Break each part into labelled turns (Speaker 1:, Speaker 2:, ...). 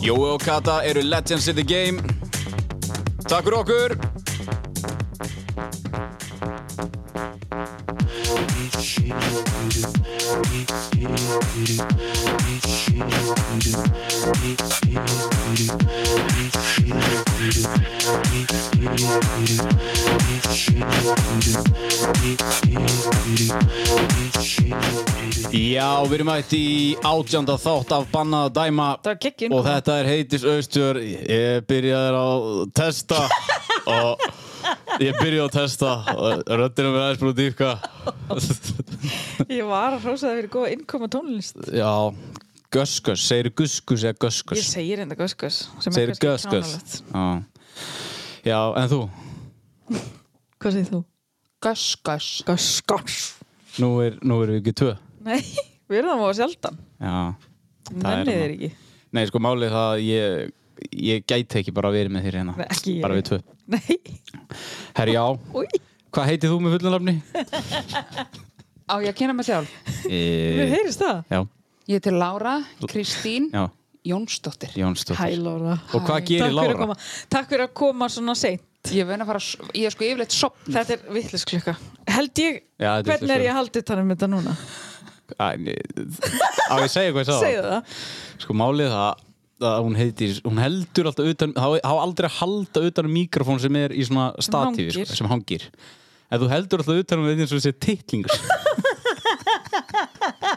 Speaker 1: Jói og Kata eru legends in the game. Takk fyrir okkur! Já, við erum ætti í átjanda þátt af bannað að dæma
Speaker 2: Það var kekkin.
Speaker 1: og þetta er heitis austjör ég byrjaði að testa og ég byrjaði að testa og röddina mér aðeins búin að dýfka
Speaker 2: Ég var að hrósa það fyrir góða innkoma tónlist.
Speaker 1: Já, göskus, segir guskus eða
Speaker 2: Ég
Speaker 1: göskus
Speaker 2: segir enda göskus. sem er
Speaker 1: segir
Speaker 2: kannski
Speaker 1: göskus
Speaker 2: kjánalegt.
Speaker 1: Já. Já, en þú?
Speaker 2: Hvað segir þú?
Speaker 3: Göskös
Speaker 2: Göskus.
Speaker 1: Nú er, nú er við ekki tvö
Speaker 2: Nei, við erum það móða sjaldan.
Speaker 1: Já, það er
Speaker 2: Mennið
Speaker 1: annað.
Speaker 2: er ekki.
Speaker 1: nei sko málið er það að ég, ég gæti ekki bara verið með þér hérna
Speaker 2: Nei, ekki ég.
Speaker 1: bara við tvö
Speaker 2: Nei,
Speaker 1: Herri, já,
Speaker 2: úi.
Speaker 1: hvað heitir þú með fullunafni?
Speaker 3: Á ég að kynna mig sjálf
Speaker 2: Við
Speaker 1: e...
Speaker 2: heyrist það.
Speaker 1: Já,
Speaker 3: Ég heiti Lára Kristín
Speaker 1: já,
Speaker 3: Jónsdóttir
Speaker 1: Jónsdóttir
Speaker 2: Hæ, Lóra.
Speaker 1: Og hvað gerir
Speaker 2: Takk fyrir að
Speaker 1: Lára?
Speaker 2: koma. Takk fyrir að koma svona seint.
Speaker 3: Ég er vön að fara, að s- ég er sko yfirleitt sopn
Speaker 2: Þetta er vittlis klukka. Held ég,
Speaker 1: Já, þetta er
Speaker 2: hvernig er
Speaker 1: vitlaus
Speaker 2: ég haldið þannig með um þetta núna?
Speaker 1: Æ, nei, Á, ég segja hvað ég sagði
Speaker 2: Segðu það.
Speaker 1: Sko málið er það að hún heitir, hún heldur alltaf utan, þá þá á aldrei að halda utan um mikrofón sem er í svona statífi,
Speaker 2: hangir.
Speaker 1: sko, sem hangir. En þú heldur alltaf utan um þetta eins og þessi titlingur.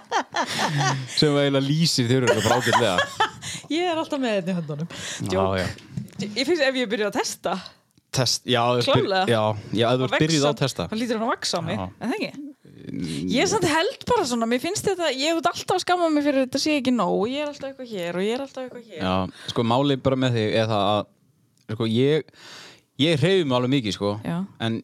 Speaker 1: sem var eiginlega lýsir þeir eru bara ágætlega.
Speaker 2: Ég er alltaf með þetta í höndunum.
Speaker 1: Já,
Speaker 2: Jók.
Speaker 1: já.
Speaker 2: Ég finnst ef ég byrja að testa.
Speaker 1: Test, já, ef þú-
Speaker 2: Klárlega.
Speaker 1: Já, já, ef þú ert byrjuð á
Speaker 2: vaxa-
Speaker 1: að testa.
Speaker 2: þá lítur hann að vaksa á mig,
Speaker 1: Já. Mm.
Speaker 2: en það ekki Ég er samt held bara svona, mér finnst þetta Ég hef alltaf að skamma mig fyrir þetta sé ekki nóg og Ég er alltaf eitthvað hér og ég er alltaf eitthvað hér
Speaker 1: Já, sko málið bara með þig er það að sko, ég, ég hreyfi mig alveg mikið sko,
Speaker 2: Já.
Speaker 1: en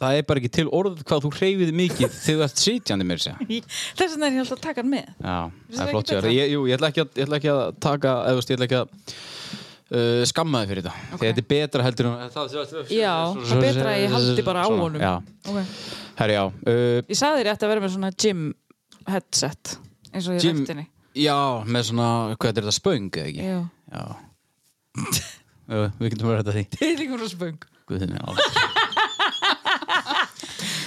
Speaker 1: það er bara ekki til orð hvað þú hreyfið mikið þegar þú ert sitjandi mér sér.
Speaker 2: Þess vegna er ég alltaf að taka hann með
Speaker 1: Já,
Speaker 2: Finnst
Speaker 1: það er
Speaker 2: þér
Speaker 1: flott
Speaker 2: ekki
Speaker 1: sér.
Speaker 2: betra?
Speaker 1: Ég, jú, ég ætla ekki að, ég ætla ekki að taka, eða þú veist, ég ætla ekki að uh, skamma þig fyrir þetta. Okay. Þegar þetta er betra heldur en það.
Speaker 2: Já, það er betra að ég haldi bara á
Speaker 1: Svona,
Speaker 2: honum
Speaker 1: Já,
Speaker 2: okay.
Speaker 1: herri já. Uh,
Speaker 2: Ég sagði þér eftir að vera með svona gym headset eins og ég
Speaker 1: Jim,
Speaker 2: rætti henni
Speaker 1: já, með svona, hvað er þetta, spöng eða ekki?
Speaker 2: Já,
Speaker 1: Já. Uh, við getum verið þetta því.
Speaker 2: þið er líka frá spöng
Speaker 1: Guðin er alveg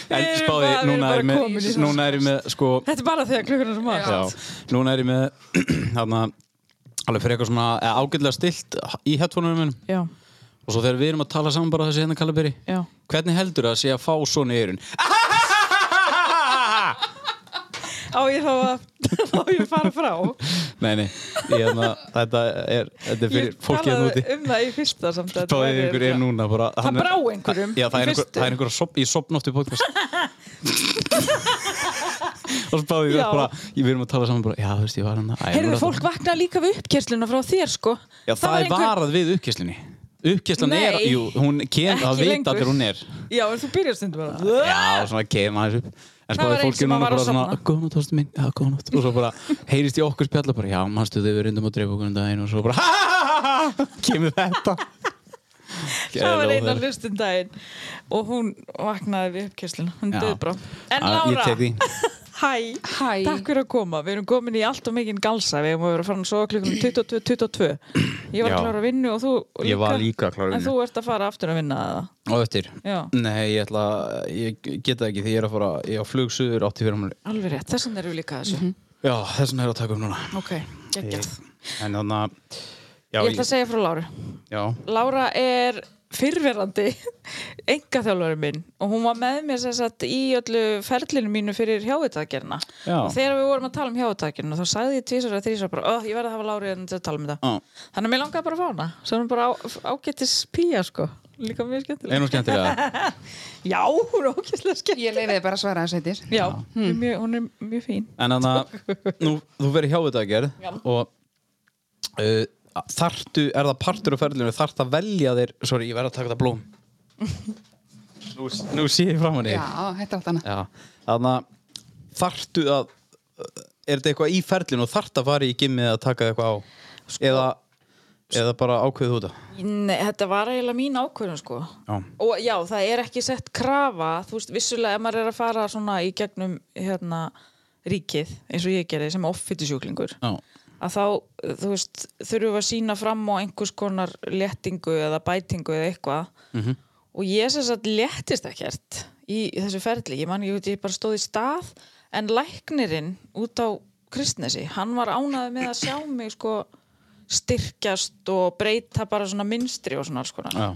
Speaker 1: En
Speaker 2: Við erum
Speaker 1: spáði,
Speaker 2: bara- við erum
Speaker 1: núna
Speaker 2: bara
Speaker 1: er ég með,
Speaker 2: komin í svona
Speaker 1: núna er ég með sko,
Speaker 2: Þetta er bara þegar klukkurinn er svo margt
Speaker 1: já, núna er ég með þarna, alveg fyrir eitthvað svona eða ágætlega stilt í hettfónunum minn
Speaker 2: já,
Speaker 1: og svo þegar við erum að tala saman bara þessi hérna kallaberi
Speaker 2: já.
Speaker 1: hvernig heldur það að sé að fá svona í eyrun?
Speaker 2: Á ég þá að á ég að fara frá
Speaker 1: Eh, Nei, nei, ég, hérna, þetta er þetta er fyrir
Speaker 2: Ég
Speaker 1: fólkið hérna
Speaker 2: talaði
Speaker 1: úti
Speaker 2: um það í fyrsta samt að þetta
Speaker 1: Spáðið
Speaker 2: væri
Speaker 1: ykkur er
Speaker 2: örugglega-
Speaker 1: núna bara hann er-
Speaker 2: brá einhverjum
Speaker 1: Já, það
Speaker 2: í
Speaker 1: er einhver,
Speaker 2: fyrstu.
Speaker 1: það er einhver að sopna, ég sopna oft í podcast Og spáði ég
Speaker 2: Já.
Speaker 1: bara, ég verðum að tala saman bara, já, þú veist, ég var hann
Speaker 2: Heyrðu, fólk vakna líka við uppkersluna frá þér, sko.
Speaker 1: Já, það er varað við uppkesslinni Uppkesslan er,
Speaker 2: Nei.
Speaker 1: jú, hún kem,
Speaker 2: Ekki
Speaker 1: það veit
Speaker 2: lengur.
Speaker 1: allir hún er
Speaker 2: Já, en þú byrjar stundum bara.
Speaker 1: Já, svona kem aðeins upp En
Speaker 2: var
Speaker 1: spáði
Speaker 2: einn
Speaker 1: fólki
Speaker 2: sem
Speaker 1: núna
Speaker 2: var að
Speaker 1: bara svona,
Speaker 2: sofna.
Speaker 1: góðan tóstu minn, já, góðan tóstu Og svo bara, heyrist í okkur spjalla bara, já, mannstu þau við reyndum að dreifa okkur um daginn Og svo bara, ha, ha, ha, ha, ha, kemur þetta
Speaker 2: Það var
Speaker 1: Geðlega
Speaker 2: eina
Speaker 1: óþægilegt.
Speaker 2: hlustum um daginn og hún vaknaði við uppkersluna. Hún
Speaker 1: Já.
Speaker 2: döð bara. En
Speaker 1: Ah,
Speaker 2: Lára,
Speaker 1: Ég tek því
Speaker 2: hæ,
Speaker 3: Hæ.
Speaker 2: takk fyrir að koma. Við erum komin í allt og mikinn galsa. Við erum að vera farin svo klukkan 22.22. 22. Ég var
Speaker 1: Já.
Speaker 2: að klára að vinna og þú líka.
Speaker 1: Ég var líka að klára
Speaker 2: En
Speaker 1: vinnu.
Speaker 2: þú ert að fara aftur að vinna eða?
Speaker 1: Og eftir
Speaker 2: Já,
Speaker 1: Nei, ég ætla, ég geta ekki því ég er að fara, ég er á flugsuður 84 mánuði.
Speaker 2: alveg rétt. Þess vegna erum við líka að þessu.
Speaker 1: Já, þess vegna er ég að taka um núna.
Speaker 2: Ok, Mhm. geggjað.
Speaker 1: En þannig að, já,
Speaker 2: Ég ætla að segja frá Láru.
Speaker 1: já,
Speaker 2: Lára er fyrverandi engaþjálfari minn og hún var með mér sem sagt í öllu ferlinu mínu fyrir hjáutagerna
Speaker 1: Já.
Speaker 2: og þegar við vorum að tala um hjáutagerna þá sagði ég tvísar að þrísar bara oh, ég verði að hafa Láru en til að tala um þetta
Speaker 1: á,
Speaker 2: þannig að mér langaði bara að fá hana svo er hún bara á, ágættis pía sko líka mjög skemmtilega
Speaker 1: einu skemmtilega.
Speaker 2: já, hún er ágættislega skemmtilega
Speaker 3: Ég leiði þið bara að svara þess heitir
Speaker 2: já, hún er mjög, hún er mjög fín
Speaker 1: En þannig að, nú, þú verður hjá þetta að gerð og uh, þartu, er það partur á ferðlunum þarft að velja þér, sorry, ég verð að taka það blóm nú, nú sé ég fram hann
Speaker 3: Já,
Speaker 1: þig
Speaker 3: þetta er átt annað.
Speaker 1: Já, þannig að þartu að er þetta eitthvað í ferlinu og þart að fara í gimmið að taka eitthvað á
Speaker 2: Sko-
Speaker 1: eða, eða bara ákveðu út að
Speaker 2: Nei, þetta var eiginlega mín ákvörðun sko
Speaker 1: Já.
Speaker 2: og já, það er ekki sett krafa þú veist, vissulega ef maður er að fara svona í gegnum hérna ríkið eins og ég gerði sem offitusjúklingur
Speaker 1: Já,
Speaker 2: að þá, þú veist, þurfum við að sína fram á einhvers konar léttingu eða bætingu eða eitthvað -hmm. og ég sem sagt léttist ekkert í þessu ferli, ég man, ég veit, ég bara stóð í stað en læknirinn út á kristnesi, hann var ánaði með að sjá mig sko styrkjast og breyta bara svona minnstri og svona alls konar
Speaker 1: já,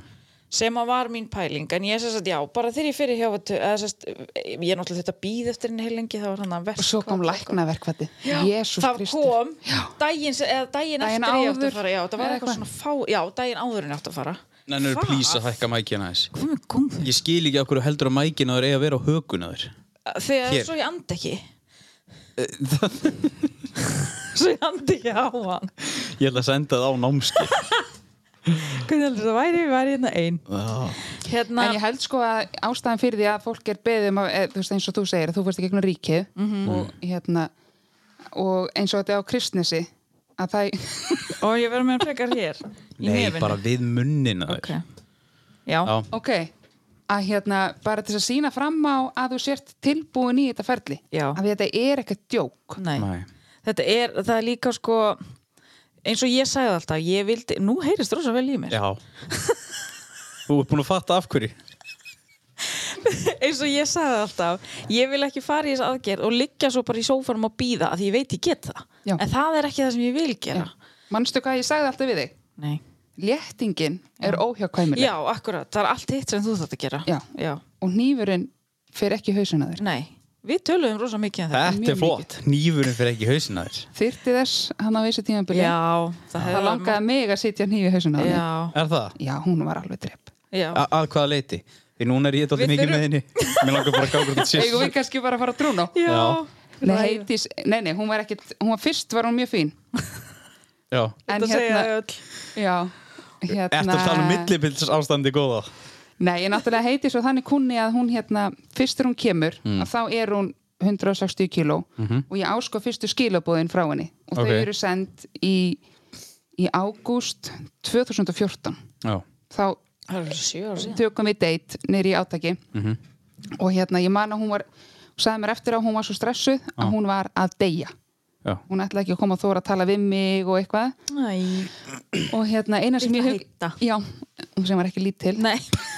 Speaker 2: sem að var mín pæling en ég sem sagt, já, bara þegar ég fyrir hjá eða, sem sagt, ég er náttúrulega þetta býð eftir henni heilengi þá var hann að verka
Speaker 3: Og svo kom læknaverkvætti.
Speaker 2: Já,
Speaker 3: Jésús
Speaker 2: það
Speaker 3: Kristur.
Speaker 2: kom daginn, se- eða daginn
Speaker 3: Daginn
Speaker 2: eftir ég átti
Speaker 3: áður,
Speaker 2: að fara já, það var
Speaker 3: eða
Speaker 2: eitthvað
Speaker 3: hvað?
Speaker 2: svona fá, já, daginn áður en ég átti að fara
Speaker 1: nennur
Speaker 2: Hvað?
Speaker 1: plís að hækka mækina þess
Speaker 2: Hvað með kongum?
Speaker 1: Ég skil ekki okkur heldur að mækina þér eiga að vera á hökuna þér
Speaker 2: Þegar
Speaker 1: Hér. Eh,
Speaker 2: svo ég andi ekki Svo ég andi ekki á hann
Speaker 1: Ég ætla að senda það á námski
Speaker 2: Hvernig heldur það væri, ég væri hérna ein Hérna,
Speaker 3: En ég held sko að ástæðan fyrir því að fólk er beðið um að, eð, þú veist eins og þú segir, að þú fórst í gegnum ríkið og hérna og eins og þetta er á kristnesi að það,
Speaker 2: og ég verður með hann frekar hér í
Speaker 1: Nei,
Speaker 2: nefinu.
Speaker 1: bara við munnina þér
Speaker 2: Ok. Já,
Speaker 1: Já,
Speaker 3: ok að hérna, bara til þess að sína fram á að þú sért tilbúin í þetta ferli
Speaker 2: Já.
Speaker 3: að þetta er ekkert djók
Speaker 2: nei
Speaker 1: Nei.
Speaker 2: Þetta er, það er líka sko eins og ég sagði alltaf, ég vildi nú heyrist rosa vel í mér
Speaker 1: já Þú ert búin að fatta af hverju
Speaker 2: eins og ég sagði alltaf ég vil ekki fara í þess aðgerð og liggja svo bara í sófanum og býða að því ég veit ég get það
Speaker 3: Já.
Speaker 2: en það er ekki það sem ég vil gera
Speaker 3: Manstu hvað ég sagði alltaf við þig?
Speaker 2: Nei.
Speaker 3: Léttingin er óhjákvæmileg
Speaker 2: já, akkurat, það er allt hitt sem þú þátt að gera
Speaker 3: Já. og nýfurinn fer ekki í hausina þér
Speaker 2: nei, við töluðum rosa mikið um þetta
Speaker 1: Þetta er
Speaker 3: mjög
Speaker 1: flott, nýfurinn fyrir ekki í hausina þér
Speaker 3: þyrti þess hann á þessu tímabili
Speaker 2: já, það,
Speaker 3: það langaði mig að sitja nýfi hausina á
Speaker 2: já,
Speaker 3: þér
Speaker 1: Er það?
Speaker 3: já, hún var alveg drepp
Speaker 2: já.
Speaker 1: A að hvaða leiti? Því núna er ég þetta
Speaker 2: Við
Speaker 1: mikið
Speaker 2: þurfum-
Speaker 1: með henni Mér langar bara að gáða þetta
Speaker 3: eigum við kannski bara að fara að trúna
Speaker 2: já.
Speaker 1: Já.
Speaker 3: Nei, heitis, nei, nei, hún var ekkit, hún var fyrst var hún mjög fín
Speaker 1: Já
Speaker 3: En
Speaker 2: þetta segja þau öll
Speaker 3: já, hérna
Speaker 1: Ertu að tala um millibils ástandi góða?
Speaker 3: Nei, ég náttúrulega heiti svo þannig kunni að hún hérna, fyrst er hún kemur að þá er hún 160 kíló og ég ásko fyrstu skilabóðin frá henni
Speaker 1: Ok.
Speaker 3: og þau eru send í í ágúst 2014
Speaker 1: Já.
Speaker 3: þá
Speaker 2: það er alveg sjö ára síðan
Speaker 3: tökum við date nýri í átaki og hérna ég man að hún var hún sagði mér eftir að hún var svo stressuð að hún var að deyja
Speaker 1: Já.
Speaker 3: hún ætlaði ekki að koma að þóra að tala við mig og eitthvað
Speaker 2: Æ,
Speaker 3: og hérna eina sem ég
Speaker 2: Litla
Speaker 3: hug-
Speaker 2: heita.
Speaker 3: já, hún sem var ekki lítil
Speaker 2: nei,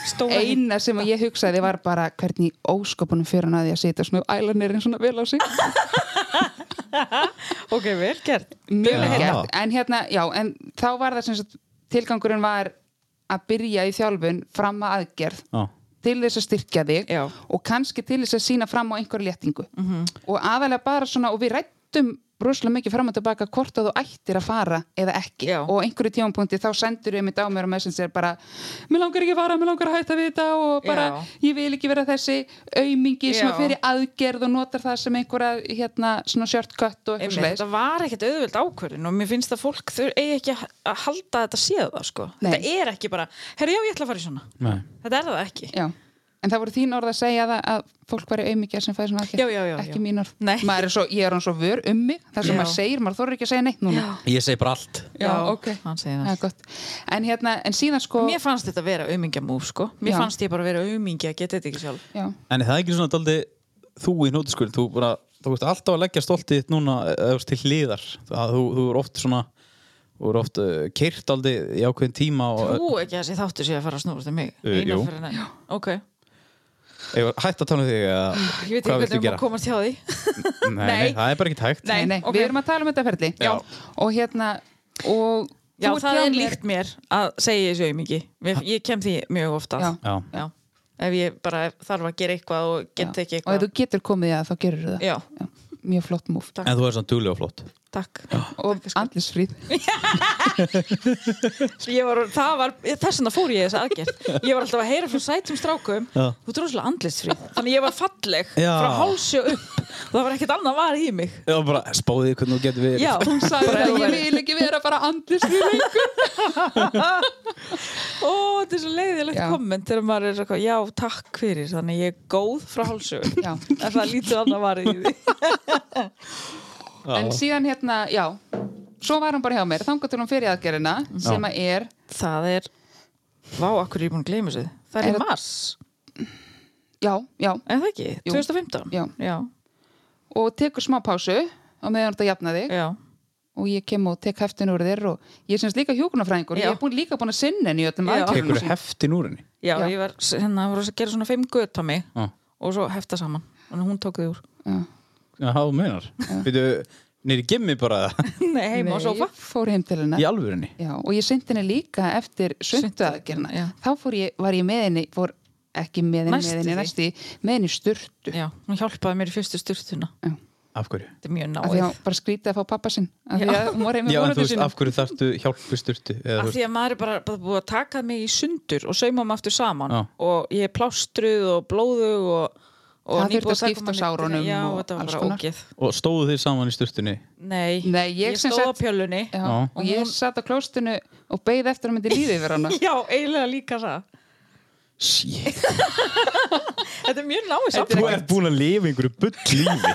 Speaker 2: stóra ein...
Speaker 3: eina sem ég hugsaði var bara hvernig í ósköpunum fyrir hann að ég að setja svona ælanirinn svona vel á sig
Speaker 2: ok, vel gert
Speaker 3: mjög
Speaker 1: Já.
Speaker 3: gert, en hérna, já, en þá var það sem sagt, tilgangurinn var að byrja í þjálfun fram að aðgerð
Speaker 1: Já.
Speaker 3: til þess að styrkja þig
Speaker 2: Já. Mhm.
Speaker 3: og kannski til þess að sína fram á einhverju léttingu og aðalega bara svona og við rættum rosalega mikið fram og tilbaka hvort að þú ættir að fara eða ekki
Speaker 2: Já.
Speaker 3: og á einhverju tímanpunkti þá sendur ég mitt á mér og messenger bara, mér langar ekki að fara, mér langar að hætta við þetta og bara,
Speaker 2: Já.
Speaker 3: ég vil ekki vera þessi aumingi sem
Speaker 2: Já.
Speaker 3: að fyrir aðgerð og notar það sem einhverja hérna svona shortcut og eitthvað
Speaker 2: Einmitt,
Speaker 3: svoleiðis
Speaker 2: þetta var ekkert auðvöld ákvörðin og mér finnst að fólk þau eigi ekki að að halda að þetta séð það sko.
Speaker 3: Nei.
Speaker 2: þetta er ekki bara, herru já ég ætla að fara í svona
Speaker 1: Nei.
Speaker 2: þetta er það ekki
Speaker 3: Já, en það voru þín orð að segja það að fólk væri auðmikið sem fæði svona aðgerð.
Speaker 2: Já, já, já,
Speaker 3: Ekki
Speaker 2: já.
Speaker 3: mín orð.
Speaker 2: Nei.
Speaker 3: Maður er svo, ég er hann svo vör um mig, það sem
Speaker 2: Já.
Speaker 3: maður segir, maður þorir ekki að segja neitt núna.
Speaker 1: Ég segi bara allt.
Speaker 2: Já, hann segir
Speaker 3: það.
Speaker 2: allt.
Speaker 3: er gott. En hérna, en síðan sko,
Speaker 2: mér fannst þetta vera auðmingja múf sko. mér
Speaker 3: Já.
Speaker 2: fannst ég bara vera auðmingja að geta þetta ekki sjálf
Speaker 3: já,
Speaker 1: En er það er ekki svona daldi þú í nótiskurinn, þú bara, þú veist alltaf að leggja stoltið þitt núna eða þú veist, til hliðar. Það, þú, þú er oft svona, þú er oft uh, kyrt aldrei í ákveðin tíma og eh,
Speaker 2: þú ekki að þessi þáttu sé að fara að snúrast um mig
Speaker 1: Uh,
Speaker 2: Eina
Speaker 1: jú.
Speaker 2: fyrir neðan. ok,
Speaker 1: uh, hætt að tala um þig eða
Speaker 2: ég veit ekki
Speaker 1: hvað viltu
Speaker 2: hvernig
Speaker 1: gera?
Speaker 2: maður komast hjá því
Speaker 1: Nei, nei,
Speaker 2: Nei.
Speaker 1: það er bara ekki hægt.
Speaker 2: Nei,
Speaker 3: nei, nei,
Speaker 2: ok.
Speaker 3: við erum að tala um þetta ferli.
Speaker 1: Já.
Speaker 3: Og hérna, og
Speaker 2: já,
Speaker 3: þú ert
Speaker 2: það
Speaker 3: hjá
Speaker 2: er
Speaker 3: mér.
Speaker 2: líkt mér að segja þessu auðmingi Mér- ég kem því mjög ofta
Speaker 3: Já.
Speaker 1: Já.
Speaker 2: Já. ef ég bara þarf að gera eitthvað og
Speaker 3: Já.
Speaker 2: get ekki
Speaker 3: Og ef
Speaker 2: eitthvað
Speaker 3: þú getur komið að þá gerur það.
Speaker 2: Já.
Speaker 3: Mjög flott múf.
Speaker 2: Takk.
Speaker 1: En þú er svona duglega og flott.
Speaker 2: takk
Speaker 3: og andlisfríð
Speaker 2: Ég var, það var, þess vegna fór ég í þessa aðgerð ég var alltaf að heyra frá sætum strákum
Speaker 1: Já.
Speaker 2: þú ert rosalega andlitsfríð þannig ég var falleg
Speaker 1: Já.
Speaker 2: frá hálsjó upp það var ekkert annað var í mig
Speaker 1: Já, bara spáðið hvernig þú getur verið
Speaker 2: Já,
Speaker 3: hún sagði
Speaker 2: Bara
Speaker 3: það,
Speaker 2: ef þú
Speaker 3: ég
Speaker 2: værir-
Speaker 3: vil ekki vera bara andlisfríð lengur
Speaker 2: ó, þetta er svo leiðilegt
Speaker 3: Já.
Speaker 2: komment þegar maður er eitthvað, já, takk fyrir þannig ég er góð frá hálsjó
Speaker 3: Já.
Speaker 2: en það lítið annað var í því
Speaker 3: en síðan hérna, já svo var hún bara hjá mér, þangar til hún fyrir aðgerina sem að er,
Speaker 2: það er, vá, akkur er ég búin að gleyma sig það er,
Speaker 3: Er
Speaker 2: í
Speaker 3: það-
Speaker 2: mars,
Speaker 3: já, já
Speaker 2: en það ekki
Speaker 3: Jú.
Speaker 2: 2015
Speaker 3: Já.
Speaker 2: já,
Speaker 3: og tekur smá pásu á meðan þetta jafna þig
Speaker 2: já.
Speaker 3: og ég kem og tek heftin úr þér og ég er semst líka hjúkunarfræðingur
Speaker 2: Já.
Speaker 3: ég er búin, líka búin að sinna henni í öllum
Speaker 2: Já.
Speaker 3: aðgerðum
Speaker 1: Tekur heftin úr henni
Speaker 2: Já,
Speaker 3: Já.
Speaker 2: ég var, hérna, það voru að gera svona fimm göt á mig
Speaker 1: Já.
Speaker 2: og svo hefta saman og hún tók þið úr
Speaker 1: Já, það meinar Býtu, nýri gimmi bara eða?
Speaker 2: Nei, heima á sófa
Speaker 3: fór heim til henni
Speaker 1: í alvörunni
Speaker 3: Já, og ég syndi henni líka eftir
Speaker 2: Svuntuaðgerðina, já.
Speaker 3: sundaðgerna. Þá fór ég, var ég með henni, fór ekki með henni,
Speaker 2: Næstu
Speaker 3: með henni,
Speaker 2: því.
Speaker 3: næstu, í- með henni í sturtu.
Speaker 2: Já, hún hjálpaði mér í fyrstu styrtuna
Speaker 1: Af hverju?
Speaker 2: Þetta er mjög
Speaker 3: Af
Speaker 2: náið
Speaker 3: því að hún bara skrítið að fá pappa sinn. Af því að hún var heim
Speaker 1: Já, en þú
Speaker 3: með vonandi
Speaker 1: veist,
Speaker 3: sinn.
Speaker 1: af hverju þarftu hjálpu styrtu? Eða,
Speaker 2: Af
Speaker 1: þú veist,
Speaker 2: því að maður er bara, bara búið að taka mig í sundur og sauma mig aftur saman
Speaker 1: Já.
Speaker 2: og ég er plástruð og blóðug og, og
Speaker 3: Það þurfti
Speaker 2: nýbúið
Speaker 3: að skipta
Speaker 2: taka
Speaker 3: á
Speaker 2: manni-
Speaker 3: sárunum
Speaker 2: Já,
Speaker 3: og
Speaker 2: þetta
Speaker 3: alls
Speaker 2: var bara
Speaker 3: konar.
Speaker 2: ógið
Speaker 1: og stóðu þið saman í styrtunni
Speaker 2: Nei,
Speaker 3: Nei, ég sem
Speaker 2: stóð á
Speaker 3: sagt-
Speaker 2: pjölunni
Speaker 3: Já,
Speaker 1: Já.
Speaker 3: og ég satt á klóstinu og beigð eftir að hann myndi lífið yfir hana.
Speaker 2: Já, eiginlega líka það
Speaker 1: Shit,
Speaker 2: Þetta er mjög náið samt
Speaker 1: þú ert búin að lifa einhverju bull lífi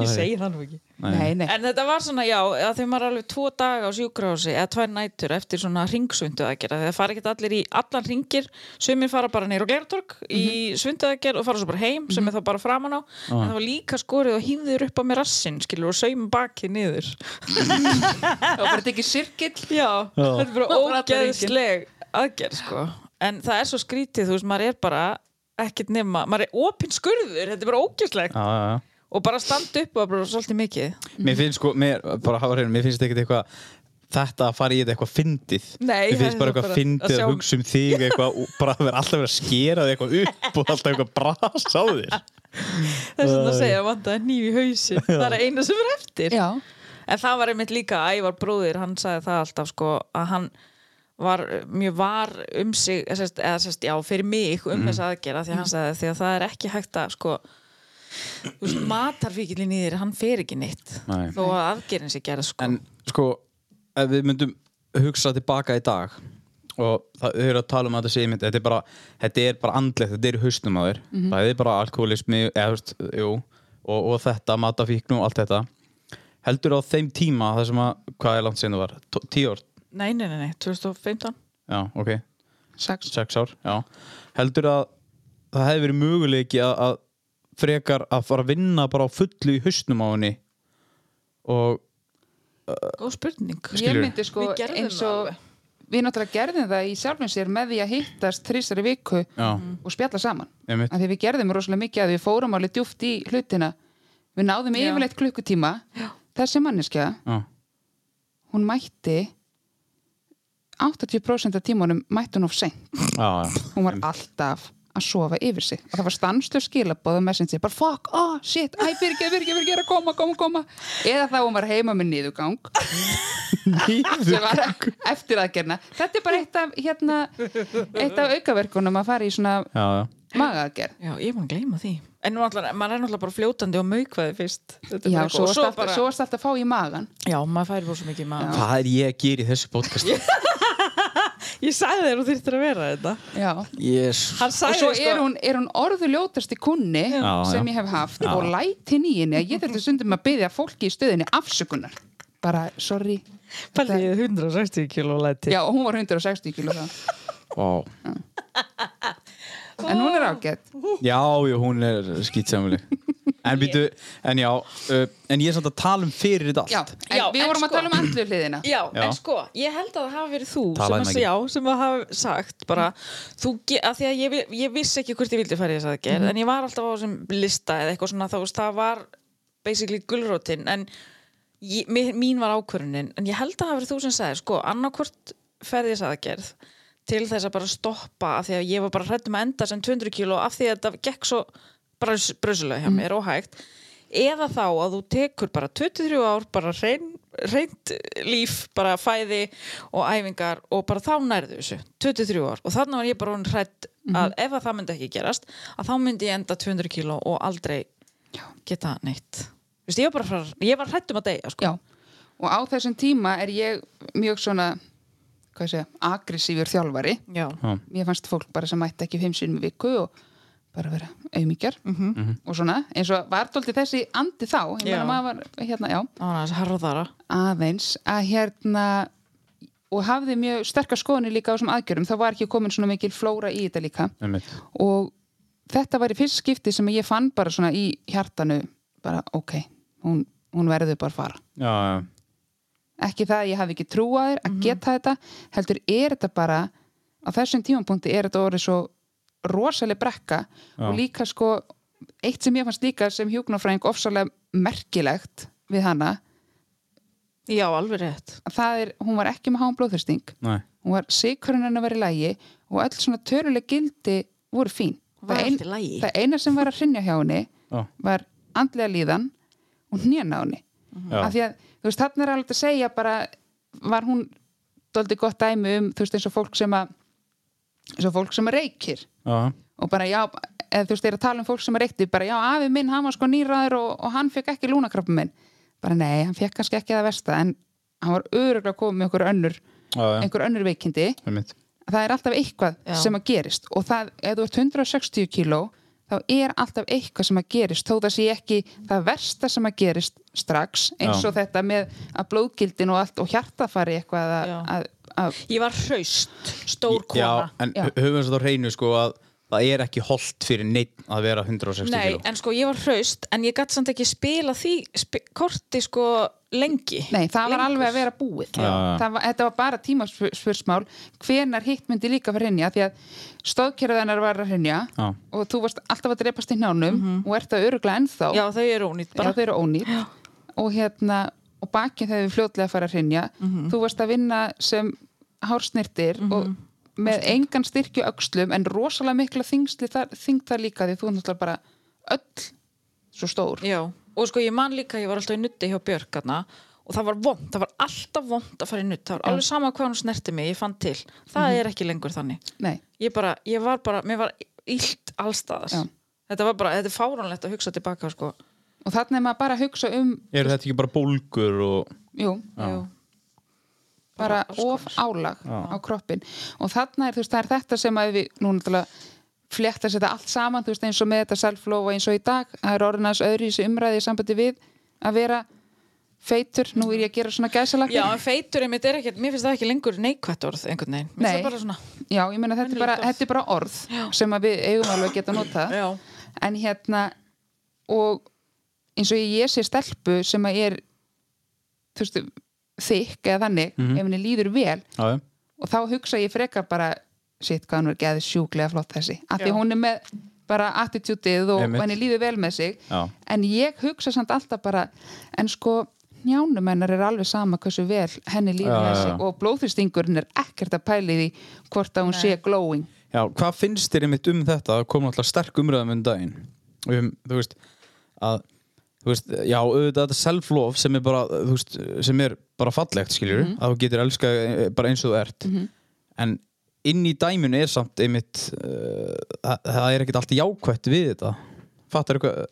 Speaker 2: Ég segi það nú ekki
Speaker 3: Nei, nei.
Speaker 2: En þetta var svona, já, að þegar maður er alveg tvo daga á sjúkrahósi eða tvær nætur eftir svona ringsvundu aðgerð það fara ekkert allir í allan ringir sumir fara bara neyru á Glertorg í svundu og fara svo bara heim sem er þá bara framan á en það var líka skorið og hýður upp á mér rassinn, skilur, og saum bakið niður
Speaker 3: Og bara tekið sirkill.
Speaker 2: Já, þetta er bara
Speaker 3: Bara allan hringinn.
Speaker 2: ógeðsleg aðgerð, sko en það er svo skrítið, þú veist, maður er bara ekkert nema, maður er opinn skurður þetta er bara ógeðslegt
Speaker 1: Já, já, já
Speaker 2: og bara standa upp og bara svolítið mikið
Speaker 1: Mér finnst sko, mér, bara hafa hreinu, mér finnst ekkert eitthvað þetta að fara í þetta eitthvað fyndið
Speaker 2: Nei,
Speaker 1: Mér finnst bara
Speaker 2: það er bara
Speaker 1: eitthvað
Speaker 2: að
Speaker 1: fyndið
Speaker 2: sjá-
Speaker 1: að hugsa um þig eitthvað, og bara að vera alltaf verið að skera þig eitthvað upp og alltaf eitthvað bras á þér
Speaker 2: þess að það segja að vantaði nýf í hausin það er eina sem er eftir
Speaker 3: Já,
Speaker 2: en það var einmitt líka Ævar bróðir hann sagði það alltaf sko að hann var uh, mjög var um sig eða sérst, eða sérst já fyrir mig
Speaker 1: Mhm.
Speaker 2: um þess aðgerða því að hann sagði því að það er ekki hægt að sko þú veist, matarfíkilin í þér hann fer ekki neitt
Speaker 1: Nei.
Speaker 2: þó að aðgerðin sé gerð sko
Speaker 1: En sko, ef við myndum hugsa tilbaka í dag og það þau eru að tala um að þetta sé mynd, þetta er bara, þetta er bara andlegt, þetta er í hausnum að þér það er bara alkoholismi, eða þú veist, jú og, og þetta, matafíknu og allt þetta heldur á þeim tíma það sem að, hvað er langt sinni var? Tó- Tíu ár?
Speaker 2: nei nei nei, nei 2015
Speaker 1: Já, ok,
Speaker 3: sex.
Speaker 1: sex ár, já heldur að það hefði verið möguleiki að, að frekar að fara að vinna bara á fullu í hausnum á henni og
Speaker 2: góð spurning
Speaker 3: Ég
Speaker 1: Skilurðu?
Speaker 3: myndi sko
Speaker 2: Við gerðum
Speaker 3: eins
Speaker 2: það
Speaker 3: og,
Speaker 2: alveg.
Speaker 3: við náttúrulega gerðum það í sjálfum sér með því að hittast þrísari viku
Speaker 1: Já.
Speaker 3: og spjalla saman.
Speaker 1: Einmitt.
Speaker 3: Af því við gerðum rosalega mikið að við fórum alveg djúft í hlutina. Við náðum
Speaker 2: Já.
Speaker 3: yfirleitt klukkutíma. Þessi manneskja,
Speaker 1: já,
Speaker 3: hún mætti 80% af tímunum mætti hún of seint.
Speaker 1: já, já.
Speaker 3: Hún var alltaf að sofa yfir sig og það var stannstöf skilabóð og messenger bara fuck, oh, shit, æ, byrgir, byrgir, byrgir að koma, koma, koma eða þá hún var heima með nýðugang sem var eftir aðgerna þetta er bara eitt af, hérna, eitt af aukaverkunum að fara í svona
Speaker 1: já, já.
Speaker 3: magaaðgerð
Speaker 2: já ég má gleyma því en nú allan, maður er náttúrulega bara fljótandi og maukvæði fyrst Þetta er
Speaker 3: Já,
Speaker 2: bara eitthvað- og
Speaker 3: svo varst alltaf, bara... alltaf að fá í magan
Speaker 2: já maður færi búið svo mikið maður
Speaker 1: Hvað er ég að gera í þessu podcast?
Speaker 2: Ég sagði þér og þurftir að vera þetta
Speaker 3: Já.
Speaker 1: Jésus
Speaker 2: Hann
Speaker 3: Og
Speaker 2: sagði
Speaker 3: svo
Speaker 2: sko,
Speaker 3: er hún, er hún orðuljótasti kunni
Speaker 1: Já,
Speaker 3: sem
Speaker 1: já.
Speaker 3: ég hef haft og lætin í henni að ég þurfti stundum að byggja fólki í stöðinni afsökunar bara, sorry
Speaker 2: Pældi ég 160 kíló læti
Speaker 3: Já, og hún var 160 kíló þá
Speaker 1: wow.
Speaker 3: En hún er ágætt
Speaker 1: Já, já, hún er skýtsamlega En býtu, en já uh, En ég er samt að tala um fyrir þetta allt
Speaker 3: Já, en
Speaker 2: Já,
Speaker 3: við
Speaker 2: en
Speaker 3: vorum
Speaker 2: sko-
Speaker 3: að tala um andlu hliðina
Speaker 2: Já,
Speaker 1: Já.
Speaker 2: en sko, ég held að það hafi verið þú
Speaker 1: Talaðu
Speaker 2: sem
Speaker 1: um
Speaker 2: að,
Speaker 1: ekki.
Speaker 2: já, sem að hafa sagt bara, þú, ge- að því að ég, vi- ég vissi ekki hvort ég vildi fara í þess aðgerð
Speaker 1: Mhm.
Speaker 2: en ég var alltaf á þessum lista eða eitthvað svona þá veist, það var basically gulrótin en ég, mi- mín var ákvörunin en ég held að það hafi verið þú sem sagði sko, annarkvort ferði þess aðgerð til þess að bara stoppa af því að ég var
Speaker 1: Mhm.
Speaker 2: bara hrættum að enda sem 200 kíló af því að þetta gekk svo brösulega hjá mér óhægt eða þá að þú tekur bara 23 ár bara reyn, reynd líf, bara fæði og æfingar og bara þá nærðu þessu 23 ár og þannig var ég bara hún hrætt að ef að það myndi ekki gerast að þá myndi ég enda 200 kíló og aldrei geta neitt Vist, ég, var bara frá, ég var hrætt um að deyja sko.
Speaker 3: Já, og á þessum tíma er ég mjög svona, hvað segja, agressífur þjálfari.
Speaker 2: Já.
Speaker 3: Mér fannst fólk bara sem mætti ekki fimm sinni í viku og bara vera auðmíkjar og svona, eins og var tólti þessi andi þá, ég
Speaker 2: Já.
Speaker 3: meina maður var hérna, já,
Speaker 2: Það var aðeins harðara
Speaker 3: aðeins að hérna og hafði mjög sterkar skoðunni líka á þessum aðgjörum, þá var ekki komin svona mikil flóra í þetta líka
Speaker 1: Einmitt.
Speaker 3: og þetta var í fyrst skipti sem ég fann bara svona í hjartanu bara ok, hún, hún verður bara að fara
Speaker 1: Já, já.
Speaker 3: ekki það að ég hafi ekki trú á þér að geta þetta, heldur er þetta bara á þessum tímapunkti er þetta orðið svo rosaleg brekka og líka sko, eitt sem ég fannst líka sem hjúknarfræðing ofsalega merkilegt við hana,
Speaker 2: Já, alveg rétt
Speaker 3: að það er hún var ekki með háum blóðþyrsting,
Speaker 1: Nei.
Speaker 3: hún var sigurinn hennar var í lægi og öll svona töruleg gildi voru fín
Speaker 2: Var
Speaker 3: það,
Speaker 2: allt í lagi?
Speaker 3: það eina sem var að hrinja hjá henni
Speaker 1: Já.
Speaker 3: var andlega líðan og hnjana á henni
Speaker 1: Já.
Speaker 3: Mhm. af því að þú veist, þarna er alveg hægt að segja bara var hún doldi gott dæmi um þú veist eins og fólk sem að eins og fólk sem að reykir
Speaker 1: Já.
Speaker 3: og bara já, eða þú veist, þeir eru að tala um fólk sem að reykti bara já, afi minn, hann var sko nýraður og, og hann fekk ekki lúnakrabba minn bara nei, hann fekk kannski ekki það versta en hann var öruglega komið með einhver önnur
Speaker 1: Já, já.
Speaker 3: einhver önnur veikindi
Speaker 1: Einmitt.
Speaker 3: það er alltaf eitthvað
Speaker 2: Já.
Speaker 3: sem að gerist og það, ef þú ert 160 kíló þá er alltaf eitthvað sem að gerist þó það sé ekki það versta sem að gerist strax eins
Speaker 1: Já.
Speaker 3: og þetta með að blóðgildin og allt og hjarta fari eitthvað að,
Speaker 2: Já.
Speaker 3: að, að
Speaker 2: Ég var hraust, stór
Speaker 1: Já,
Speaker 2: kona
Speaker 1: en
Speaker 3: Já.
Speaker 1: höfum við þetta á hreinu sko að það er ekki holdt fyrir neitt að vera 160
Speaker 2: Nei,
Speaker 1: kíló.
Speaker 2: en sko ég var hraust en ég gætt samt ekki spila því sp korti sko lengi
Speaker 3: Nei, það var alveg að vera búið
Speaker 1: Já.
Speaker 3: Það var, þetta var bara tímaspursmál hvenar hitt myndi líka fyrir hrinja því að stóðkerfið hennar var að hrinja
Speaker 1: Já.
Speaker 3: og þú varst alltaf að drepast í hnjánum og ert að öruglega ennþá
Speaker 2: Mhm. Já, þau eru ónýtt
Speaker 3: bara
Speaker 2: bara
Speaker 3: þau eru ónýtt og hérna, og bakið þegar við fljótlega að fara að hrynja,
Speaker 2: Mhm.
Speaker 3: þú varst að vinna sem hársnirtir og með engan styrkju öxlum en rosalega mikla þyngsli þar, þyngd þar líka því þú er náttúrulega bara öll svo stór
Speaker 2: Já, og sko ég man líka að ég var alltaf í nutti hjá Björkarna og það var vond, það var alltaf vond að fara í nutt það var alveg sama hvað hún snerti mig, ég fann til það
Speaker 3: Mhm.
Speaker 2: er ekki lengur þannig
Speaker 3: Nei,
Speaker 2: ég bara, ég var bara, mér var illt allstaðas
Speaker 3: Já.
Speaker 2: þetta var bara, þetta er fáránlegt að hugsa tilbaka sko
Speaker 3: og þarna er maður bara að hugsa um
Speaker 1: Eru þetta ekki bara bólgur og...
Speaker 3: jú,
Speaker 2: Já.
Speaker 3: bara
Speaker 2: Bara alls
Speaker 3: of álag á kroppin og þarna er, þú veist, það er þetta sem að við nú náttúrulega flekta sér þetta allt saman þú veist, eins og með þetta self-love og eins og í dag það er orðin aðeins öðru í þessu umræði í sambandi við að vera feitur nú er ég að gera svona gæsalakir
Speaker 2: Já, en feitur einmitt er ekkert, mér finnst það ekki lengur neikvætt orð einhvern veginn, mér
Speaker 3: Nei.
Speaker 2: finnst það bara svona
Speaker 3: Já, ég meina þetta er bara,
Speaker 2: Venjulegt orð.
Speaker 3: þetta er bara orð sem að við eigum alveg að geta nota
Speaker 2: Já.
Speaker 3: en hérna og eins og ég sé stelpu sem að er þú veist, þykk eða þannig
Speaker 2: Mhm.
Speaker 3: ef henni líður vel
Speaker 1: Já, já.
Speaker 3: og þá hugsa ég frekar bara sitt hvað hann er geðið sjúklega flott þessi af því
Speaker 2: Já.
Speaker 3: hún er með bara attitútið og
Speaker 1: Einmitt.
Speaker 3: henni líður vel með sig
Speaker 1: Já.
Speaker 3: en ég hugsa samt alltaf bara en sko njánum hennar er alveg sama hversu vel henni líður
Speaker 1: Já,
Speaker 3: með
Speaker 1: já,
Speaker 3: sig
Speaker 1: já.
Speaker 3: og blóðþristingurinn er ekkert að pæli því hvort að hún sé glowing
Speaker 1: Já, hvað finnst þér einmitt um þetta að koma alltaf sterk umræðum um daginn um, þú veist að, þú veist, já, auðvitað þetta self-love sem er bara, þú veist, sem er bara fallegt, skiljur,
Speaker 3: Mhm.
Speaker 1: að þú getur elskað eh, bara eins og þú ert en inn í dæminu er samt einmitt uh, það, það er ekkert allt jákvætt við þetta fattar eitthvað,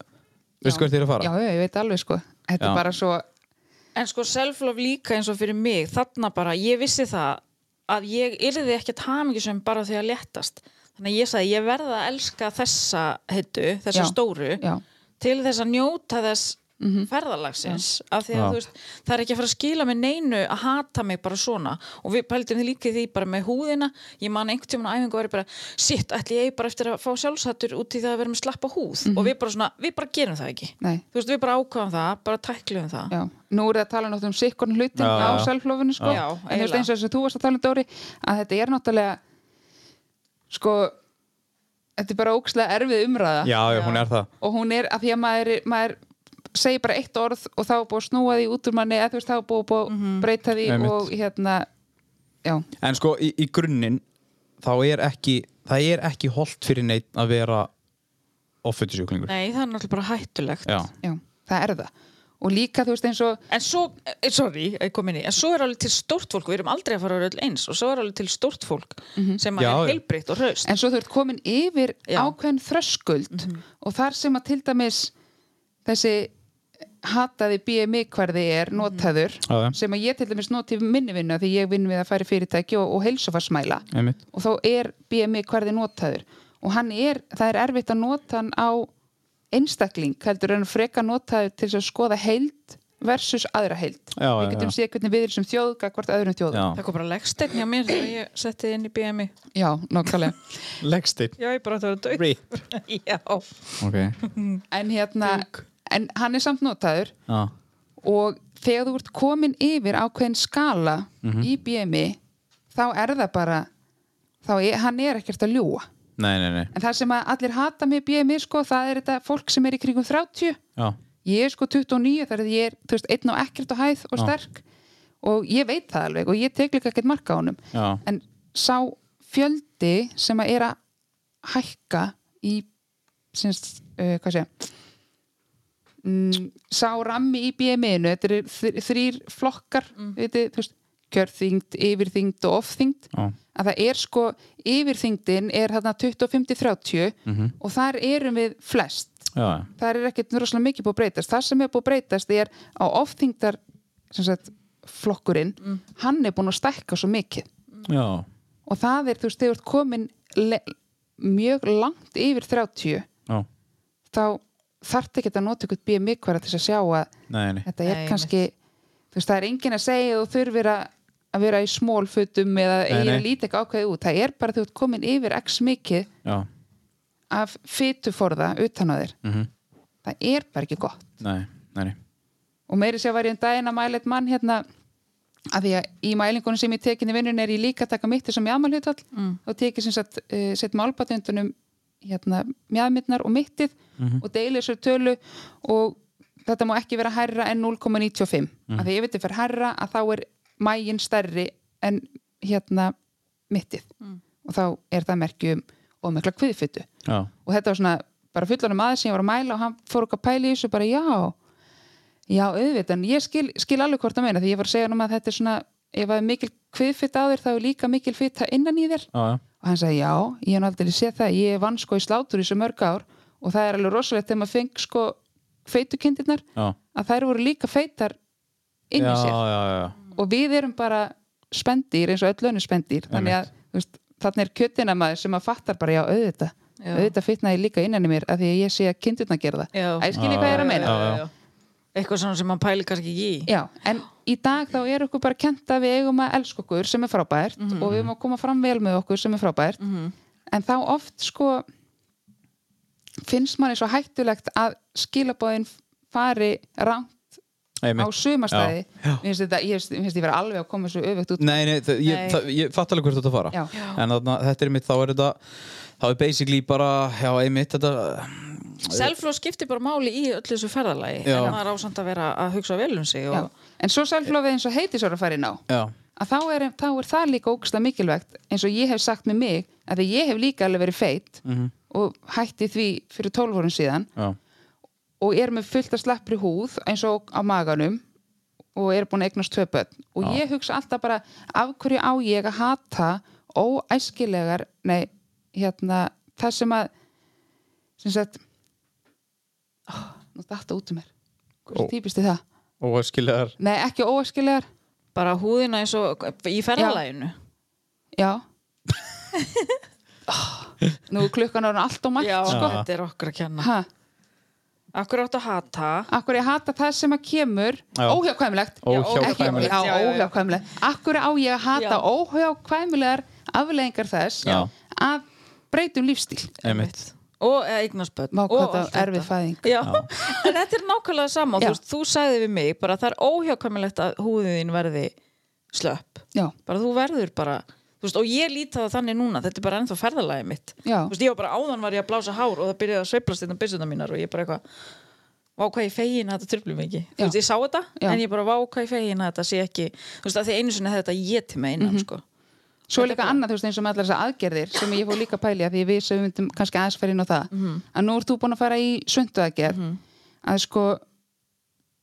Speaker 1: veistu hvert þér að fara?
Speaker 3: já, já, ég veit alveg sko þetta
Speaker 1: Já.
Speaker 3: er bara svo
Speaker 2: En sko self-love líka eins og fyrir mig, þarna bara, ég vissi það að ég yrði ekkert hamingisum bara því að léttast. Þannig að ég sagði, ég verða að elska þessa heitu, þessa
Speaker 3: Já.
Speaker 2: stóru,
Speaker 3: já,
Speaker 2: til þess að njóta þess ferðalagsins. Af því
Speaker 1: Mhm.
Speaker 2: að
Speaker 1: Já.
Speaker 2: þú veist, það er ekki að fara að skila mig neinu að hata mig bara svona. Og við pældum því líka í því bara með húðina. Ég man einhvern tímann á æfingu og verið bara, sitt, ætli ég eigi bara eftir að fá sjálfsattur út í það að vera með slappa húð.
Speaker 1: Mhm.
Speaker 2: Og við bara svona, við bara gerum það ekki.
Speaker 3: nei,
Speaker 2: Þú veist, við bara ákvaðum það, bara tækluðum það.
Speaker 3: já nú er það að tala náttúrulega um sikkorn hlutin
Speaker 1: Já,
Speaker 3: á
Speaker 1: já.
Speaker 3: selflofinu sko
Speaker 2: Já,
Speaker 3: en þú veist
Speaker 2: eiginlega.
Speaker 3: eins og þess að þú varst að tala um Dóri að þetta er náttúrulega sko þetta er bara ókslega erfið umræða
Speaker 1: já, já, hún er það
Speaker 3: og hún er af því að maður, maður segir bara eitt orð og þá er búið að snúa því út úr manni eða þú veist þá er búið að mm
Speaker 2: Mhm.
Speaker 3: breyta því
Speaker 1: Einmitt.
Speaker 3: og hérna já,
Speaker 1: En sko, í, í grunninn þá er ekki, það er ekki holdt fyrir neitt að vera offutusjúklingur
Speaker 2: Nei, það er náttúrulega bara hættulegt.
Speaker 1: Já,
Speaker 3: já það er það og líka þú veist eins og
Speaker 2: En svo, eh, sorry, ég kom inn í, en svo er alveg til stórt fólk, við erum aldrei að fara að vera öll eins og svo er alveg til stórt fólk sem að
Speaker 1: Já,
Speaker 2: er
Speaker 1: já.
Speaker 2: heilbritt og hraust.
Speaker 3: Mhm. en svo þú ert komin yfir
Speaker 2: Já.
Speaker 3: ákveðin þröskuld og þar sem að til dæmis þessi hataði BMI hverði er notaður
Speaker 1: Já, já.
Speaker 3: sem að ég til dæmis noti í minni vinnu af því ég vinn við að færi fyrirtæki og, og heilsufarsmæla
Speaker 1: Einmitt.
Speaker 3: og þá er BMI hverði notaður og hann er, það er erfitt að nota hann á einstakling heldur en freka notaður til þess að skoða heild versus aðra heild
Speaker 1: Já,
Speaker 3: við
Speaker 1: já,
Speaker 3: getum
Speaker 1: já.
Speaker 3: séð hvernig við erum sem þjóð hvort öðrum þjóðum
Speaker 1: Já.
Speaker 2: Það kom bara leggsteinn hjá mér þegar ég setti þið inn í BMI.
Speaker 3: já nákvæmlega
Speaker 1: Legsteinn.
Speaker 2: Já, ég bara átti að vera
Speaker 1: Rip.
Speaker 2: dög. Já.
Speaker 1: Ok.
Speaker 3: en hérna, en hann er samt notaður
Speaker 1: Já.
Speaker 3: og þegar þú ert komin yfir ákveðin skala í BMI þá er það bara þá er, hann er ekkert að ljúa
Speaker 1: Nei, nei, nei.
Speaker 3: en það sem að allir hata með BMI sko, það er þetta fólk sem er í kringum 30
Speaker 1: Já.
Speaker 3: ég er sko 29 þar að ég er þú veist, einn og ekkert og hæð og sterk og ég veit það alveg og ég tek líka ekkert marka á honum
Speaker 1: Já.
Speaker 3: en sá fjöldi sem að er að hækka í sinns, uh, hvað sé mm, sá rammi í BMI-inu þetta eru þr- þrýr flokkar mm. veit, þú veist, kjörþyngd, yfirþyngd og ofþyngd
Speaker 1: Já.
Speaker 3: að það er sko yfirþyngdin er þarna 25-30 og þar erum við flest
Speaker 1: Já.
Speaker 3: það er ekkert rosalega mikið búið að breytast það sem er búið að breytast er á ofþyngdar sem sagt, flokkurinn hann er búin að stækka svo mikið
Speaker 1: Já.
Speaker 3: og það er, þú veist, þegar þú ert komin le- mjög langt yfir 30
Speaker 1: Já.
Speaker 3: þá þarf ekki að nota ykkur BMI hverja til þess að sjá að
Speaker 1: Nei, nei.
Speaker 3: þetta er
Speaker 2: Nei,
Speaker 3: kannski þú veist, það er enginn að segja að þú þurfir að að vera í smólfutum eða eigin
Speaker 1: nei.
Speaker 3: að líta ekki ákveði út það er bara þú ert komin yfir x mikið
Speaker 1: Já.
Speaker 3: af fytuforða utan á þér
Speaker 1: Mhm.
Speaker 3: það er bara ekki gott
Speaker 1: Nei, nei, nei.
Speaker 3: og meiri sér var ég um daginn að mæla eitt mann hérna að því að í mælingunum sem ég tekinni vinnun er ég líka að taka mitt sem mjadmalhutvall mm. og tekið sem sagt uh, sett málbatundunum hérna mjadmyndnar og mittið
Speaker 1: Mhm.
Speaker 3: og deili þessu tölu og þetta má ekki vera herra en 0,95 mm. að því ef þetta fer herra að þá er mægin stærri en hérna mittið
Speaker 2: mm.
Speaker 3: og þá er það merkjum og mikla kviðfytu
Speaker 1: Já.
Speaker 3: og þetta var svona bara fullanum aðeins sem ég var að mæla og hann fór okkar pæli í þessu bara já já auðvitað, en ég skil, skil alveg hvort að meina því ég var að segja hann að þetta er svona ef það er mikil kviðfitt á þér þá er líka mikil fitta innan í þér
Speaker 1: Já. já.
Speaker 3: og hann sagði já, ég hef nú aldrei séð það ég vann sko í slátur í þessu mörg ár og það er alveg rosalegt þegar maður feng sko feitukindirnar,
Speaker 1: Já.
Speaker 3: að þær voru líka feitar inn í
Speaker 1: já,
Speaker 3: sér
Speaker 1: já, já, já.
Speaker 3: og við erum bara spendir eins og öll önnu spendir þannig að þú veist, þannig er kjötina maður sem að fattar bara já auðvita
Speaker 2: Já.
Speaker 3: auðvita fitnaði líka innan í mér af því að ég sé að kindurna gera það
Speaker 2: Já.
Speaker 3: að ég skilji hvað ég er að meina
Speaker 1: Já, já.
Speaker 2: Eitthvað svona sem mann pæli kannski ekki í.
Speaker 3: já, en í dag þá er okkur bara kent að við eigum að elska okkur sem er frábært
Speaker 1: Mhm.
Speaker 3: og við erum að koma fram vel með okkur sem er frábært en þá oft sko finnst manni svo hættulegt að skilabóðin fari rangt á
Speaker 1: Einmitt.
Speaker 3: sumastæði
Speaker 1: Já, já.
Speaker 3: mér finnst þetta, ég finnst- mér finnst ég vera alveg að koma svo öfugt út
Speaker 1: Nei, nei, það, ég,
Speaker 2: Nei.
Speaker 1: það, ég fatt alveg hvert þú ert að fara
Speaker 3: Já.
Speaker 1: En þarna, þetta er mitt, þá er þetta Þá er basically bara, já, einmitt Þetta,
Speaker 2: Selflow skiptir bara máli í öllu þessu ferðalagi
Speaker 1: Já.
Speaker 2: en maður ásamt að vera að hugsa vel um sig
Speaker 3: Já.
Speaker 2: og
Speaker 3: En svo selflófið eins og heiti svo að fara inn á
Speaker 1: já,
Speaker 3: að þá er, þá er það líka ógsta mikilvægt eins og ég hef sagt með mig að því ég hef líka alveg verið feitt
Speaker 1: Mhm.
Speaker 3: og hætti því fyrir 12 árum síðan
Speaker 1: já,
Speaker 3: og er með fullt að slappri húð eins og á maganum og er búin að eignast tvö börn og ég hugsa alltaf bara af hverju á ég að hata óæskilegar nei, hérna, það sem að sem sagt oh, nú datta út um mér hversu
Speaker 1: Ó.
Speaker 3: típist er það?
Speaker 1: og skiljaðar
Speaker 3: Nei, ekki óæskilegar
Speaker 2: bara húðina eins og í ferðalaginu.
Speaker 3: Já Nú er klukkan orðin allt og margt
Speaker 2: Já,
Speaker 3: sko.
Speaker 2: þetta er okkur að kenna.
Speaker 3: ha,
Speaker 2: Akkur áttu að hata.
Speaker 3: Akkur ég hata það sem að kemur
Speaker 1: Já.
Speaker 3: óhjákvæmilegt
Speaker 1: Óhjákvæmilegt.
Speaker 3: Ekki- Já,
Speaker 2: Já, já, já.
Speaker 3: óhjákvæmilegt Akkur á ég að hata
Speaker 2: Já.
Speaker 3: óhjákvæmilegar afleðingar þess
Speaker 1: Já.
Speaker 3: að breytum lífstíl
Speaker 1: Einmitt,
Speaker 2: og eða eignast börn
Speaker 3: Vá, hvað
Speaker 2: og
Speaker 3: þetta
Speaker 2: allt þetta.
Speaker 3: erfið fæðing.
Speaker 2: Já. en þetta er nákvæmlega sama
Speaker 3: Já.
Speaker 2: þú, veist, þú sagði við mig bara það er óhjákvæmilegt að húðin þín verði slöpp
Speaker 3: Já,
Speaker 2: bara þú verður bara þú veist, og ég líti það þannig núna, þetta er bara ennþá ferðalagið mitt
Speaker 3: Já.
Speaker 2: Þú veist, ég var bara áðan var ég að blása hár og það byrjaði að sveiflast innan byssuna mínar og ég bara eitthvað vá hvað ég fegin að þetta tröflum ekki
Speaker 3: Já.
Speaker 2: þú veist, ég sá þetta,
Speaker 3: Já.
Speaker 2: en ég bara vá hvað ég fegin að þetta sé ekki, þú veist, að því einu sinni hefði þetta ég til með innan,
Speaker 3: Mhm.
Speaker 2: sko
Speaker 3: Svo er líka annað, þú veist, eins og með allar þessar aðgerðir sem ég fór líka að pælja, því ég vissi að við
Speaker 2: Mhm.
Speaker 3: myndum kannski aðeins fara inn á það, að nú ert þú búin að fara í sundu aðgerð, að sko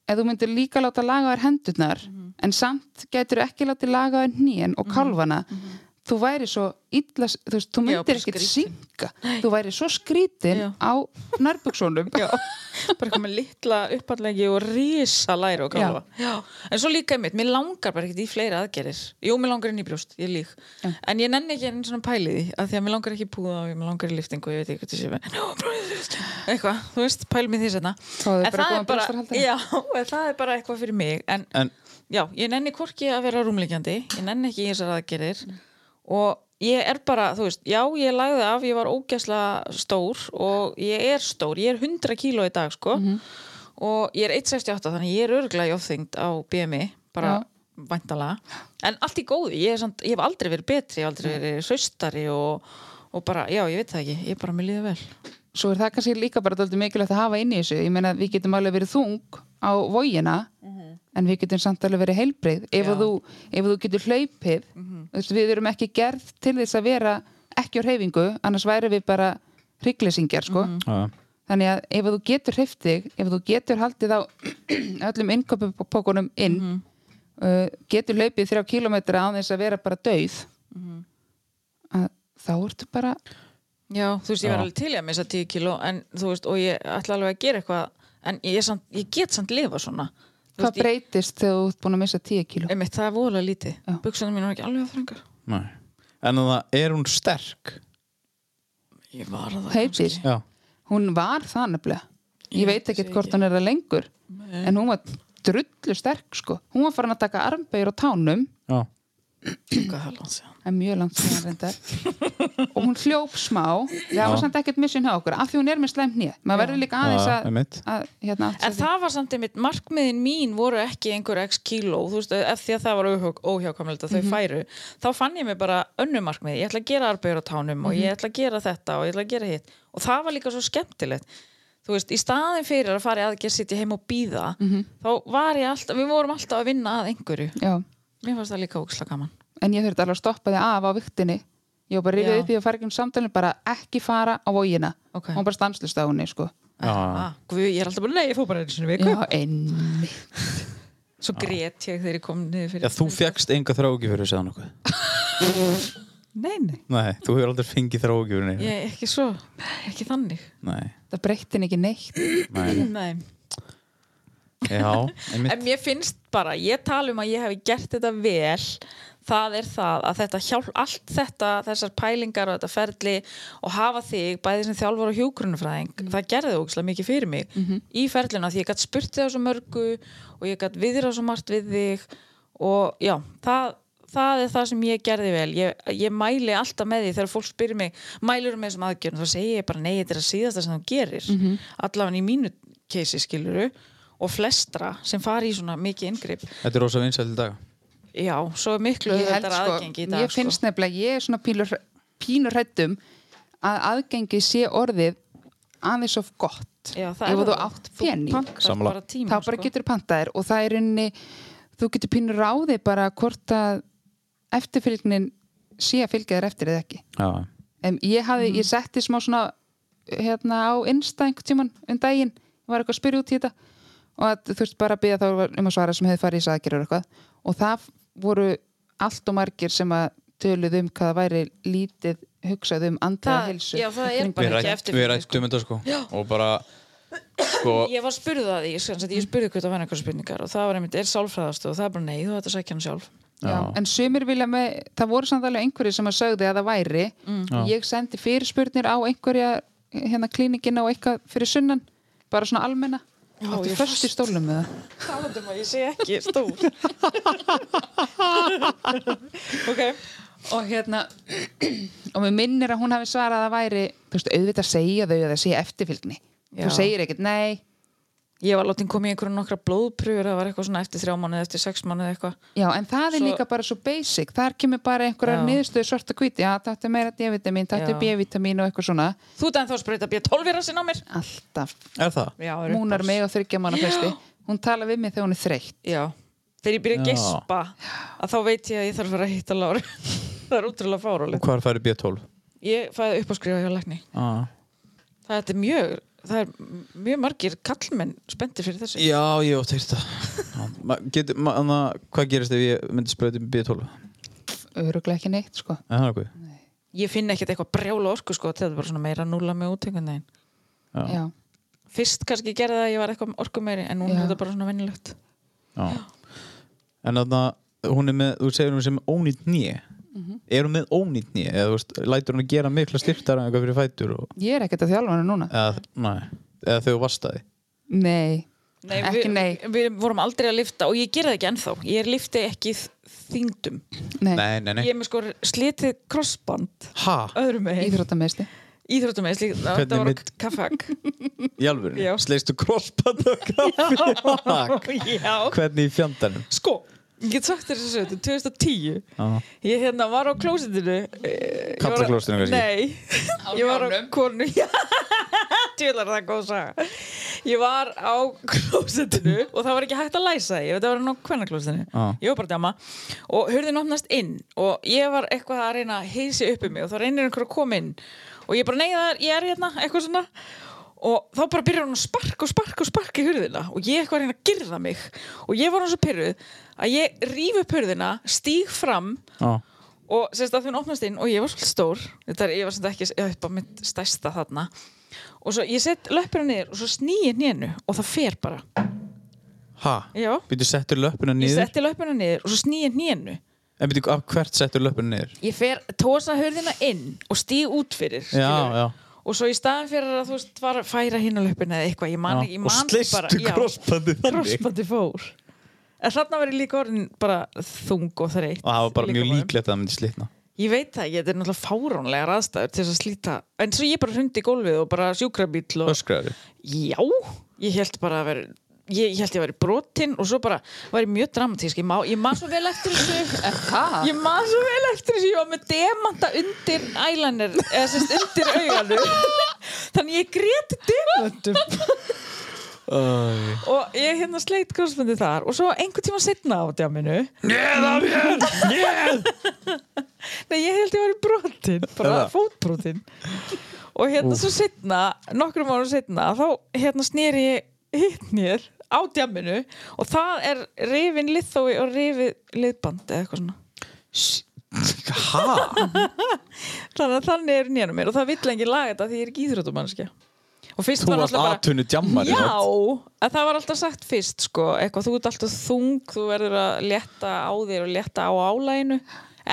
Speaker 3: ef þú myndir líka láta laga þær hendurnar
Speaker 2: Mhm.
Speaker 3: en samt getur ekki látið laga þær hnýjan og kálfana þú væri svo illa, þú veist, þú
Speaker 2: Mhm. Já,
Speaker 3: myndir
Speaker 2: bara
Speaker 3: ekkert
Speaker 2: skrítin.
Speaker 3: synga þú væri svo skrítin
Speaker 2: Já.
Speaker 3: á nærbuksónum
Speaker 2: Já, bara eitthvað með litla uppallegi og risa læri og kálfa. Já. En svo líka einmitt, mér langar bara ekkert í fleiri aðgerir. Jú, mér langar inn í brjóst, ég lík. En ég nenni ekki enn svona pælið í, af því að mér langar ekki í púða og mér langar í liftingu, ég veit ekki hvað það sé með. Eitthvað, þú veist, pælið mér því sérna.
Speaker 3: Þá er bara góðan brjóstarhaldara.
Speaker 2: já, en það er bara eitthvað fyrir mig. En,
Speaker 1: En-
Speaker 2: já, ég nenni hvorki að vera rúmleikjandi, ég nenni ekki í þessar aðgerir og ég er bara, þú veist, já, ég lagði af, ég var ógæsla stór og ég er stór, ég er 100 kíló í dag, sko, og ég er 1,68, þannig ég er örglega í ofþyngd á BMI, bara
Speaker 3: Já.
Speaker 2: væntalega, en allt í góðu, ég, er samt, ég hef aldrei verið betri, ég hef aldrei verið hraustari og, og bara, já, ég veit það ekki, ég bara mér líður vel.
Speaker 3: svo er það kannski líka bara dálítið mikilvægt að hafa inn í þessu ég meina við getum alveg verið þung á vógina en við getum samt alveg verið heilbrið ef,
Speaker 2: Mhm. Já. Mhm.
Speaker 3: að þú, ef að þú getur hlaupið mm -hmm. við erum ekki gerð til þess að vera ekki á reyfingu, annars væri við bara hrygglesingjar sko
Speaker 2: Mhm.
Speaker 1: Já.
Speaker 3: þannig að ef að þú getur hreyft þig ef þú getur haldið á öllum innköpupókunum inn
Speaker 2: Mhm.
Speaker 3: uh, getur hlaupið þrjá kílómetra án þess að vera bara dauð
Speaker 2: Mhm.
Speaker 3: að þá ertu bara
Speaker 2: Já, þú veist, ég var
Speaker 1: Já.
Speaker 2: alveg til í að missa 10 kíló, en þú veist, og ég ætla alveg að gera eitthvað, en ég, er samt, ég get samt lifa svona. Þú
Speaker 3: hvað
Speaker 2: veist, ég-
Speaker 3: breytist þegar þú ert búin að missa 10 kíló
Speaker 2: Einmitt, það er voðalega lítið.
Speaker 3: Já.
Speaker 2: Buksunum mín var ekki alveg að þrengar.
Speaker 1: Nei. En það er hún sterk
Speaker 2: Ég var það
Speaker 3: Heitir.
Speaker 2: kannski.
Speaker 1: Já,
Speaker 3: hún var það nefnilega ég veit
Speaker 2: sé
Speaker 3: ekkert
Speaker 2: ekki.
Speaker 3: hvort hún er það lengur en hún var drullu sterk sko. hún var farin að taka armböður á tánum
Speaker 1: já,
Speaker 2: Hvað það er langt síðan?
Speaker 3: en mjög langt síðan reyndar og hún hljóp smá það var samt ekkert missun hjá okkur af því hún er með slæmt nýja maður verður líka
Speaker 1: Já,
Speaker 3: aðeins að,
Speaker 1: einmitt.
Speaker 3: að hérna, átta
Speaker 2: En
Speaker 3: sig á því.
Speaker 2: það var samt einmitt, markmiðin mín voru ekki einhver x kíló, þú veist, ef því að það var óhjá- óhjákvæmilegt að þau
Speaker 1: Mhm.
Speaker 2: færu, þá fann ég mig bara önnu markmið, ég ætla að gera arbegur á tánum og
Speaker 1: Mhm.
Speaker 2: ég ætla að gera þetta og ég ætla að gera hitt. Og það var líka svo skemmtilegt. Þú veist, í staðin fyrir að fara í aðgerð sitja heim og býða,
Speaker 1: Mhm.
Speaker 2: þá var ég alltaf, við vorum alltaf að vinna að einhverju.
Speaker 3: Já.
Speaker 2: Mér fannst það líka óksla gaman.
Speaker 3: en ég þurfti alveg að stoppa þig af á viktinni ég var bara
Speaker 2: Já.
Speaker 3: rifið upp í að fara ekki um samtalinu bara ekki fara á vógina
Speaker 2: Ok.
Speaker 3: hún var bara stanslust á henni sko.
Speaker 1: já,
Speaker 2: Ah, guð, ég er alltaf bara, nei, ég fór bara einu sinni í viku.
Speaker 3: já, einmitt
Speaker 2: Svo grét ég þegar ég kom niður fyrir.
Speaker 1: já þú fegst enga þráugjöfuru séðan okkur
Speaker 2: Nei, nei.
Speaker 1: Nei, þú hefur aldrei fengið þráugjöfurinn
Speaker 2: Ég er ekki svo, ekki þannig
Speaker 1: Nei,
Speaker 3: það breytti henni ekki neitt
Speaker 1: nei,
Speaker 2: Nei.
Speaker 1: já, einmitt
Speaker 2: En mér finnst bara, ég tala um að ég hef gert þetta vel það er það að þetta hjálp allt þetta, þessar pælingar og þetta ferli og hafa þig bæði sem þjálfur og hjúgrunfræðing, það gerði ógislega mikið fyrir mig í ferlinu að því ég gætt spurt þig á svo mörgu og ég gætt viðra svo margt við þig og já, það það er það sem ég gerði vel ég, ég mæli alltaf með því þegar fólk spyrir mig mælur með þessum aðgjörnum, þá segi ég bara nei þetta er að síðasta sem þú gerir mm
Speaker 3: Mhm.
Speaker 2: allavega í mínu keisi skiluru og flestra sem fari í svona mikið inngrip
Speaker 1: Þetta er rosa vinsæl í dag
Speaker 2: já, svo er miklu
Speaker 3: Ég held, sko,
Speaker 2: auðveldara aðgengi í dag sko.
Speaker 3: ég finnst nefnilega, ég er svona pínur, pínur hrættum að aðgengi sé orðið aðeins of gott
Speaker 2: sko. já, það
Speaker 3: ef
Speaker 2: er
Speaker 3: þú
Speaker 2: það.
Speaker 3: átt pening
Speaker 2: pantar
Speaker 1: Sammála.
Speaker 2: bara tíma
Speaker 3: þá bara
Speaker 2: sko.
Speaker 3: getur pantaðir og það er inni þú getur pínur ráði bara hvort að eftirfylgnin sé að fylgja þér eftir eða ekki
Speaker 1: Já,
Speaker 3: um, ég, hafði,
Speaker 2: Mhm.
Speaker 3: ég setti smá svona hérna á Insta einhvern tíman um daginn, ég var eitthvað að spyrja út í þetta og að, þú veist bara að byrja þá um að svara sem hefði farið í sækir og eitthvað og það voru allt og margir sem að töluð um hvað það væri lítið hugsað um andlega
Speaker 2: Það-
Speaker 3: heilsu
Speaker 2: já, það er
Speaker 3: Kringum-
Speaker 2: bara
Speaker 1: við
Speaker 2: ekki
Speaker 1: rætt-
Speaker 2: eftir-
Speaker 1: við rættum þetta sko Og bara, sko
Speaker 2: ég var spurðið að því, ég, sem sagt, ég spurði hvað það var einhverja spurningar og það var einmitt, er sálfræðast og það er bara nei, þú ætti að sækja hann sjálf
Speaker 3: já. en sumir vilja með, það voru samt alveg einhverjir sem að sögðu að það væri
Speaker 2: Mm.
Speaker 3: ég sendi fyrirspurnir á einhverja hérna klíningina og eitthvað fyrir sunnan bara svona almenna
Speaker 2: Já,
Speaker 3: Áttu
Speaker 2: ég
Speaker 3: föst í stólnum með
Speaker 2: talandum að ég sé ekki stór ok
Speaker 3: og hérna og mér minnir að hún hafi svarað að það væri þú veist, auðvitað segja þau að það sé eftirfylgni
Speaker 2: Já.
Speaker 3: þú segir ekkert, nei
Speaker 2: ég var látið komið í einhverju nokkra blóðpröfur það var eitthvað svona eftir þrjá mánuð, eftir sex mánuð eitthvað
Speaker 3: já, en það er
Speaker 2: Svo-
Speaker 3: líka bara svo basic þar kemur bara einhverjar
Speaker 2: Já.
Speaker 3: niðurstöðu svarta kvíti já, þetta er meira D-vitamin, þetta
Speaker 2: Já.
Speaker 3: er B-vitamin og eitthvað svona
Speaker 2: þú dæðin þá spreyta B12 er að sinna á mér
Speaker 3: alltaf,
Speaker 1: Er það?
Speaker 2: já, er
Speaker 3: múnar
Speaker 2: uppáhalds.
Speaker 3: mig og þryggja manna festi hún talar við mig þegar hún er þreytt
Speaker 2: já. þegar ég byrja að
Speaker 1: Já.
Speaker 2: gespa að þá veit ég að ég þarf að vera að hitta Láru það er útrúlega
Speaker 1: Og
Speaker 2: fárálegt
Speaker 1: hvar færi B12?
Speaker 2: ég fæði upp að skrifa hjá lækni
Speaker 1: Ah.
Speaker 2: það þetta er mjög það er mjög margir kallmenn spenntir fyrir þessu
Speaker 1: Já, ég átt heyrt það Já, ma- getur- ma- anna, Hvað gerist ef ég myndi sprauti B12?
Speaker 3: Öruglega ekki neitt, sko.
Speaker 1: Er það nokkuð?
Speaker 2: ég finn ekkert eitthvað brjála orku sko þetta er bara svona meira að núla mig út einhvern veginn
Speaker 1: Já.
Speaker 3: Já.
Speaker 2: fyrst kannski gerði það að ég var eitthvað orku meiri en núna
Speaker 3: Já.
Speaker 2: er þetta bara svona vennilegt
Speaker 1: Já. En þarna, hún er með, þú segir hún sem ónýtt nýja
Speaker 2: Mhm.
Speaker 1: Er hún með ónýtt nýja? Eða þú veist, lætur hún að gera mikla styrktar en eitthvað fyrir fætur og,
Speaker 3: Ég er ekkert að þjálfa hana núna.
Speaker 1: eða, nei, eða þau vastaði
Speaker 3: Nei. ekki
Speaker 2: við,
Speaker 3: nei.
Speaker 2: við vorum aldrei að lifta og ég gerði það ekki ennþá ég lifti ekki þýndum
Speaker 3: Nei.
Speaker 1: Nei, nei, nei
Speaker 2: ég er með sko slitið krossband
Speaker 1: Ha?
Speaker 2: öðrum megin
Speaker 3: Íþróttameðsli.
Speaker 2: íþróttum með slíkt
Speaker 1: Hvernig
Speaker 2: þetta var
Speaker 1: mynd-
Speaker 2: kaffak
Speaker 1: Í alvöru?
Speaker 2: Já.
Speaker 1: Sleistu krossband og kaffi?
Speaker 2: já
Speaker 1: Hvernig í fjandanum?
Speaker 2: sko ég get sagt þér þessu þetta er 2010
Speaker 1: Já.
Speaker 2: ég hérna var á klósitinu eh, ég var á-
Speaker 1: Karlaklósettinu kannski?
Speaker 2: nei ég var á konu já tjóðlar það er góð saga ég var á klósitinu og það var ekki hægt að læsa því, ég veit að var á kvennaklósitinu
Speaker 1: Já.
Speaker 2: ég var bara dama og hurðin opnast inn og ég var eitthvað að reyna að heysi upp um mig og þá reynir einhver að koma inn og ég bara neyðar, ég er hérna, eitthvað svona og þá bara byrjar hún að sparka og sparka og sparka í hurðina og ég eitthvað að reyna að girða mig og ég var hann svo pyrruð að ég ríf upp hurðina, stíg fram
Speaker 1: Já.
Speaker 2: og sérst að hún opnast inn og ég var svolítið stór þetta er, ég var svolítið ekki, ég var bara mitt stærsta þarna og svo ég sett löppina niður og svo snýi nénu og það fer bara
Speaker 1: Ha?
Speaker 2: Já.
Speaker 1: Býttu settur löppuna
Speaker 2: ég
Speaker 1: niður?
Speaker 2: setti löppina niður og svo snýi nénu
Speaker 1: En býttu, af hvert settur löppuna niður?
Speaker 2: ég fer tósa hörðina inn og stíg út fyrir skilurðu.
Speaker 1: já.
Speaker 2: og svo í staðan fyrir að þú veist var að færa hinn að löpina eða eitthvað ég man,
Speaker 1: Já.
Speaker 2: ekki- ég
Speaker 1: Og
Speaker 2: man bara
Speaker 1: sleistu
Speaker 2: já,
Speaker 1: krossbandi þannig?
Speaker 2: krossbandi fór en þarna verið líka orðin bara þung og þreytt
Speaker 1: Og það var bara mjög
Speaker 2: líkamanum.
Speaker 1: líklegt að það myndi slitna
Speaker 2: ég veit það ekki, þetta er náttúrulega fáránlegar aðstæður til þess að slíta en svo ég bara hrundi í gólfið og bara sjúkrabíl og
Speaker 1: Öskraður
Speaker 2: já, ég held bara að vera ég, ég held ég að vera brotinn og svo bara var ég mjög dramatísk, ég má, ég má svo vel eftir þessu
Speaker 3: Það?
Speaker 2: Ég man svo vel eftir þessu, ég var með demanta undir ælanir, eða sérst undir auganu. Þannig ég grét demantum og ég hérna sleitt krossbundið þar og svo einhvern tíma setna á djáminu.
Speaker 1: Neð af hér! Neð!
Speaker 2: Nei, ég held ég var í brotin, bara
Speaker 1: Eða?
Speaker 2: fótbrotin. Og hérna svo setna, nokkrum árum setna, þá hérna snýri ég hitt mér á djáminu og það er rifin liðþói og rifið liðband eða eitthvað svona.
Speaker 1: Ha?
Speaker 2: þannig að þannig er nýjanum mér og það vill enginn laga þetta því ég er ekki íþróttumannskja og fyrst
Speaker 1: Þú
Speaker 2: var
Speaker 1: varst
Speaker 2: alltaf bara
Speaker 1: aðtunni djammar
Speaker 2: já, en það var alltaf sagt fyrst sko, eitthvað, þú ert alltaf þung þú verður að letta á þér og letta á álæginu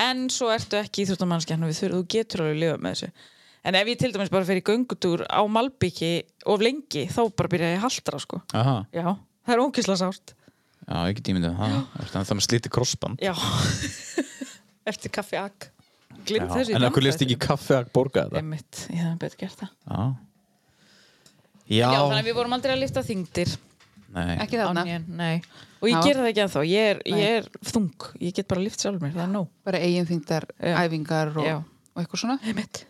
Speaker 2: en svo ertu ekki íþróttumannskja þannig að við þurfum- þú getur alveg að lifa með þessu en ef ég til dæmis bara fer í göngutúr á Malbyggi of lengi þá bara byrja ég að haldra sko.
Speaker 1: Aha,
Speaker 2: já, það er ókisla sárt
Speaker 1: já, ekki tíminu Það er þannig að slíti krossband
Speaker 2: já, eftir kaffi ak
Speaker 1: Já.
Speaker 2: glimt þessu í
Speaker 1: En okkur list ekki
Speaker 2: dansþættinum.
Speaker 1: kaffe að borga þetta
Speaker 2: Einmitt, ég hefði betur gert það
Speaker 1: Já
Speaker 2: Já, þannig að
Speaker 1: Já,
Speaker 2: við vorum aldrei að lifta þyngdir
Speaker 1: nei
Speaker 3: Ekki
Speaker 2: á
Speaker 3: þarna.
Speaker 2: nén, nei Og ég
Speaker 3: Já.
Speaker 2: gerði það ekki ennþá, ég er, ég er þung Ég get bara lift sjálf mér, það er nóg
Speaker 3: Bara eiginþyngdar,
Speaker 2: Já.
Speaker 3: æfingar
Speaker 2: Já.
Speaker 3: og, og eitthvað svona.
Speaker 2: Einmitt.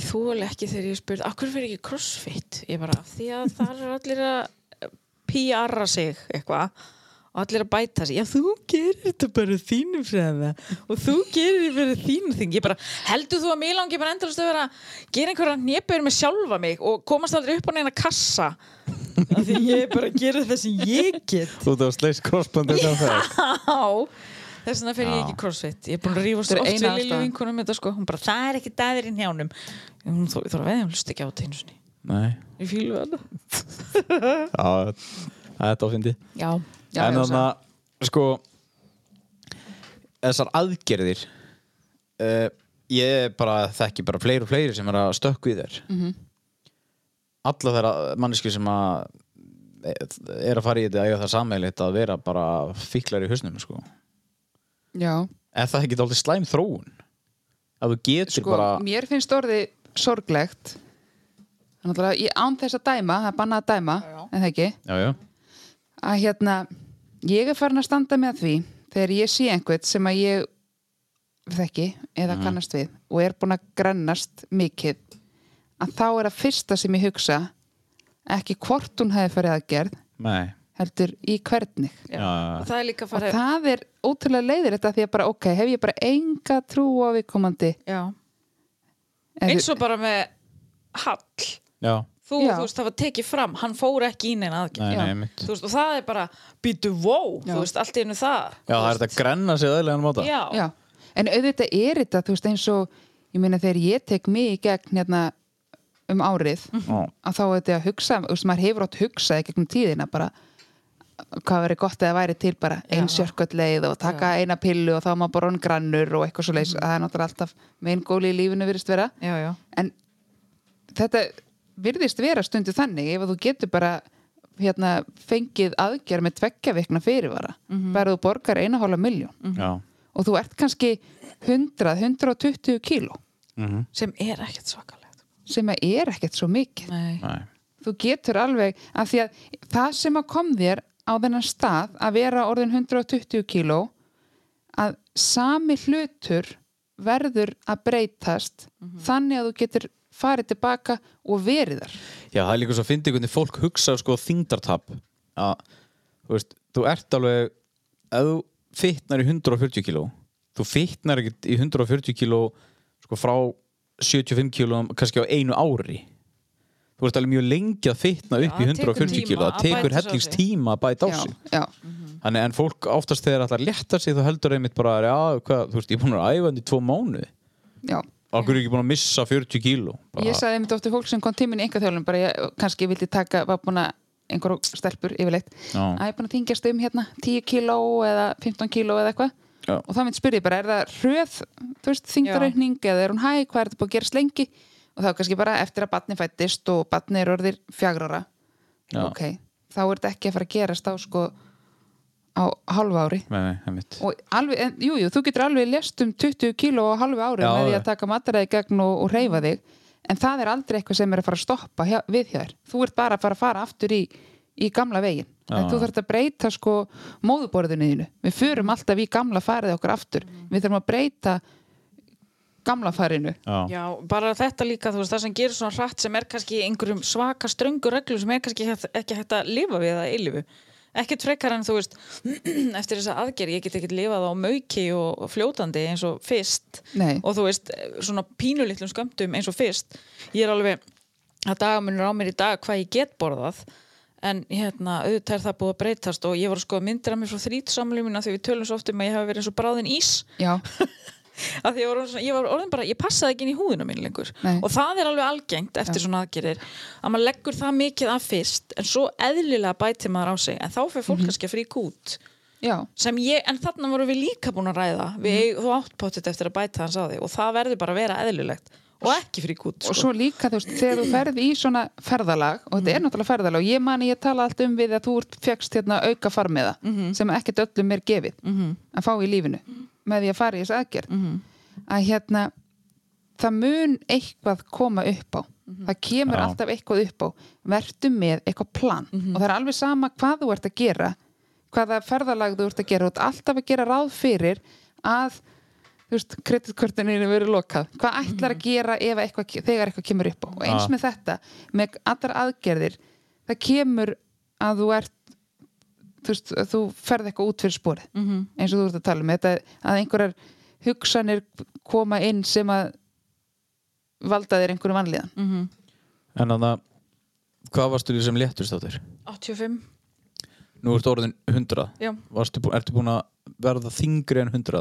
Speaker 2: Ég þúlega ekki þegar ég spurði Akkur fyrir ekki crossfit? Ég bara, af því að það er allir að PR-a sig eitthvað og allir að bæta sig, já þú gerir þetta bara þínum fræða og þú gerir þetta bara þínum þing ég bara, heldur þú að mig langi bara endalast að vera gera einhverja népur með sjálfa mig og komast aldrei upp á neina kassa af því ég er bara að gera það sem ég get
Speaker 1: Þú þú sleist krossband þetta að það
Speaker 2: Já Þess vegna fer ég
Speaker 1: Já.
Speaker 2: ekki í crossfit Ég er búin að rífast
Speaker 3: Þetta er
Speaker 2: oft
Speaker 3: eina
Speaker 2: við Lilju
Speaker 3: ástæðan.
Speaker 2: vinkunum þetta sko Hún bara, það er ekki dæðir inn hjá honum Hún þó, þó að veðja, hún lust ekki á þetta einu sinni
Speaker 1: Nei,
Speaker 2: Ég fílu hana
Speaker 1: já, það er þetta áfindi
Speaker 2: Já,
Speaker 3: Já,
Speaker 1: en
Speaker 3: já,
Speaker 1: þannig að sko þessar aðgerðir uh, ég bara þekki bara fleiri og fleiri sem er að stökku í þér
Speaker 3: Mhm.
Speaker 1: mm -hmm. alla þeirra manneski sem að er að fara í þetta eiga það sammeilitt að vera bara fíklar í hausnum sko.
Speaker 3: Já.
Speaker 1: er það ekki alltaf slæm þróun að þú getur
Speaker 3: Sko,
Speaker 1: bara
Speaker 3: mér finnst orðið sorglegt. Þannig að ég án þess að dæma, það er bannað að dæma, en það ekki.
Speaker 1: já, já.
Speaker 3: að hérna, ég er farin að standa með því þegar ég sé einhvern sem að ég þekki eða kannast við og er búin að grannast mikið að þá er að fyrsta sem ég hugsa ekki hvort hún hefði farið að gerð
Speaker 1: Nei,
Speaker 3: heldur í hvernig
Speaker 2: já.
Speaker 1: Já.
Speaker 2: Og það er líka að
Speaker 3: og
Speaker 2: fara
Speaker 3: það er ótrúlega leiðir þetta því að bara ok, hef ég bara enga trú á viðkomandi
Speaker 2: Já. Eins og bara með Hall
Speaker 1: já,
Speaker 2: þú,
Speaker 3: Já.
Speaker 2: þú veist, það var tekið fram, hann fór ekki í neina aðgerð
Speaker 1: Nei,
Speaker 3: Já.
Speaker 1: nei, mitt
Speaker 2: þú veist, og það er bara býtu vó,
Speaker 3: Já.
Speaker 2: þú veist, allt í einu það
Speaker 1: Já, það er þetta að grenna sig aðeinslega hann máta
Speaker 2: já, já,
Speaker 3: Já, en auðvitað er þetta, þú veist, eins og ég meina þegar ég tek mig í gegn hérna um árið
Speaker 1: Já.
Speaker 3: að þá er þetta að hugsa, þú veist, maður hefur átt hugsað í gegnum tíðina bara hvað verið gott eða væri til bara ein sjörkvöldleið og taka eina pillu og þá er maður bara orðinn grannur og eitthvað svo leis það er náttúrulega alltaf megin góli í lífinu virðist vera
Speaker 2: já, já,
Speaker 3: en þetta virðist vera stundu þannig ef að þú getur bara hérna, fengið aðgerð með tveggja vikna fyrirvara bara þú borgar eina hóla miljón
Speaker 1: Já,
Speaker 3: og þú ert kannski 100-120 kíló
Speaker 2: sem er ekkert svakalegt
Speaker 3: sem að er ekkert svo mikið
Speaker 2: nei,
Speaker 1: nei
Speaker 3: þú getur alveg að því að það sem að kom þér á þennan stað að vera orðin 120 kíló að sami hlutur verður að breytast þannig að þú getur farið tilbaka og verið þar
Speaker 1: Já, það er líka svo að fyndi hvernig fólk hugsa sko þingdartap að, þú veist, þú ert alveg ef þú fitnar í 140 kíló þú fitnar ekkert í 140 kíló sko frá 75 kíló kannski á einu ári þú ert alveg mjög lengi að fitna upp
Speaker 2: Já,
Speaker 1: í
Speaker 2: það tekur
Speaker 1: 140
Speaker 2: tíma
Speaker 1: kíló það
Speaker 2: að
Speaker 1: tekur
Speaker 2: bæta sig á
Speaker 1: hellings
Speaker 2: sig.
Speaker 1: tíma að bæta á
Speaker 3: já,
Speaker 1: sig
Speaker 3: já,
Speaker 1: Mhm. Þannig, en fólk oftast þegar ætlar að létta sig þú heldur einmitt bara, já, hvað, þú veist, ég er búin að æfa hann í tvo mánu,
Speaker 3: já.
Speaker 1: okkur er ekki búin að missa 40 kíló bara,
Speaker 3: ég sagði einmitt ofta fólk sem kom tíminn í einhver þjálfum bara ég kannski vildi taka, var búin að einhverjum stelpur yfirleitt
Speaker 1: Já.
Speaker 3: að ég er búin að þingjast um hérna 10 kíló eða 15 kíló eða eitthvað
Speaker 1: Já.
Speaker 3: og þá mynd spyrja ég bara, er það hröð þú veist, þingdaraukning eða er hún hæ hvað er þetta búin að gerast lengi og þá kannski bara eftir að batni fættist og batni er orðir fjagrara
Speaker 1: Já.
Speaker 3: ok, þá er þetta ekki að fara að gerast á sko á halva ári
Speaker 1: Nei, nei, einmitt.
Speaker 3: og alveg, en, jú, jú, þú getur alveg lest um 20 kíló á halvu ári
Speaker 1: Já,
Speaker 3: með því
Speaker 1: já.
Speaker 3: að taka mataræði gegn og, og reyfa þig en það er aldrei eitthvað sem er að fara að stoppa hjá, við hjá þér, þú ert bara að fara að fara aftur í, í gamla vegin
Speaker 1: Já,
Speaker 3: en þú
Speaker 1: já.
Speaker 3: þarft að breyta sko móðuborðinu þínu, við förum alltaf í gamla farið okkar aftur, við þurfum að breyta gamla farinu
Speaker 1: Já.
Speaker 2: já, bara þetta líka þú veist, það sem gerir svona hratt sem er kannski í einhverjum svaka ströngu reglum sem er kannski hægt- ekki hægt að lifa við að eilifu ekkert frekar en þú veist eftir þessa aðgerð, ég get ekkert lifað á mauki og fljótandi eins og fyrst
Speaker 3: Nei.
Speaker 2: og þú veist, svona pínulitlum skömmtum eins og fyrst, ég er alveg að dagamunur á mér í dag hvað ég get borðað en hérna, auðvitað er það búið að breytast og ég var sko að myndra mér frá þrítsamlu mína þegar við tölum svo oft um að ég hafa verið eins og bráðin ís
Speaker 3: já,
Speaker 2: af því ég var, orðin svona, ég var orðin bara, ég passaði ekki inn í húðina mín lengur
Speaker 3: Nei.
Speaker 2: og það er alveg algengt eftir svona aðgerðir að maður leggur það mikið af fyrst en svo eðlilega bæti maður á sig en þá fer
Speaker 3: Mhm.
Speaker 2: fólk kannski að frík út
Speaker 3: já,
Speaker 2: sem ég, en þarna vorum við líka búin að ræða
Speaker 3: Mhm.
Speaker 2: við, þú átt pottet eftir að bæta hans á því og það verður bara að vera eðlilegt og ekki frík út sko.
Speaker 3: og svo líka þú veist, þegar þú ferð í svona ferðalag
Speaker 1: Mm.
Speaker 3: og þetta er náttúrulega ferðalag og ég mani ég tala allt um við að þú ert fegst hérna auka farmiða sem ekkert öllum er gefið
Speaker 2: Mhm,
Speaker 3: að fá í lífinu með því að fara í þess aðgerð að hérna það mun eitthvað koma upp á það kemur
Speaker 1: Já.
Speaker 3: alltaf eitthvað upp á vertu með eitthvað plan og það er alveg sama hvað þú ert að gera hvaða ferðalag þú ert að gera þú ert alltaf að gera ráð fyrir að þú veist, kreditkortinu verið lokað hvað ætlar að gera ef eitthvað, ke- þegar eitthvað kemur upp á og eins
Speaker 1: Já.
Speaker 3: með þetta, með allar aðgerðir það kemur að þú ert þú, veist, að þú ferð eitthvað út fyrir spórið
Speaker 2: mhm,
Speaker 3: -hmm. eins og þú ert að tala um þetta að einhverjar hugsanir koma inn sem að valda þér einhverjum vanlíðan
Speaker 2: mhm.
Speaker 1: En þannig að, hvað varstu því sem léttust á þér?
Speaker 2: 85,
Speaker 1: Nú ertu orðin 100
Speaker 2: já
Speaker 1: Varstu, bú- Ertu búin að verða þingri en 100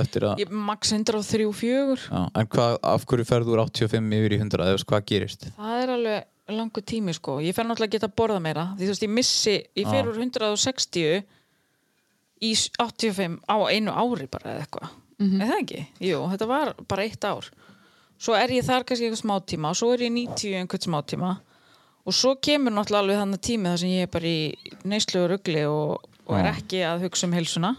Speaker 1: Eftir að
Speaker 2: ég, max 103, 4
Speaker 1: já, En hvað, af hverju ferðu úr 85 yfir í 100 Eða þú veist hvað gerist
Speaker 2: það er alveg langur tími sko ég fer náttúrulega að geta að borða meira því þú veist, ég missi, ég fer
Speaker 1: Já.
Speaker 2: úr 160 í s- 85 á einu ári bara eða eitthvað er það ekki? Jú, þetta var bara eitt ár svo er ég þar kannski einhvern smá tíma og svo er ég 90 í einhvern smá tíma og svo kemur náttúrulega alveg þannig tími þar sem ég er bara í neyslu og rugli og, og er
Speaker 1: Já.
Speaker 2: ekki að hugsa um heilsuna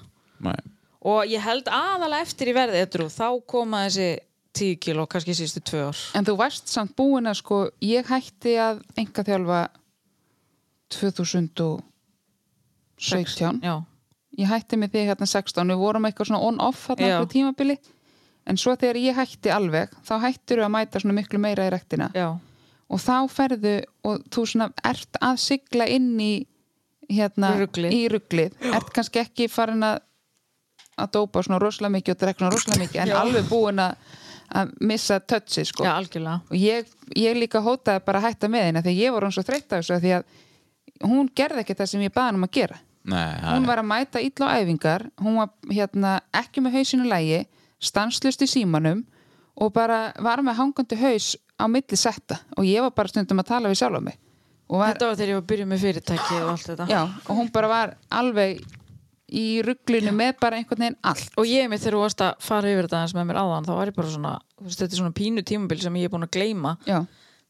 Speaker 1: Nei.
Speaker 2: og ég held aðalega eftir í verði edru, þá koma þessi 10 kíló, kannski sístu tvö ár
Speaker 3: en þú varst samt búin að sko ég hætti að enga þjálfa 2017
Speaker 2: já,
Speaker 3: ég hætti með þig hérna 16 við vorum eitthvað svona on-off
Speaker 2: Já.
Speaker 3: hérna einhver tímabili en svo þegar ég hætti alveg þá hættir þú að mæta svona miklu meira í rektina
Speaker 2: já
Speaker 3: og þá ferðu og þú svona ert að sigla inn í hérna,
Speaker 2: Í ruglið.
Speaker 3: í ruglið ert kannski ekki farin að að dópa svona rosalega mikið og drekna rosalega mikið en alveg búin að að missa tötsi sko.
Speaker 2: Já, algjörlega.
Speaker 3: og ég, ég líka hótaði bara að hætta með henni því ég voru hún svo þreytt af þessu af því að hún gerði ekki það sem ég baði hann um að gera
Speaker 1: Nei, það
Speaker 3: hún var að mæta illa á æfingar hún var hérna, ekki með hausinu lægi stanslust í símanum og bara var með hangandi haus á milli setta og ég var bara stundum að tala við sjálf á mig og, var,
Speaker 2: Þetta var þegar ég var að byrja með fyrirtæki og allt þetta.
Speaker 3: já, og hún bara var alveg í rugglinu með bara einhvern veginn allt
Speaker 2: Og ég mitt þegar þú varst að fara yfir þetta aðeins með mér áðan, þá var ég bara svona, þú veist, þetta er svona pínu tímabil sem ég er búin að gleyma.
Speaker 3: já,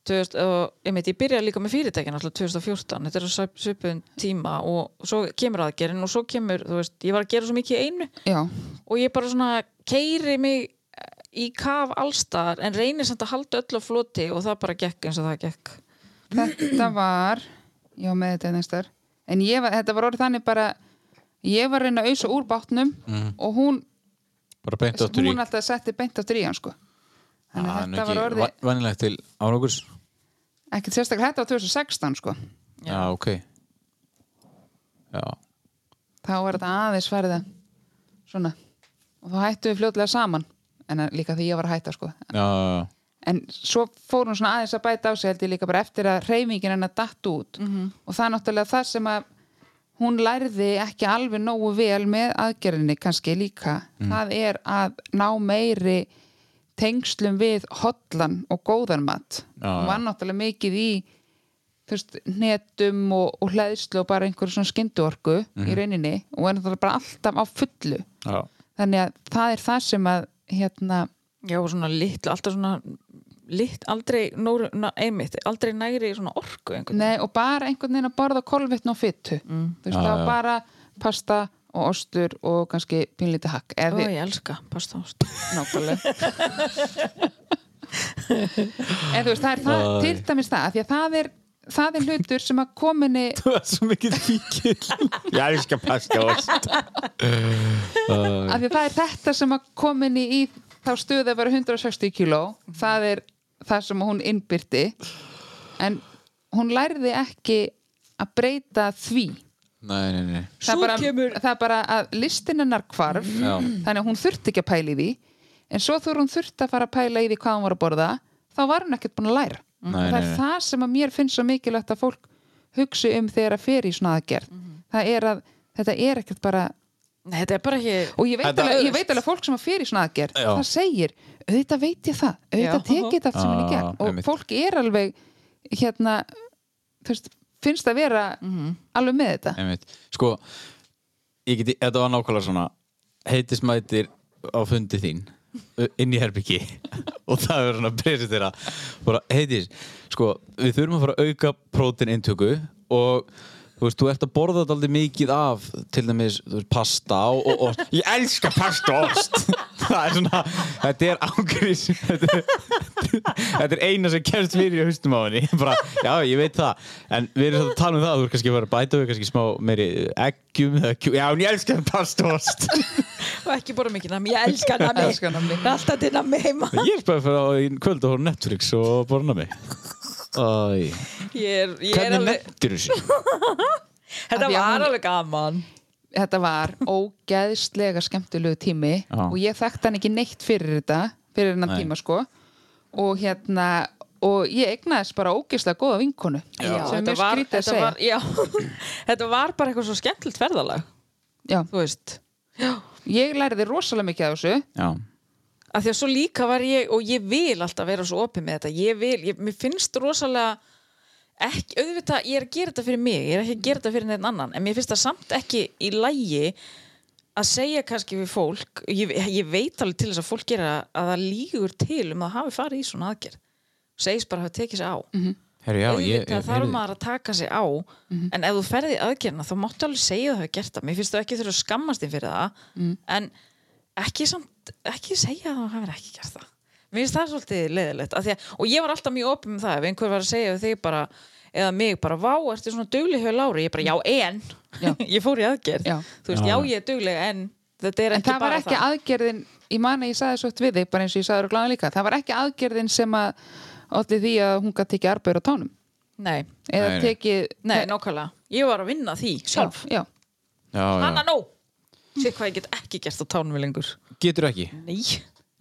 Speaker 2: 2000 og ég meit, ég byrjaði líka með fyrirtækin alltaf 2014, þetta er á svip- svipuðum tíma og svo kemur aðgerinn og svo kemur, þú veist, ég var að gera svo mikið í einu
Speaker 3: já,
Speaker 2: og ég bara svona keiri mig eh, í kaf allstar en reynir samt að halda öllu á floti og það bara gekk eins og það gekk
Speaker 3: þetta var já, með þetta næstar en ég var, þetta var orðið þannig bara ég var að reyna að ausa úr bátnum og hún,
Speaker 1: bara beint áttur Mhm. í
Speaker 3: hún alltaf setti beint aftur í hann sko þannig að þetta var orðið
Speaker 1: Vanilegt til árangurs
Speaker 3: ekkert sérstaklega þetta var 2016 sko
Speaker 1: Já, Ah, ok Já,
Speaker 3: þá var þetta aðeins verið að- svona og þá hættu við fljótlega saman en að- líka því ég var að hætta sko
Speaker 1: já, já, já.
Speaker 3: en svo fór hún svona aðeins að bæta á sig held ég líka bara eftir að reyfingin hennar datt út -hmm. og það er náttúrulega það sem að hún lærði ekki alveg nógu vel með aðgerðinni kannski líka
Speaker 1: Mm.
Speaker 3: það er að ná meiri tengslum við hotlan og góðan mat
Speaker 1: Já,
Speaker 3: hún var náttúrulega mikið í þú veist, netum og, og hlæðslu og bara einhverjum svona skynduorku
Speaker 1: Mhm.
Speaker 3: í rauninni og er náttúrulega bara alltaf á fullu
Speaker 1: já.
Speaker 3: þannig að það er það sem að hérna,
Speaker 2: já, og svona litlu, alltaf svona lit, aldrei, nóru, na, einmitt aldrei næri svona orku einhvern
Speaker 3: Nei, og bara einhvern veginn að borða kolvetn og fyttu. Þú veist,
Speaker 1: Já,
Speaker 3: það
Speaker 1: já.
Speaker 3: var bara pasta og ostur og kannski pínlítið hakk.
Speaker 2: Ó,
Speaker 3: Eða við,
Speaker 2: ég elska, pasta ást
Speaker 3: nákvæmlega. en þú veist, það er það, til dæmis það, af því að það er, það er hlutur sem að kominni,
Speaker 1: Það er svo mikið fíkil Ég elskar pasta ost
Speaker 3: af því að það er þetta sem að kominni í þá stöðu að vera 160 kíló, það er það sem hún innbyrti, en hún lærði ekki að breyta því.
Speaker 1: Nei, nei, nei
Speaker 3: það er
Speaker 2: Svo
Speaker 3: bara,
Speaker 2: kemur-
Speaker 3: það er bara að listin hennar hvarf þannig að hún þurfti ekki að pæla í því en svo þú hún þurfti að fara að pæla í því hvað hún var að borða þá var hún ekkert búin að læra
Speaker 1: Nei,
Speaker 3: Og það
Speaker 1: nei,
Speaker 3: er
Speaker 1: nei.
Speaker 3: það sem að mér finnst svo mikilvægt að fólk hugsi um þegar að fer í svona aðgerð
Speaker 2: Mhm.
Speaker 3: það er að þetta er ekkert bara
Speaker 2: Nei, þetta er bara ekki
Speaker 3: og ég veit,
Speaker 1: Þetta-
Speaker 3: alveg, ég veit alveg að fólk sem að fer í svona aðgerð
Speaker 1: Já.
Speaker 3: það segir, auðvitað veit ég það auðvitað
Speaker 2: Já.
Speaker 3: tekið þetta allt sem henni
Speaker 1: Já,
Speaker 3: gerð og
Speaker 1: Ah, einmitt.
Speaker 3: fólk er alveg hérna þú veist, finnst að vera
Speaker 2: Mhm.
Speaker 3: alveg með þetta
Speaker 1: Einmitt. Sko, ég geti, þetta var nákvæmlega svona heitis mætir á fundi þín ö, inn í herbyggi og það er svona presið þeirra bara, heitis, sko, við þurfum að fara að auka próteineintöku og þú veist, þú ert að borða þetta aldrei mikið af til dæmis, þú veist, pasta og, og ost ég elska pasta og ost það er svona, þetta er ángurís þetta er, þetta er eina sem kemst fyrir í haustum á henni bara, já, ég veit það, en við erum samt að tala um það að þú er kannski að fara að bæta við kannski smá meiri eggjum, eða kjú, já, en ég elska pasta og ost
Speaker 2: og ekki bara mikið nammi, ég elska nammi
Speaker 3: Elska nammi.
Speaker 2: alltaf til nammi heima
Speaker 1: ég er bara að fara á í kvöld og horfa á Netflix og borna mig Æ,
Speaker 2: ég er, ég er
Speaker 1: hvernig
Speaker 2: alveg,
Speaker 1: nettur þessu?
Speaker 2: þetta
Speaker 3: Af því að
Speaker 2: var
Speaker 3: hún-
Speaker 2: alveg gaman
Speaker 3: þetta var ógeðslega skemmtilegu tími
Speaker 1: Já.
Speaker 3: og ég þekkti hann ekki neitt fyrir þetta fyrir hennan
Speaker 1: Nei.
Speaker 3: tíma sko og hérna og ég eignaðist bara ógeðslega góða vinkonu sem er
Speaker 2: þetta
Speaker 3: mjög
Speaker 2: var,
Speaker 3: skrítið að
Speaker 2: þetta
Speaker 3: segja
Speaker 2: var, já, þetta var bara eitthvað svo skemmtilegt ferðalag
Speaker 3: já,
Speaker 2: þú veist
Speaker 3: ég læriði rosalega mikið af þessu
Speaker 1: Já,
Speaker 2: að því að svo líka var ég og ég vil alltaf vera svo opið með þetta ég vil, ég, mér finnst rosalega ekki, auðvitað, ég er að gera þetta fyrir mig ég er ekki að gera þetta fyrir neitt annan en mér finnst það samt ekki í lægi að segja kannski við fólk ég, ég veit alveg til þess að fólk gera að það lígur til um að hafi farið í svona aðgerð segist bara að hafa tekið sér á
Speaker 1: herru, já, ég,
Speaker 2: auðvitað
Speaker 1: ég,
Speaker 2: þarf maður að taka sér á
Speaker 3: Mhm.
Speaker 2: en ef þú ferði í aðgerna þá máttu alveg segja að hafa gert það mér finnst þú ekki þurfa að skammast þín fyrir það
Speaker 3: Mhm.
Speaker 2: en ekki, samt, ekki segja að þú hafa ekki gert það mér finnst það svolítið leiðilegt af því að, og ég var alltaf mjög opið um það ef einhver var að segja við þig bara eða mig bara, vá, ertu svona dugleg hjá Lári ég bara, já, en
Speaker 3: Já.
Speaker 2: ég fór í aðgerð
Speaker 3: Já.
Speaker 2: þú veist, já, ég er dugleg, en þetta er
Speaker 3: en
Speaker 2: ekki
Speaker 3: það var
Speaker 2: bara
Speaker 3: ekki aðgerðin ég man að ég saði svo oft við þig bara eins og ég saði gláðan líka, það var ekki aðgerðin sem að allir því að hún gæti tekið arbeigur á tánum
Speaker 2: nei,
Speaker 3: eða
Speaker 1: Nei, nei.
Speaker 3: tekið
Speaker 2: nei, nákvæmlega ég var að vinna því sjálf,
Speaker 3: já, já.
Speaker 1: já,
Speaker 2: hanna
Speaker 1: já.
Speaker 2: nóg sé hvað ég get ekki gert á tánum við lengur
Speaker 1: Getur ekki?
Speaker 2: Nei,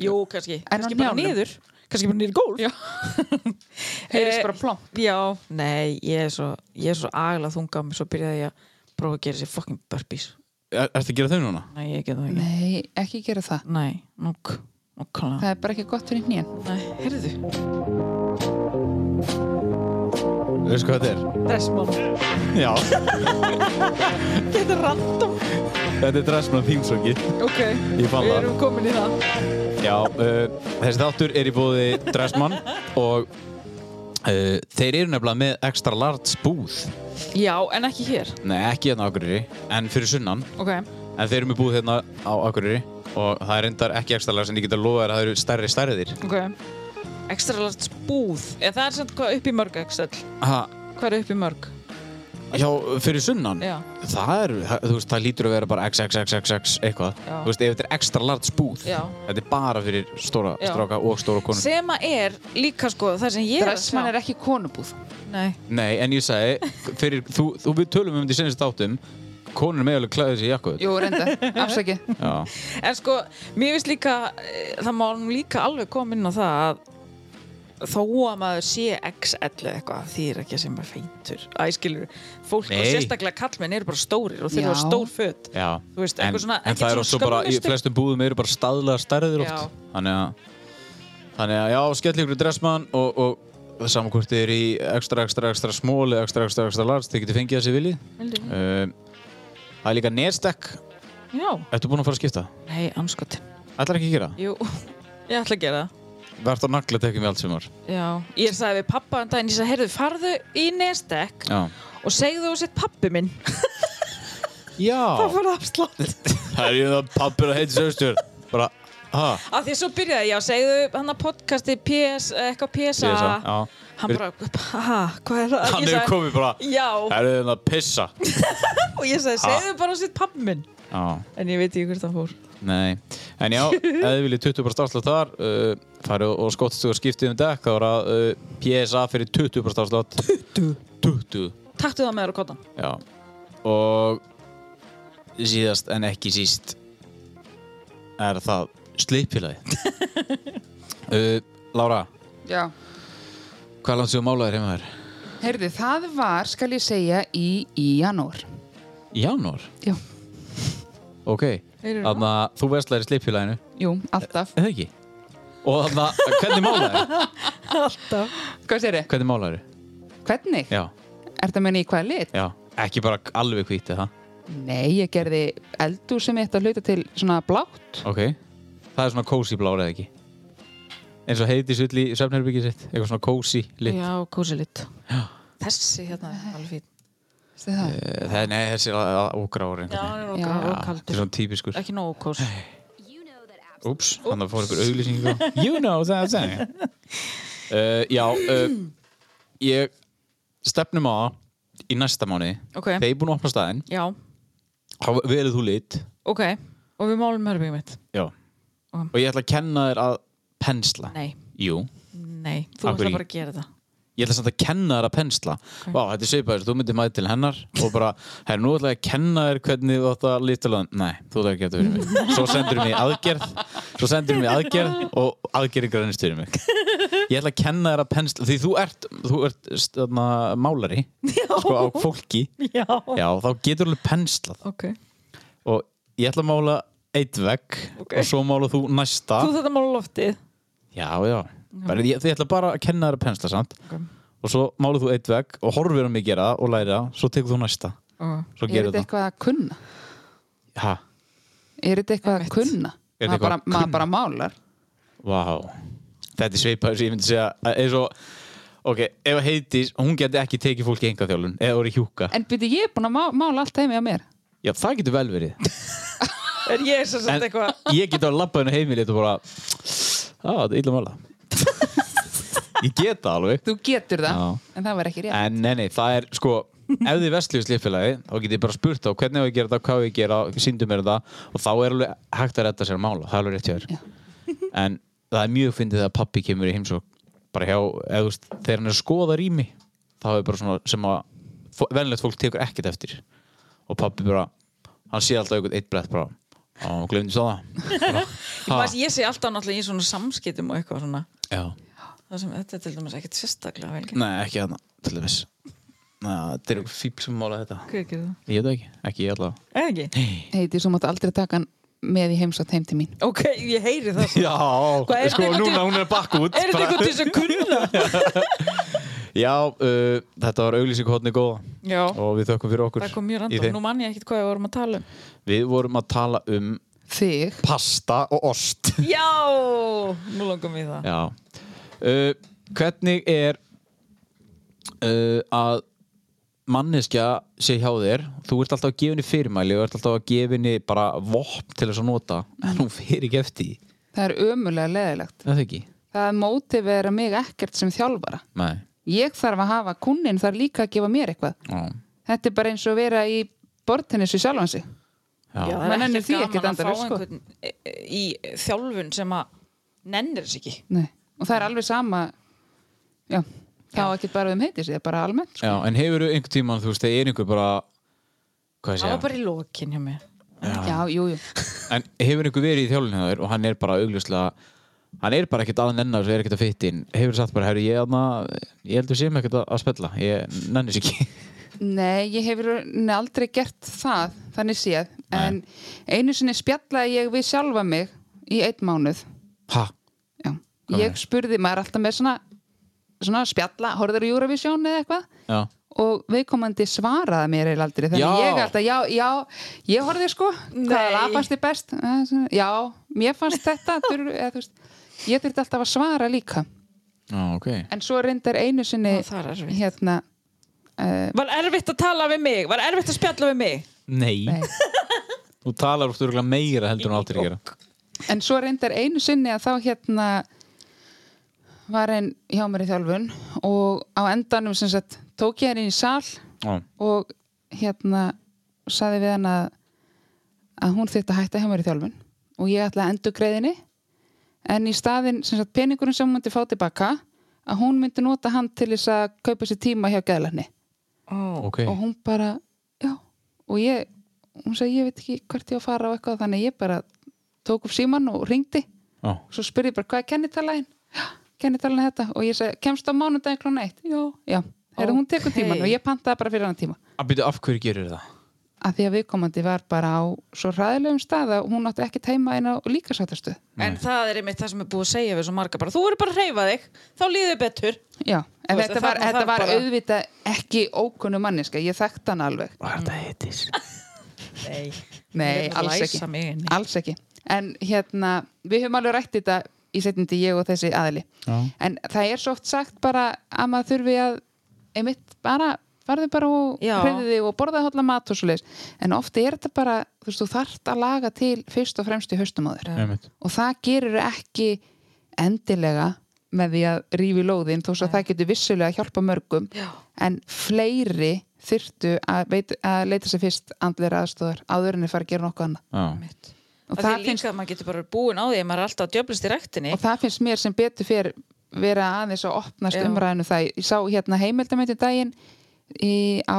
Speaker 2: Jú, kannski,
Speaker 3: En á
Speaker 2: kannski bara
Speaker 3: hnjánum?
Speaker 2: niður Kannski bara niður í gólf
Speaker 3: Já. heyrist bara plom
Speaker 2: Eh, Já, nei, ég er svo, ég er svo agla þunga mig, svo byrjaði ég að prófa að gera sér fucking burpees.
Speaker 1: Er, ertu að gera þau núna?
Speaker 2: Nei, ég get það ekki.
Speaker 3: Nei, ekki gera það
Speaker 2: Nei, nokk, nokkulega.
Speaker 3: Það er bara ekki gott fyrir hnýjan
Speaker 2: Nei, heyrðu,
Speaker 1: Þú veist hvað þetta
Speaker 2: dressmann,
Speaker 1: er? Já,
Speaker 2: þetta er random.
Speaker 1: þetta er Dressman þýmsöngi
Speaker 2: Ok,
Speaker 1: Ég fann
Speaker 2: við
Speaker 1: það.
Speaker 2: erum komin í það.
Speaker 1: Já, uh, þessi þáttur er í bóði Dressmann og uh, þeir eru nefnilega með extra large búð
Speaker 2: Já, en ekki hér.
Speaker 1: Nei, ekki hérna á Akureyri, en fyrir sunnan
Speaker 2: Ok,
Speaker 1: En þeir eru með búð hérna á Akureyri og það er endar ekki extra large en ég get að lofa þér að það eru stærri stærðir
Speaker 2: ok. Extra large búð. Eða það er samt hvað upp í mörg, Axel.
Speaker 1: ha,
Speaker 2: Hvað er upp í mörg?
Speaker 1: Já, fyrir sunnan?
Speaker 2: Já.
Speaker 1: Það er, það- þú veist, það lítur að vera bara XXXXX eitthvað
Speaker 2: Já.
Speaker 1: Þú veist, ef þetta er extra large búð
Speaker 2: Já.
Speaker 1: Þetta er bara fyrir stóra
Speaker 2: Já.
Speaker 1: stráka og stóra konur
Speaker 2: Sem að er líka sko það sem ég
Speaker 3: Dressmann er ekki konubúð
Speaker 2: Nei,
Speaker 1: Nei, en ég sagði, fyrir, þú, þú við tölum um þetta í senast þáttum Konur með alveg klæðið sér jakkuð
Speaker 3: Jú, reynda, afsaki
Speaker 1: Já,
Speaker 2: En sko, mér finnst líka, eh, það má nú líka alveg koma inn á það að þó að maður sé x11 eitthvað þýr ekki að sem maður feitur Æ, skilur, fólk og
Speaker 1: Nei.
Speaker 2: sérstaklega kallmenn eru bara stórir og þeir
Speaker 3: Já.
Speaker 2: eru stór föt
Speaker 1: já
Speaker 2: Þú veist,
Speaker 1: En,
Speaker 2: eitthvað svona-
Speaker 1: en
Speaker 2: ekkert
Speaker 1: það
Speaker 2: svona
Speaker 1: er svo bara, í
Speaker 2: skömmustu.
Speaker 1: flestum búðum eru bara staðlega stærðir
Speaker 2: Já.
Speaker 1: oft Þannig að, þannig að, já, skell ykkur í dressmann og, og það saman hvort þið er í extra, extra, extra small eða extra, extra, extra large, þið getið fengið þessi viljið
Speaker 2: Vildi-
Speaker 1: Um, Það er líka Nasdaq
Speaker 2: Já,
Speaker 1: Ertu búinn að fara að skipta?
Speaker 2: nei, anskotin
Speaker 1: Ætlar ekki að gera?
Speaker 2: Jú, ég ætla að gera það
Speaker 1: Vært á naglatekjum við allt sumar
Speaker 2: Já, ég sagði við pappa en daginn, ég sagði, heyrðu, farðu í Nestek
Speaker 1: Já
Speaker 2: og segðu þú sitt pappi minn
Speaker 1: Já
Speaker 2: Það fór afslátt
Speaker 1: Það er ég það pappir að heita sögstur Bara, ha,
Speaker 2: Af því svo byrjaði ég að segðu hann að podcasti PS, eitthvað PSA
Speaker 1: PSA, já.
Speaker 2: Hann bara, ha, hvað er það?
Speaker 1: hann
Speaker 2: Ég
Speaker 1: hefur
Speaker 2: sagði,
Speaker 1: komið bara
Speaker 2: Já,
Speaker 1: Það er það að pissa
Speaker 2: og ég sagði, segðu bara sitt pappi minn
Speaker 1: Já,
Speaker 2: En ég veit ekki hvert hann fór
Speaker 1: nei En já, ef þið viljið 20 bara starfslátt þar uh, farið og skottstu og skiptið um dekk þá er að uh, PSA fyrir 20 bara starfslátt 20? 20,
Speaker 2: Taktu það með þér á kottan
Speaker 1: já Og síðast en ekki síst er það sleipilagi uh, Lára,
Speaker 3: Já,
Speaker 1: hvað langt séu málaðir heima þér?
Speaker 3: heyrðu, það var, skal ég segja, í, í janúar
Speaker 1: Í janúar?
Speaker 3: Já,
Speaker 1: Ok,
Speaker 2: Heyrir það?
Speaker 1: þannig að þú verslar í sleipfélaginu,
Speaker 3: jú, alltaf
Speaker 1: eða ekki? Og þannig að, hvernig málaður?
Speaker 2: Alltaf
Speaker 3: Hvað sér þið?
Speaker 1: Hvernig málaður?
Speaker 3: Hvernig?
Speaker 1: Já,
Speaker 3: Ertu að menna í hvaða lit?
Speaker 1: já, ekki bara alveg hvít, eða?
Speaker 3: Nei, ég gerði eldur sem ég ætti að hluta til svona blátt
Speaker 1: Ok, það er svona cozy blár, eða ekki? Eins og heiti sull í söfnherbyggið sitt, eitthvað svona cozy lit.
Speaker 2: Já, kósi lit Þessi hérna er alveg fín
Speaker 3: Veistu það?
Speaker 1: Eh, Það er, nei, þessi er að- að ógra ára einhvern veginn.
Speaker 2: og
Speaker 3: Já.
Speaker 2: og
Speaker 1: Ah, þetta er
Speaker 2: kaldur
Speaker 1: svona típiskur.
Speaker 2: Ekki nógu kósi
Speaker 1: Úps, þannig að fór ykkur auglýsing á. You know that thing. Uh, já, uh, ég stefnum á það í næsta mánu.
Speaker 2: Ok.
Speaker 1: Þeir eru búin að opna staðinn.
Speaker 2: Já,
Speaker 1: Þá velið þú lit.
Speaker 2: ok Og við málum herbyggum mitt
Speaker 1: Já.
Speaker 2: Ok.
Speaker 1: Og ég ætla að kenna þér að pensla.
Speaker 2: Nei,
Speaker 1: Jú.
Speaker 2: nei, þú
Speaker 1: Af
Speaker 2: ætla
Speaker 1: hverju?
Speaker 2: bara að gera þetta
Speaker 1: Ég ætla samt að kenna þér að pensla. Vá, þetta er svipaður. Þú myndir mæti til hennar og bara, herr, nú ætla ég að kenna þér hvernig þú átt að lítala. Nei, þú ætla ekki að geta fyrir mig. Svo sendur mér aðgerð, svo sendur mér aðgerð og aðgerðin grænist fyrir mig. Ég ætla að kenna þér að pensla, því þú ert, þú ert stana, málari, Já. sko á fólki.
Speaker 2: Já,
Speaker 1: Já, þá getur alveg penslað.
Speaker 2: ok
Speaker 1: Og ég ætla að mála eitt vegg
Speaker 2: Ok.
Speaker 1: og svo mála þú næsta.
Speaker 2: Þú þetta mála loftið
Speaker 1: Já, já. Bara, ég, þið ætla bara að kenna þér að pensla samt og svo málu þú eitt vegg og horfir á mig gera það og læri það, svo tekur þú næsta
Speaker 2: Ok
Speaker 1: svo
Speaker 3: Er
Speaker 1: gerir
Speaker 3: þetta
Speaker 1: það
Speaker 3: eitthvað að kunna?
Speaker 1: ha,
Speaker 3: Er þetta eitthvað að kunna?
Speaker 1: Er þetta
Speaker 3: Maður
Speaker 1: eitthvað
Speaker 3: bara,
Speaker 1: að kunna?
Speaker 3: maður bara málar
Speaker 1: vá þetta er svipað sem ég myndi segja að eins og, ok, ef að heitis hún geti ekki tekið fólk í enga þjálun eða orðið hjúka,
Speaker 3: En byrju, ég er búin að má, mála allt heimi á mér
Speaker 1: já það getur vel verið
Speaker 2: Er ég sem sagt
Speaker 1: en
Speaker 2: eitthvað
Speaker 1: ég getur að labba henni heimilið og bara, að þetta er illa mála ég get það alveg
Speaker 3: Þú getur það,
Speaker 1: Já.
Speaker 3: en það var ekki rétt
Speaker 1: En nei, nei, það er sko ef þið vestlíu slíffélagi, þá getið þið bara spurt þá hvernig á ég að gera það, hvað á ég að gera, síndu mér það og þá er alveg hægt að redda sér að mála það er alveg rétt hjá þér en það er mjög fyndið að pappi kemur í heimsók bara hjá, eða þú veist, þegar hann er að skoða rými þá er bara svona sem að fó- venjulegt fólk tekur ekkert eftir og pappi bara, hann sé alltaf einhvern eitt brett bara Já, glemdi svo það
Speaker 2: Ég, maður- ég sé alltaf náttúrulega í svona samskiptum og eitthvað svona
Speaker 1: Já,
Speaker 2: það sem þetta er til dæmis ekkert sérstaklega vel gert.
Speaker 1: nei, ekki þarna, til dæmis Næ, þetta er eitthvað fíl sem mála þetta
Speaker 2: Hver gerir það?
Speaker 1: Ég veit það ekki, ekki ég allavega
Speaker 2: Eða ekki?
Speaker 3: heiti svo mátt aldrei taka hann með í heimsótt heim til mín
Speaker 2: Ok, ég heyri það svo. Hvað,
Speaker 1: Já,
Speaker 2: er
Speaker 1: sko,
Speaker 2: þetta eitthvað
Speaker 1: núna
Speaker 2: til-
Speaker 1: hún er bakk út
Speaker 2: Er þetta
Speaker 1: bara-
Speaker 2: eitthvað til þess að kunna?
Speaker 1: Já, uh, þetta var auglýsing hodni góða
Speaker 2: Já,
Speaker 1: og við þökkum fyrir okkur
Speaker 2: það kom mjög
Speaker 1: í
Speaker 2: random.
Speaker 1: þeim.
Speaker 2: Nú mann ég ekkert hvað við vorum að tala um.
Speaker 1: Við vorum að tala um
Speaker 3: þig,
Speaker 1: pasta og ost
Speaker 2: Já, nú langum við það.
Speaker 1: Já uh, Hvernig er uh, að manneskja sé hjá þér þú ert alltaf að gefa henni fyrirmæli og ert alltaf að gefa henni bara vopn til þess að nota en hún fer ekki eftir því.
Speaker 3: það er ömulega leðilegt
Speaker 1: Er Það ekki?
Speaker 3: það mótivera mig ekkert sem þjálfara
Speaker 1: Nei
Speaker 3: ég þarf að hafa kunnin þar líka að gefa mér eitthvað
Speaker 1: Já,
Speaker 3: þetta er bara eins og að vera í bortennissu sjálfan sig
Speaker 1: já.
Speaker 2: það
Speaker 3: Menn
Speaker 2: er
Speaker 3: nennir því
Speaker 2: ekkert
Speaker 3: ekkert
Speaker 2: gaman að fá
Speaker 3: endalaust, sko.
Speaker 2: einhvern e- e- í þjálfun sem að nennir þess ekki.
Speaker 3: Nei. og það er alveg sama já, þá ekki bara um heitis það er bara almennt sko.
Speaker 1: já En hefur þú einhvern tímann, þú veist, þegar er einhver bara hvað ég
Speaker 2: Það var
Speaker 1: segja
Speaker 2: bara í lokin hjá mér.
Speaker 3: já. jú, jú
Speaker 1: En hefur einhver verið í þjálfinu hjá þér og hann er bara augljóslega hann er bara ekkert að nennar svo er ekkert að fytt inn hefur sagt bara, herru, ég, þarna- ég heldur sem ekkert að- að spella ég nennis ekki
Speaker 3: Nei, ég hef í rauninni aldrei gert það, þannig séð. En einu sinni spjallaði ég við sjálfa mig í einn mánuð.
Speaker 1: Ha?
Speaker 3: Já.
Speaker 1: Hvað
Speaker 3: Ég
Speaker 1: meinar?
Speaker 3: spurði, maður er alltaf með svona, svona spjalla, horfður í Eurovision eða eitthvað?
Speaker 1: Já
Speaker 3: Og viðkomandi svaraði mér eiginlega aldrei. Þannig
Speaker 1: Já.
Speaker 3: ég alltaf, já, já, ég horfði sko,
Speaker 2: Nei.
Speaker 3: hvaða lag fannst þið best? Eh, svona, Já, mér fannst þetta, dur, eða, þú veist, ég þurfti alltaf að svara líka.
Speaker 1: Já, ok.
Speaker 3: En svo reyndar einu sinni,
Speaker 2: Já, það er erfitt.
Speaker 3: hérna, uh,
Speaker 2: Var erfitt að tala við mig? Var erfitt að spjalla við mig?
Speaker 1: Nei.
Speaker 3: Nei.
Speaker 1: Þú talar út örgulega meira heldur en aldrei gera.
Speaker 3: En svo reyndar einu sinni að þá hérna var einn hjá mér í þjálfun og á endanum sem sagt tók ég hann inn í sal
Speaker 1: Já.
Speaker 3: og hérna saði við hann að, að hún þyrfti að hætta hjá mér í þjálfun og ég ætlaði að endur greiðinni en í staðin sem sagt peningurinn sem hún myndi fá tilbaka að hún myndi nota hann til þess að kaupa sér tíma hjá gæðlarni
Speaker 2: Ó,
Speaker 1: Ok.
Speaker 3: og hún bara, já og ég, hún sagði ég veit ekki hvert ég á að fara og eitthvað þannig að ég bara tók upp síman og ringdi
Speaker 1: Já.
Speaker 3: svo spurði ég bara hvað er kennitalagin kennitalagin er þetta og ég sagði kemst á mánudaginn klón eitt já, já, okay. hún tekur
Speaker 2: Ókei.
Speaker 3: tíman og ég pantaði bara fyrir hann tíma
Speaker 1: Að byrja Ah, af hverju gerir það?
Speaker 3: að því að viðkomandi var bara á svo ræðilegum stað að hún átti ekki teima inn á líkasáttastu
Speaker 2: En það er einmitt það sem er búið að segja við svo marga bara, þú eru bara að reyfa þig, þá líður betur.
Speaker 3: já, en
Speaker 2: Þú veist,
Speaker 3: þetta
Speaker 2: en
Speaker 3: var,
Speaker 2: þarna
Speaker 3: þetta
Speaker 2: þarf
Speaker 3: var
Speaker 2: bara-
Speaker 3: auðvitað ekki ókunnu manniska, ég þekkti hann alveg
Speaker 1: Hvað er þetta heitis?
Speaker 2: Nei,
Speaker 3: Nei, alls ekki.
Speaker 2: Mig, inni.
Speaker 3: alls ekki en hérna, við höfum alveg rætt þetta í setjandi ég og þessi aðli
Speaker 1: Já.
Speaker 3: en það er svo oft sagt bara að maður þurfi að einmitt bara farðu bara og
Speaker 2: Já.
Speaker 3: hreyðu þig og borðaði hólla mat og svo en ofti er þetta bara, þú veist, þú þarft að laga til fyrst og fremst í haustum á þér
Speaker 1: Einmitt.
Speaker 3: og það gerir ekki endilega með því að rífi lóðin þó svo að það getur vissulega að hjálpa mörgum
Speaker 2: Já.
Speaker 3: en fleiri þyrtu að, veit, að leita sér fyrst andleira aðstóðar áður en þeir fara að gera nokkuð annað
Speaker 1: Já.
Speaker 3: og
Speaker 2: Og
Speaker 3: það,
Speaker 2: það
Speaker 3: finnst,
Speaker 2: líka að maður getur bara búin á því að maður er alltaf að djöflist í rektinni.
Speaker 3: og það finnst mér sem betur fyrir vera aðeins að opnast
Speaker 2: Já.
Speaker 3: umræðinu það ég sá hérna heimildamöndu daginn í, á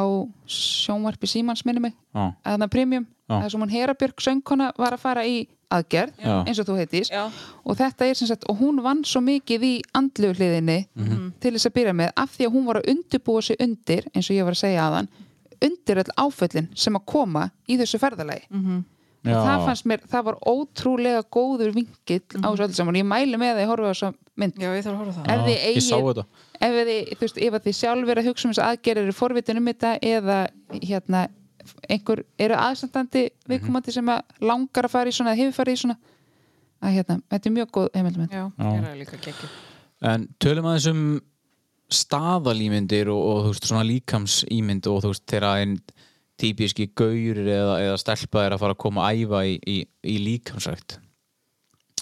Speaker 3: sjónvarpi Símans minni mig,
Speaker 1: Já.
Speaker 3: að það premium
Speaker 1: Já.
Speaker 3: það sem hún Herabjörg söngkona var að fara í aðgerð,
Speaker 1: Já.
Speaker 3: eins og þú heitist
Speaker 2: Já.
Speaker 3: og þetta er sem sagt, og hún vann svo mikið í andlu hliðinni til þess að byrja með, af því að hún var að undirbúa sig undir, eins og ég var að segja aðan undir öll áföllin sem að koma í þessu ferðalagi
Speaker 1: Já.
Speaker 3: og það fannst mér, það var ótrúlega góður vingill á þessu öll saman ég mæli með það, ég horfa á þessu mynd
Speaker 2: Já, ég þarf að horfa á það.
Speaker 3: ef þið
Speaker 1: Ég sá
Speaker 3: eigið,
Speaker 1: þetta.
Speaker 3: ef þið, þú veist, ef að þið sjálf er að hugsa um þess aðgerðir í forvitin um þetta eða hérna einhver eru aðstandandi viðkomandi sem að langar að fara í svona, eða hefur farið í svona að hérna, þetta er mjög góð heimildamönd
Speaker 2: Já, ég er að líka geggju.
Speaker 1: En tölum aðeins um staðalímyndir og, og þú veist svona líkamsímynd og þú veist þegar einn típiski gaur eða, eða stelpa er að fara að koma að æfa í, í, í líkamsrækt.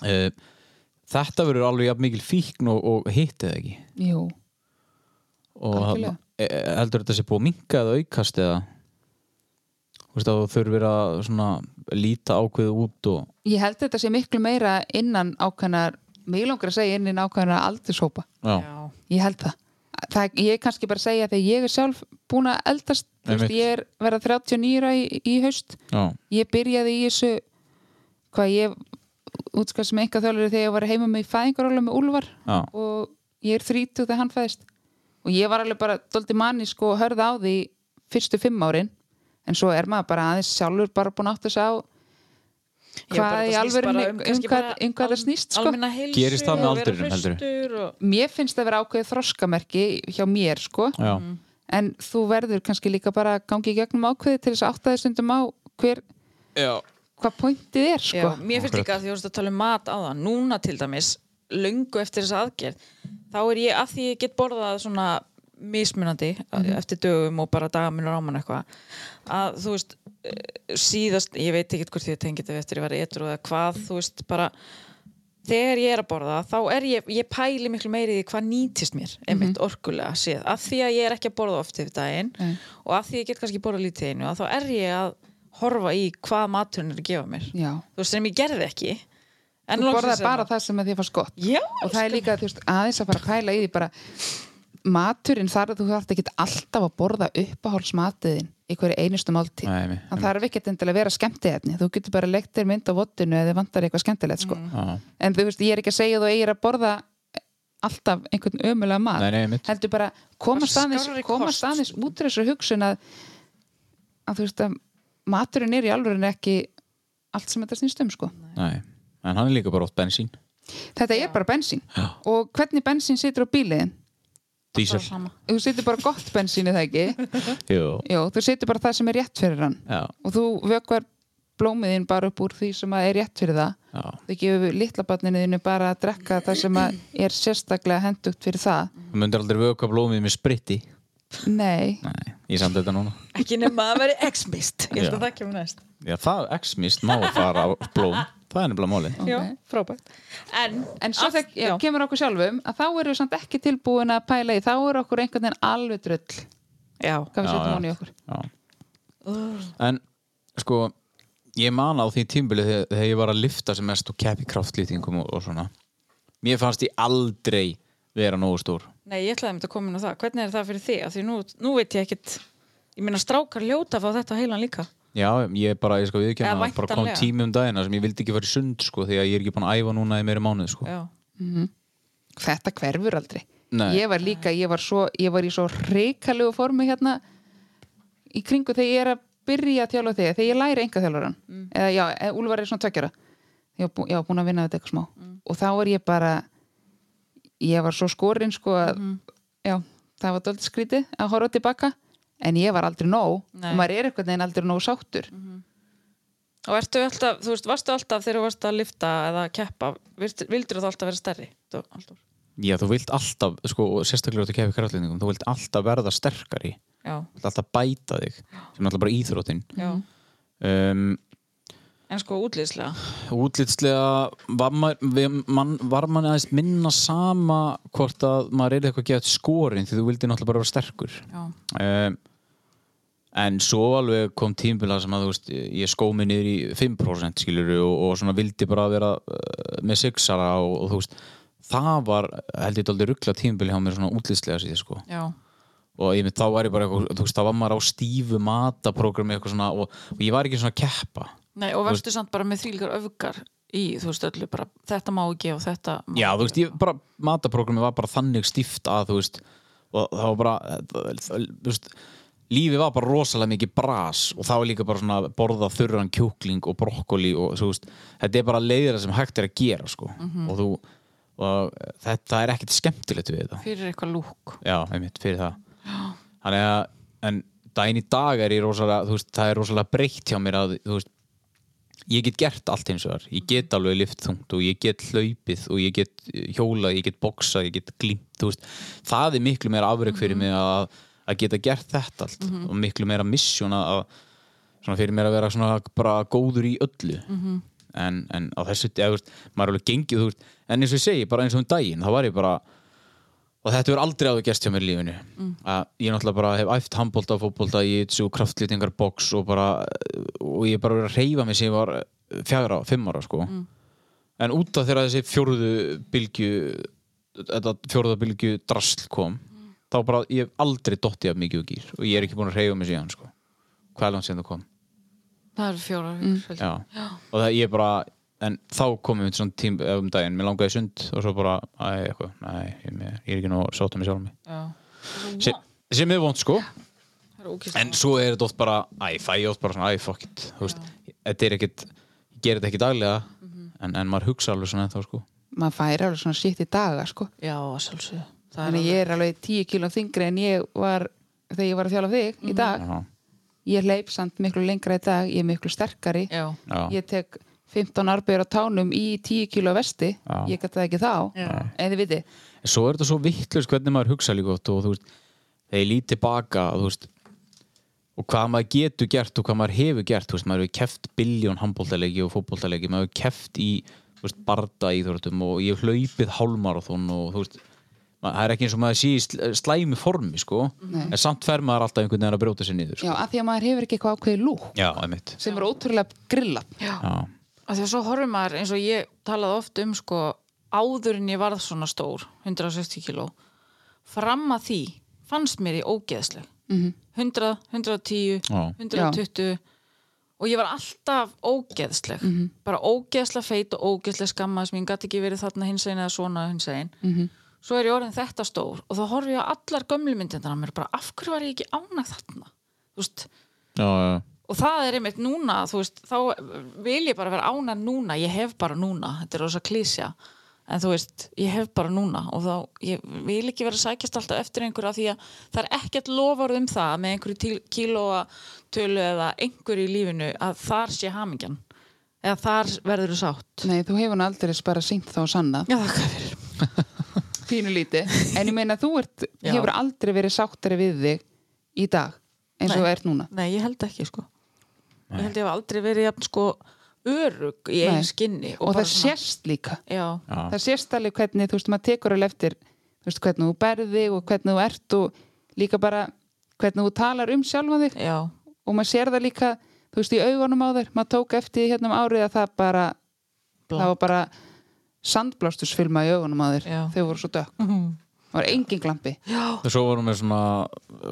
Speaker 1: Uh, þetta verður alveg jafn mikil fíkn og, og hitt eða ekki?
Speaker 3: Jú,
Speaker 1: og
Speaker 3: Algjörlega.
Speaker 1: hann, heldur þetta sé búið að minka eða aukast eða þú veist að þú þurfir að svona líta ákveðu út og
Speaker 3: ég held þetta sé miklu meira innan ákveðnar, mig langar að segja innan ákveðnar aldurshópa
Speaker 1: já,
Speaker 2: Já.
Speaker 3: ég held það, það ég er kannski bara að segja þegar ég er sjálf búin að eldast þú veist,
Speaker 1: Einmitt.
Speaker 3: ég er verða 39 í, í haust
Speaker 1: já,
Speaker 3: ég byrjaði í þessu hvað ég útskast sem eitthvað þjólari þegar ég var heima með í fæðingaróla með Úlfar
Speaker 1: Já.
Speaker 3: og ég er þrítug þegar hann fæðist og ég var alveg bara doldi manni sko að hörða á því fyrstu fimm árin en svo er maður bara aðeins sjálfur bara búin átt þess að
Speaker 2: Já, bara
Speaker 3: Hvað í
Speaker 2: þetta snýst
Speaker 3: alvörunni-
Speaker 2: bara um
Speaker 3: um
Speaker 2: kannski
Speaker 3: hvað-
Speaker 2: bara
Speaker 3: um hvað það
Speaker 2: al-
Speaker 3: snýst, sko?
Speaker 2: almenna heilsu
Speaker 1: Gerist það með
Speaker 2: og vera
Speaker 1: aldrinum, heldurðu?
Speaker 2: hraustur og-
Speaker 3: mér finnst það vera ákveðið þroskamerki hjá mér sko
Speaker 1: já,
Speaker 3: en þú verður kannski líka bara að gangi í gegnum ákveðið til þess að átta þér stundum á hver,
Speaker 4: Já.
Speaker 3: hvað pointið er sko.
Speaker 2: Já, mér finnst líka að því að tala um mat á það núna til dæmis, löngu eftir þessa aðgerð þá er ég, að því ég get borðað svona mismunandi
Speaker 3: Mhm.
Speaker 2: eh, eftir dögum og bara dagaminur áman eitthvað að þú veist eh, síðast, ég veit ekki hvort ég tengi þetta við eftir ég var eitthvað eða hvað, þú veist bara þegar ég er að borða þá er ég, ég pæli miklu meiri í því hvað nýtist mér
Speaker 3: Mhm.
Speaker 2: einmitt orkulega séð af því að ég er ekki að borða oft yfir daginn
Speaker 3: Nei.
Speaker 2: og af því ég get kannski borða lítið einu að þá er ég að horfa í hvað maturinn er að gefa mér
Speaker 3: Já.
Speaker 2: þú veist sem ég gerði ekki en
Speaker 3: þú
Speaker 2: loksins
Speaker 3: borðar
Speaker 2: er
Speaker 3: bara það sem að þið fannst gott
Speaker 2: Já,
Speaker 3: og það er líka þú veist, aðeins að fara að pæla í því bara maturinn þar að þú þarft ekki alltaf að borða uppahálsmatiðin í hverju einustu máltíð
Speaker 1: Nei, einmitt,
Speaker 3: þannig það er ekki endilega að vera skemmtiðefni þú getur bara leikt þér mynd á vottinu eða vantar eitthvað skemmtilegt sko.
Speaker 1: já.
Speaker 3: en þú veist, ég er ekki að segja að þú eigir að borða alltaf einhvern ömulega mat
Speaker 1: Nei, nei, einmitt.
Speaker 3: heldur bara komast
Speaker 2: Bara
Speaker 3: aðeins
Speaker 2: skárri
Speaker 3: komast
Speaker 2: kost.
Speaker 3: aðeins út úr þessu hugsun að, að þú veist að maturinn er í alvörun ekki allt sem þetta snýst um sko
Speaker 1: Nei. en hann er líka bara ótt bensín
Speaker 3: þetta er bara bensín
Speaker 1: Já.
Speaker 3: og hvernig bensín situr á bíliðin
Speaker 1: dísel,
Speaker 2: sama.
Speaker 3: þú situr bara gott bensín er það ekki
Speaker 1: jú,
Speaker 3: Jó, þú situr bara það sem er rétt fyrir hann
Speaker 1: já,
Speaker 3: og þú vökvar blómiðin bara upp úr því sem að er rétt fyrir það
Speaker 1: já
Speaker 3: þú gefur litla barninuðinu bara að drekka það sem að er sérstaklega hendugt fyrir það
Speaker 1: þú myndir aldrei vöka blómið með spritti
Speaker 3: Nei,
Speaker 1: nei, ég samt þetta núna
Speaker 2: ekki nema að vera ex-mist ég held að
Speaker 1: Já.
Speaker 2: það kemur næst
Speaker 1: já, það ex-mist má að fara á blóm það er nefnilega máli
Speaker 2: Já, frábært en,
Speaker 3: en svo
Speaker 2: að-
Speaker 3: þegar já,
Speaker 2: já,
Speaker 3: kemur okkur sjálfum að þá erum við samt ekki tilbúin að pæla í þá er okkur einhvern veginn alveg drull
Speaker 2: já,
Speaker 3: hvað við
Speaker 1: Já,
Speaker 3: setjum
Speaker 1: já.
Speaker 3: hún í okkur
Speaker 1: Já. En sko ég man á því tímbili þegar, þegar ég var að lifta sem mest og keppi kraftlýtingum og, og svona mér fannst ég aldrei vera nógu stór
Speaker 2: nei ég ætlaði einmitt að koma inn á það hvernig er það fyrir þig, af því nú, nú veit ég ekkit ég meina strákar ljóta að fá þetta á heilan líka
Speaker 1: Já, ég bara, ég sko
Speaker 2: Eða
Speaker 1: viðkjöna bara kom
Speaker 2: væntanlega.
Speaker 1: tími um dagina sem ég vildi ekki fara í sund sko því að ég er ekki búin að æfa núna í meiri mánuð sko
Speaker 2: já,
Speaker 3: þetta hverfur aldrei
Speaker 1: Nei.
Speaker 3: ég var líka, ég var, svo, ég var í svo reikalegu formi hérna í kringu þegar ég er að byrja að þjálfa þig þegar ég læri enga þjálfaran
Speaker 2: Mm.
Speaker 3: eða já, e- Úlfar er svona tveggjara ég var bú- ég var búin að vinna þetta eitthvað smá
Speaker 2: Mm.
Speaker 3: og þá er ég bara ég var svo skorinn sko að
Speaker 2: Mhm.
Speaker 3: já, það var dóldi skrítið að horfa tilbaka en ég var aldrei nóg
Speaker 2: Nei. Mhm.
Speaker 3: og maður er eitthvað neginn aldrei nóg sáttur
Speaker 2: og ertu alltaf, þú veist, varstu alltaf þegar þú varst að lifta eða keppa vildur, vildur þú alltaf vera stærri Þú- alltaf.
Speaker 1: Já, þú vilt alltaf, sko, og sérstaklega þú keppi kraftlýtingum, þú vilt alltaf verða sterkari þú
Speaker 2: já,
Speaker 1: vilt alltaf bæta þig sem er alltaf bara íþróttin
Speaker 2: já
Speaker 1: um,
Speaker 2: en sko útlýðslega
Speaker 1: útlitslega var, maður, við- mann- var manni aðeins minna sama hvort að maður er eitthvað gett skorinn því þú vildi náttúrulega bara vera sterkur
Speaker 2: já,
Speaker 1: um, en svo alveg kom tímbila sem að þú veist ég skó mig niður í 5% skilur og, og svona vildi bara vera uh, með 6-ara og, og þú veist það var held ég aldrei ruggla tímbili hjá mér svona útlitslega síðan sko
Speaker 2: já,
Speaker 1: og ég mynd þá var ég bara eitthvað, þú veist þá var maður á stífu mataprógrami eitthvað svona og, og ég var ekki svona að keppa
Speaker 2: nei og varstu samt bara með þvílíkar öfgar í, þú veist, öllu bara þetta má ekki og þetta má
Speaker 1: Já,
Speaker 2: ekki.
Speaker 1: þú veist, ég bara, mataprógrami var bara þannig stíft að, þú veist, og það var bara, það- það- þú veist, lífið var bara rosalega mikið bras og það var líka bara svona að borða þurran kjúkling og brokkoli og, þú veist, þetta er bara leiðir sem hægt er að gera, sko, og þú, og þetta er ekkert skemmtilegt við þetta.
Speaker 2: fyrir eitthvað lúk
Speaker 1: Já, einmitt, fyrir það. Þannig að, en daginn í dag er ég rosalega, þú veist, það er rosalega breytt hjá mér að, þú veist, ég get gert allt eins og þar, ég get alveg liftþungt og ég get hlaupið og ég get eh, hjólað, ég get boksað, ég get glímt þú veist, það er miklu meira afreg fyrir mig að, að geta gert þetta allt og miklu meira misjón að- að svona fyrir mér að vera svona bara góður í öllu en, en á þessu, eða, þú veist, maður er alveg gengið þú veist, en eins og ég segi, bara eins og um daginn þá var ég bara, og þetta verður aldrei áður gerst hjá mér í lífinu að ég náttúrulega bara hef æft handbólta, fótbólta jitsu, kraftlýtingar, box og bara og ég hef bara verið að reyfa mig sem ég var fjagra, fimm ára sko en út af þegar þessi fjórðu bylgju þetta fjórða bylgju drasl kom þá bara, ég hef aldrei dottið af mikið og gýr og ég er ekki búin að reyfa mig síðan sko hvað er langt sem það kom
Speaker 2: það eru fjórar mm.
Speaker 1: Já. og það ég bara en þá komum við svona tím um daginn, mér langaði í sund og svo bara, æ, eitthvað, næ, ég, mér- ég er ekki nú sáttum í sjálfum mig
Speaker 2: Já.
Speaker 1: sem, sem er vond sko
Speaker 2: Það er ókist.
Speaker 1: en svo er þetta oft bara, æ, fæ ég oft bara svona, æ, fuck it, þú veist þetta er ekkit, ég ger þetta ekki daglega en, en maður hugsa alveg svona ennþá sko
Speaker 3: maður færi alveg svona shit í daga sko.
Speaker 2: Já, að sjálfsögðu. Það er
Speaker 3: þannig að ég er alveg 10 kíló þingri en ég var þegar ég var að þjála af þig
Speaker 2: Mhm.
Speaker 3: í dag
Speaker 1: já,
Speaker 3: ég hleyp samt miklu lengra í dag ég er miklu sterkari
Speaker 2: Já.
Speaker 1: já,
Speaker 3: ég tek 15 arbeigur á tánum í 10 kíló vesti
Speaker 1: Já.
Speaker 3: ég gæti það ekki þá
Speaker 2: Já.
Speaker 3: en þið viti
Speaker 1: en svo er þetta svo vittlust hvernig maður hugsa líka oft og þú veist, þegar ég lít tilbaka þú veist, og hvað maður getur gert og hvað maður hefur gert, þú veist, maður hefur keft biljón handbóltalegi og fótbóltalegi maður hefur keft í, þú veist, barda íþróttum og ég hef hlaupið hálmarathon og þú veist, maður, það er ekki eins og maður sé í sl- slæmi formi, sko en samt fer maður alltaf einhvern veginn að brjóta sér niður sko.
Speaker 3: já, að því að maður hefur ekki eitthvað ákveðið lúk
Speaker 1: já, einmitt
Speaker 3: sem er ótrúlega grilla
Speaker 2: Já.
Speaker 1: já,
Speaker 2: Af því að svo horfum maður, eins og ég talaði oft um sko, áður en ég varð svona stór 160 kíló fram að því fannst mér ég ógeðsleg -hmm. 100, 110
Speaker 1: Já.
Speaker 2: 120 og ég var alltaf ógeðsleg bara ógeðslega feit og ógeðslega skamma sem ég gat ekki verið þarna hins einn eða svona hins einn -hmm. svo er ég orðin þetta stór og þá horfi ég á allar gömlu myndindana á mér bara af hverju var ég ekki ánað þarna þú veist
Speaker 1: já, já,
Speaker 2: og það er einmitt núna þú veist, þá vil ég bara vera ána núna ég hef bara núna, þetta er rosa klísja en þú veist, ég hef bara núna og þá, ég vil ekki vera að sækjast alltaf eftir einhverja því að það er ekkert lofar um það með einhverju til- kílóatölu eða einhverju í lífinu að þar sé hamingjan eða þar verður þú sátt
Speaker 3: nei, þú hefur hann aldrei bara sínt þá sanna
Speaker 2: Já, þakka fyrir
Speaker 3: pínu líti en ég meina þú ert,
Speaker 2: Já.
Speaker 3: hefur aldrei verið sáttari við þig í dag eins og
Speaker 2: Nei.
Speaker 3: þú ert núna
Speaker 2: Nei, ég held ekki, sko Ég held ég hef aldrei verið jafn, sko, örug í
Speaker 3: Nei.
Speaker 2: einn skinni
Speaker 3: og,
Speaker 2: bara
Speaker 3: það
Speaker 2: svona-
Speaker 3: sést líka
Speaker 2: Já,
Speaker 1: já.
Speaker 3: það sést alveg hvernig, þú veist, maður tekur alveg eftir þú veist, hvernig þú berði og hvernig þú ert og líka bara hvernig þú talar um sjálfa þig
Speaker 2: já,
Speaker 3: og maður sér það líka, þú veist, í augunum á þér maður tók eftir því hérna um árið að það bara
Speaker 2: Blankt.
Speaker 3: það var bara sandblástusfilma í augunum á þér
Speaker 2: Já.
Speaker 3: þau voru svo dökk, það var engin glampi
Speaker 1: Og svo var hún með svona,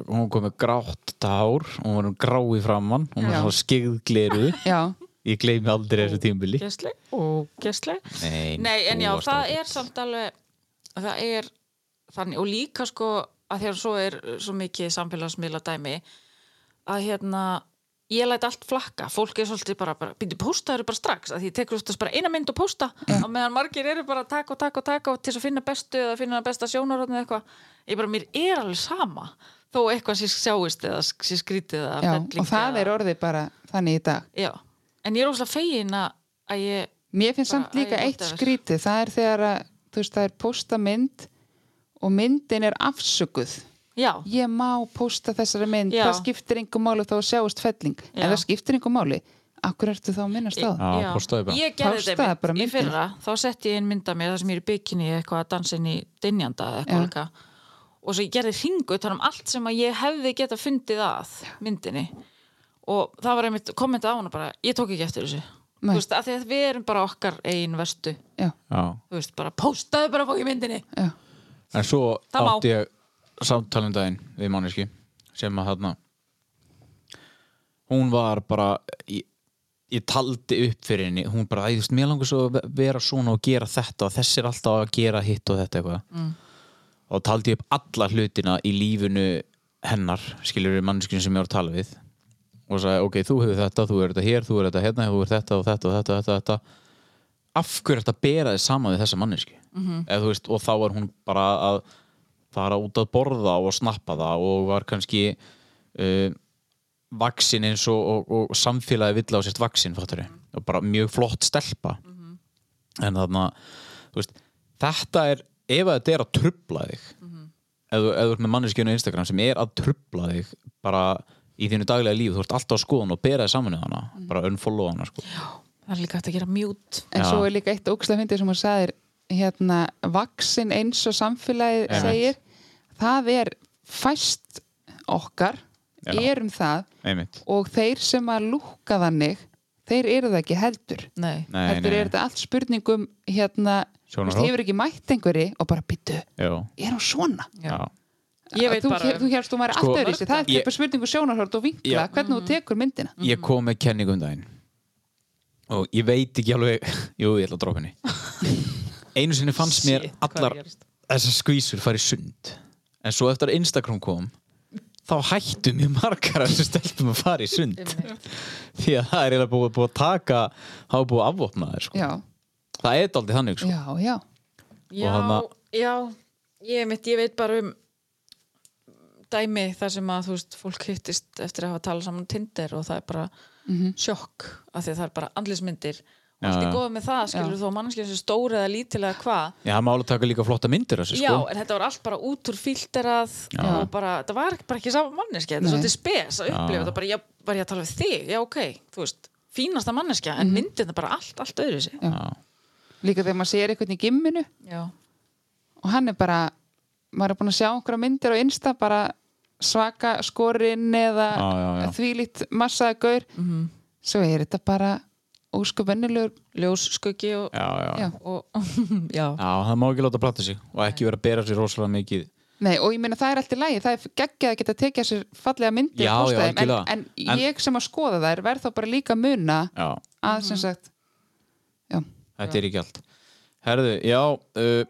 Speaker 1: hún kom með grátt tár, hún var um grá í framann, hún var
Speaker 3: Já.
Speaker 1: svona skyggðgleru.
Speaker 3: já,
Speaker 1: Ég gleymi aldrei þessu tímbili.
Speaker 2: gæsleg og gæsleg
Speaker 1: Nei,
Speaker 2: Nei, en
Speaker 1: þú
Speaker 2: já,
Speaker 1: varst
Speaker 2: það
Speaker 1: ágæt.
Speaker 2: er samt alveg það er þannig og líka sko að þegar svo er svo mikið samfélagsmiðla dæmi að hérna ég læt allt flakka, fólk er svolítið bara, bara býttu pósta eru bara strax, að því ég tekur þetta bara eina mynd og pósta, á meðan margir eru bara takk og takk og takk og til þess að finna bestu eða finna besta sjónarotni eða eitthvað ég bara, mér er alveg sama þó eitthvað sér sjáist eða sér skrítið eða
Speaker 3: já
Speaker 2: felling
Speaker 3: og það
Speaker 2: eða,
Speaker 3: er orðið bara þannig í dag
Speaker 2: já, en ég er óslega fegin að að ég
Speaker 3: Mér finnst
Speaker 2: Bara
Speaker 3: samt líka
Speaker 2: æ,
Speaker 3: eitt
Speaker 2: whatever.
Speaker 3: skrítið, það er þegar að, þú veist, það er posta mynd og myndin er afsökuð.
Speaker 2: Já,
Speaker 3: Ég má posta þessari mynd,
Speaker 2: Já.
Speaker 3: það skiptir engum máli þá sjáist felling.
Speaker 2: Já.
Speaker 3: En það skiptir engum máli, akkur ertu þá að minnast á það?
Speaker 1: Já, postaðu bara.
Speaker 2: Ég gerði þetta
Speaker 3: Postaðu
Speaker 2: einmitt
Speaker 3: bara
Speaker 2: í
Speaker 3: myndina.
Speaker 2: fyrra, þá setti ég inn mynda mér þar sem ég er í bygginni eitthvað að dansa inn í dynjanda eða eitthvað
Speaker 3: Já.
Speaker 2: líka. og svo ég gerði hringu þar um allt sem að ég hefði geta fundið að myndinni og það var einmitt kommentað á hana bara ég tók ekki eftir þessu
Speaker 3: Nei.
Speaker 2: Þú veist, af því að við erum bara okkar einn vestu
Speaker 3: Já,
Speaker 1: Já,
Speaker 2: þú veist, bara postaðu bara fók í myndinni
Speaker 3: já,
Speaker 1: en svo
Speaker 2: Það má.
Speaker 1: átti ég samtalum daginn við manneski sem að þarna, hún var bara, ég, ég taldi upp fyrir henni, hún bara, æ, þú veist, mér langar svo að ve- vera svona og gera þetta og þessi er alltaf að gera hitt og þetta eitthvað.
Speaker 2: Mm.
Speaker 1: og taldi upp alla hlutina í lífinu hennar, skilur við mannskinu sem ég var að tala við og sagði, ok, þú hefur þetta, þú er þetta hér, þú er þetta hérna þú er þetta og þetta og þetta, og þetta, þetta. af hverju er þetta að bera þið saman við þessa manneski
Speaker 3: Mhm.
Speaker 1: -hmm. Eð, veist, og þá var hún bara að fara út að borða og snappa það og var kannski uh, vaksin eins og, og, og samfélagi vill á sért vaksin fattari,
Speaker 3: Mhm.
Speaker 1: og bara mjög flott stelpa en þarna þú veist, þetta er, ef að þetta er að trubla þig
Speaker 3: Mhm.
Speaker 1: ef, þú- ef þú ert með manneskjönu Instagram sem er að trubla þig bara í þínu daglega líf, þú ert alltaf að skoða hann og bera þig saman við hana,
Speaker 3: Mhm.
Speaker 1: bara unfollow hana sko.
Speaker 2: það er líka hægt að gera mute
Speaker 3: en
Speaker 1: Já.
Speaker 3: svo er líka eitt ógstlega fyndið sem hún sagðir, hérna, vaksin eins og samfélagið
Speaker 1: Einmitt.
Speaker 3: segir, það er fæst okkar,
Speaker 1: Já.
Speaker 3: erum það
Speaker 1: einmitt,
Speaker 3: og þeir sem að lúka þannig, þeir eru það ekki heldur.
Speaker 2: Nei,
Speaker 1: nei,
Speaker 3: heldur er
Speaker 1: nei, nei.
Speaker 3: þetta allt spurningum hérna, þú veist,
Speaker 1: Sjónarhorn.
Speaker 3: hefur ekki mætt einhverji og bara byttu,
Speaker 1: Já,
Speaker 3: er hún svona?
Speaker 1: já.
Speaker 2: ég veit
Speaker 3: þú,
Speaker 2: bara
Speaker 3: þú hérst, þú maður
Speaker 1: Sko, Mm.
Speaker 3: alltaf er þessi, það er um
Speaker 1: ég-
Speaker 3: bara spurningu sjónarhort og vinkla,
Speaker 1: Já.
Speaker 3: hvernig þú tekur myndina
Speaker 1: ég kom með kenningum daginn og um og ég veit ekki alveg jú, ég ætla að dróka henni einu sinni fannst mér
Speaker 2: Shit, hvað
Speaker 1: allar
Speaker 2: gerist?
Speaker 1: þessar skvísur fara í sund en svo eftir að Instagram kom þá hættu mjög margar af þessu stelpum að fara í sund því að það er eiginlega búið, búið að taka það er búið að afvopna þér sko.
Speaker 3: já,
Speaker 1: það er daldið þannig sko.
Speaker 3: já, já
Speaker 2: Já,
Speaker 1: hana-
Speaker 2: já, ég, mitt, ég veit bara um dæmi þar sem að þú veist, fólk hittist eftir að hafa talað saman á Tinder og það er bara sjokk af því að það er bara andlismyndir og
Speaker 1: Já,
Speaker 2: allt er
Speaker 1: já.
Speaker 2: góð með það, skilur þú að mannskilur sem stóra eða lítilega hvað
Speaker 1: já, það mála taka líka flotta myndir af þessu
Speaker 2: Já,
Speaker 1: sko.
Speaker 2: en þetta var allt bara út úr filterað og bara, það var bara ekki sama manneskja þetta er
Speaker 3: Nei.
Speaker 2: svolítið spes að upplifa þetta bara, já, var ég að tala við þig, já, ok þú veist, fínasta manneskja, en myndin er bara allt, allt öðru sig
Speaker 3: Já. líka þegar maður sér einhvern í gimminu
Speaker 2: Já,
Speaker 3: og hann er bara maður er búin að sjá einhverja myndir á Insta bara svaka skorinn eða
Speaker 1: Já, já, já.
Speaker 3: þvílíkt massaða gaur svo er þetta bara ósku vennilegur
Speaker 2: ljós, skuggi og,
Speaker 1: Já, já.
Speaker 3: Já.
Speaker 2: og já,
Speaker 1: Já, það má ekki láta að platta sig og ekki vera að bera sér rosalega mikið
Speaker 3: Nei, og ég meina það er allt í lagi, það er geggjað að geta tekið sér fallega myndir
Speaker 1: Já,
Speaker 3: og posta
Speaker 1: já,
Speaker 3: þeim, en,
Speaker 1: algjörlega.
Speaker 3: en,
Speaker 1: En-
Speaker 3: ég sem að skoða þær verð þá bara líka að muna
Speaker 1: já.
Speaker 3: að sem sagt já,
Speaker 1: Þetta er ekki allt Herðu, já uh,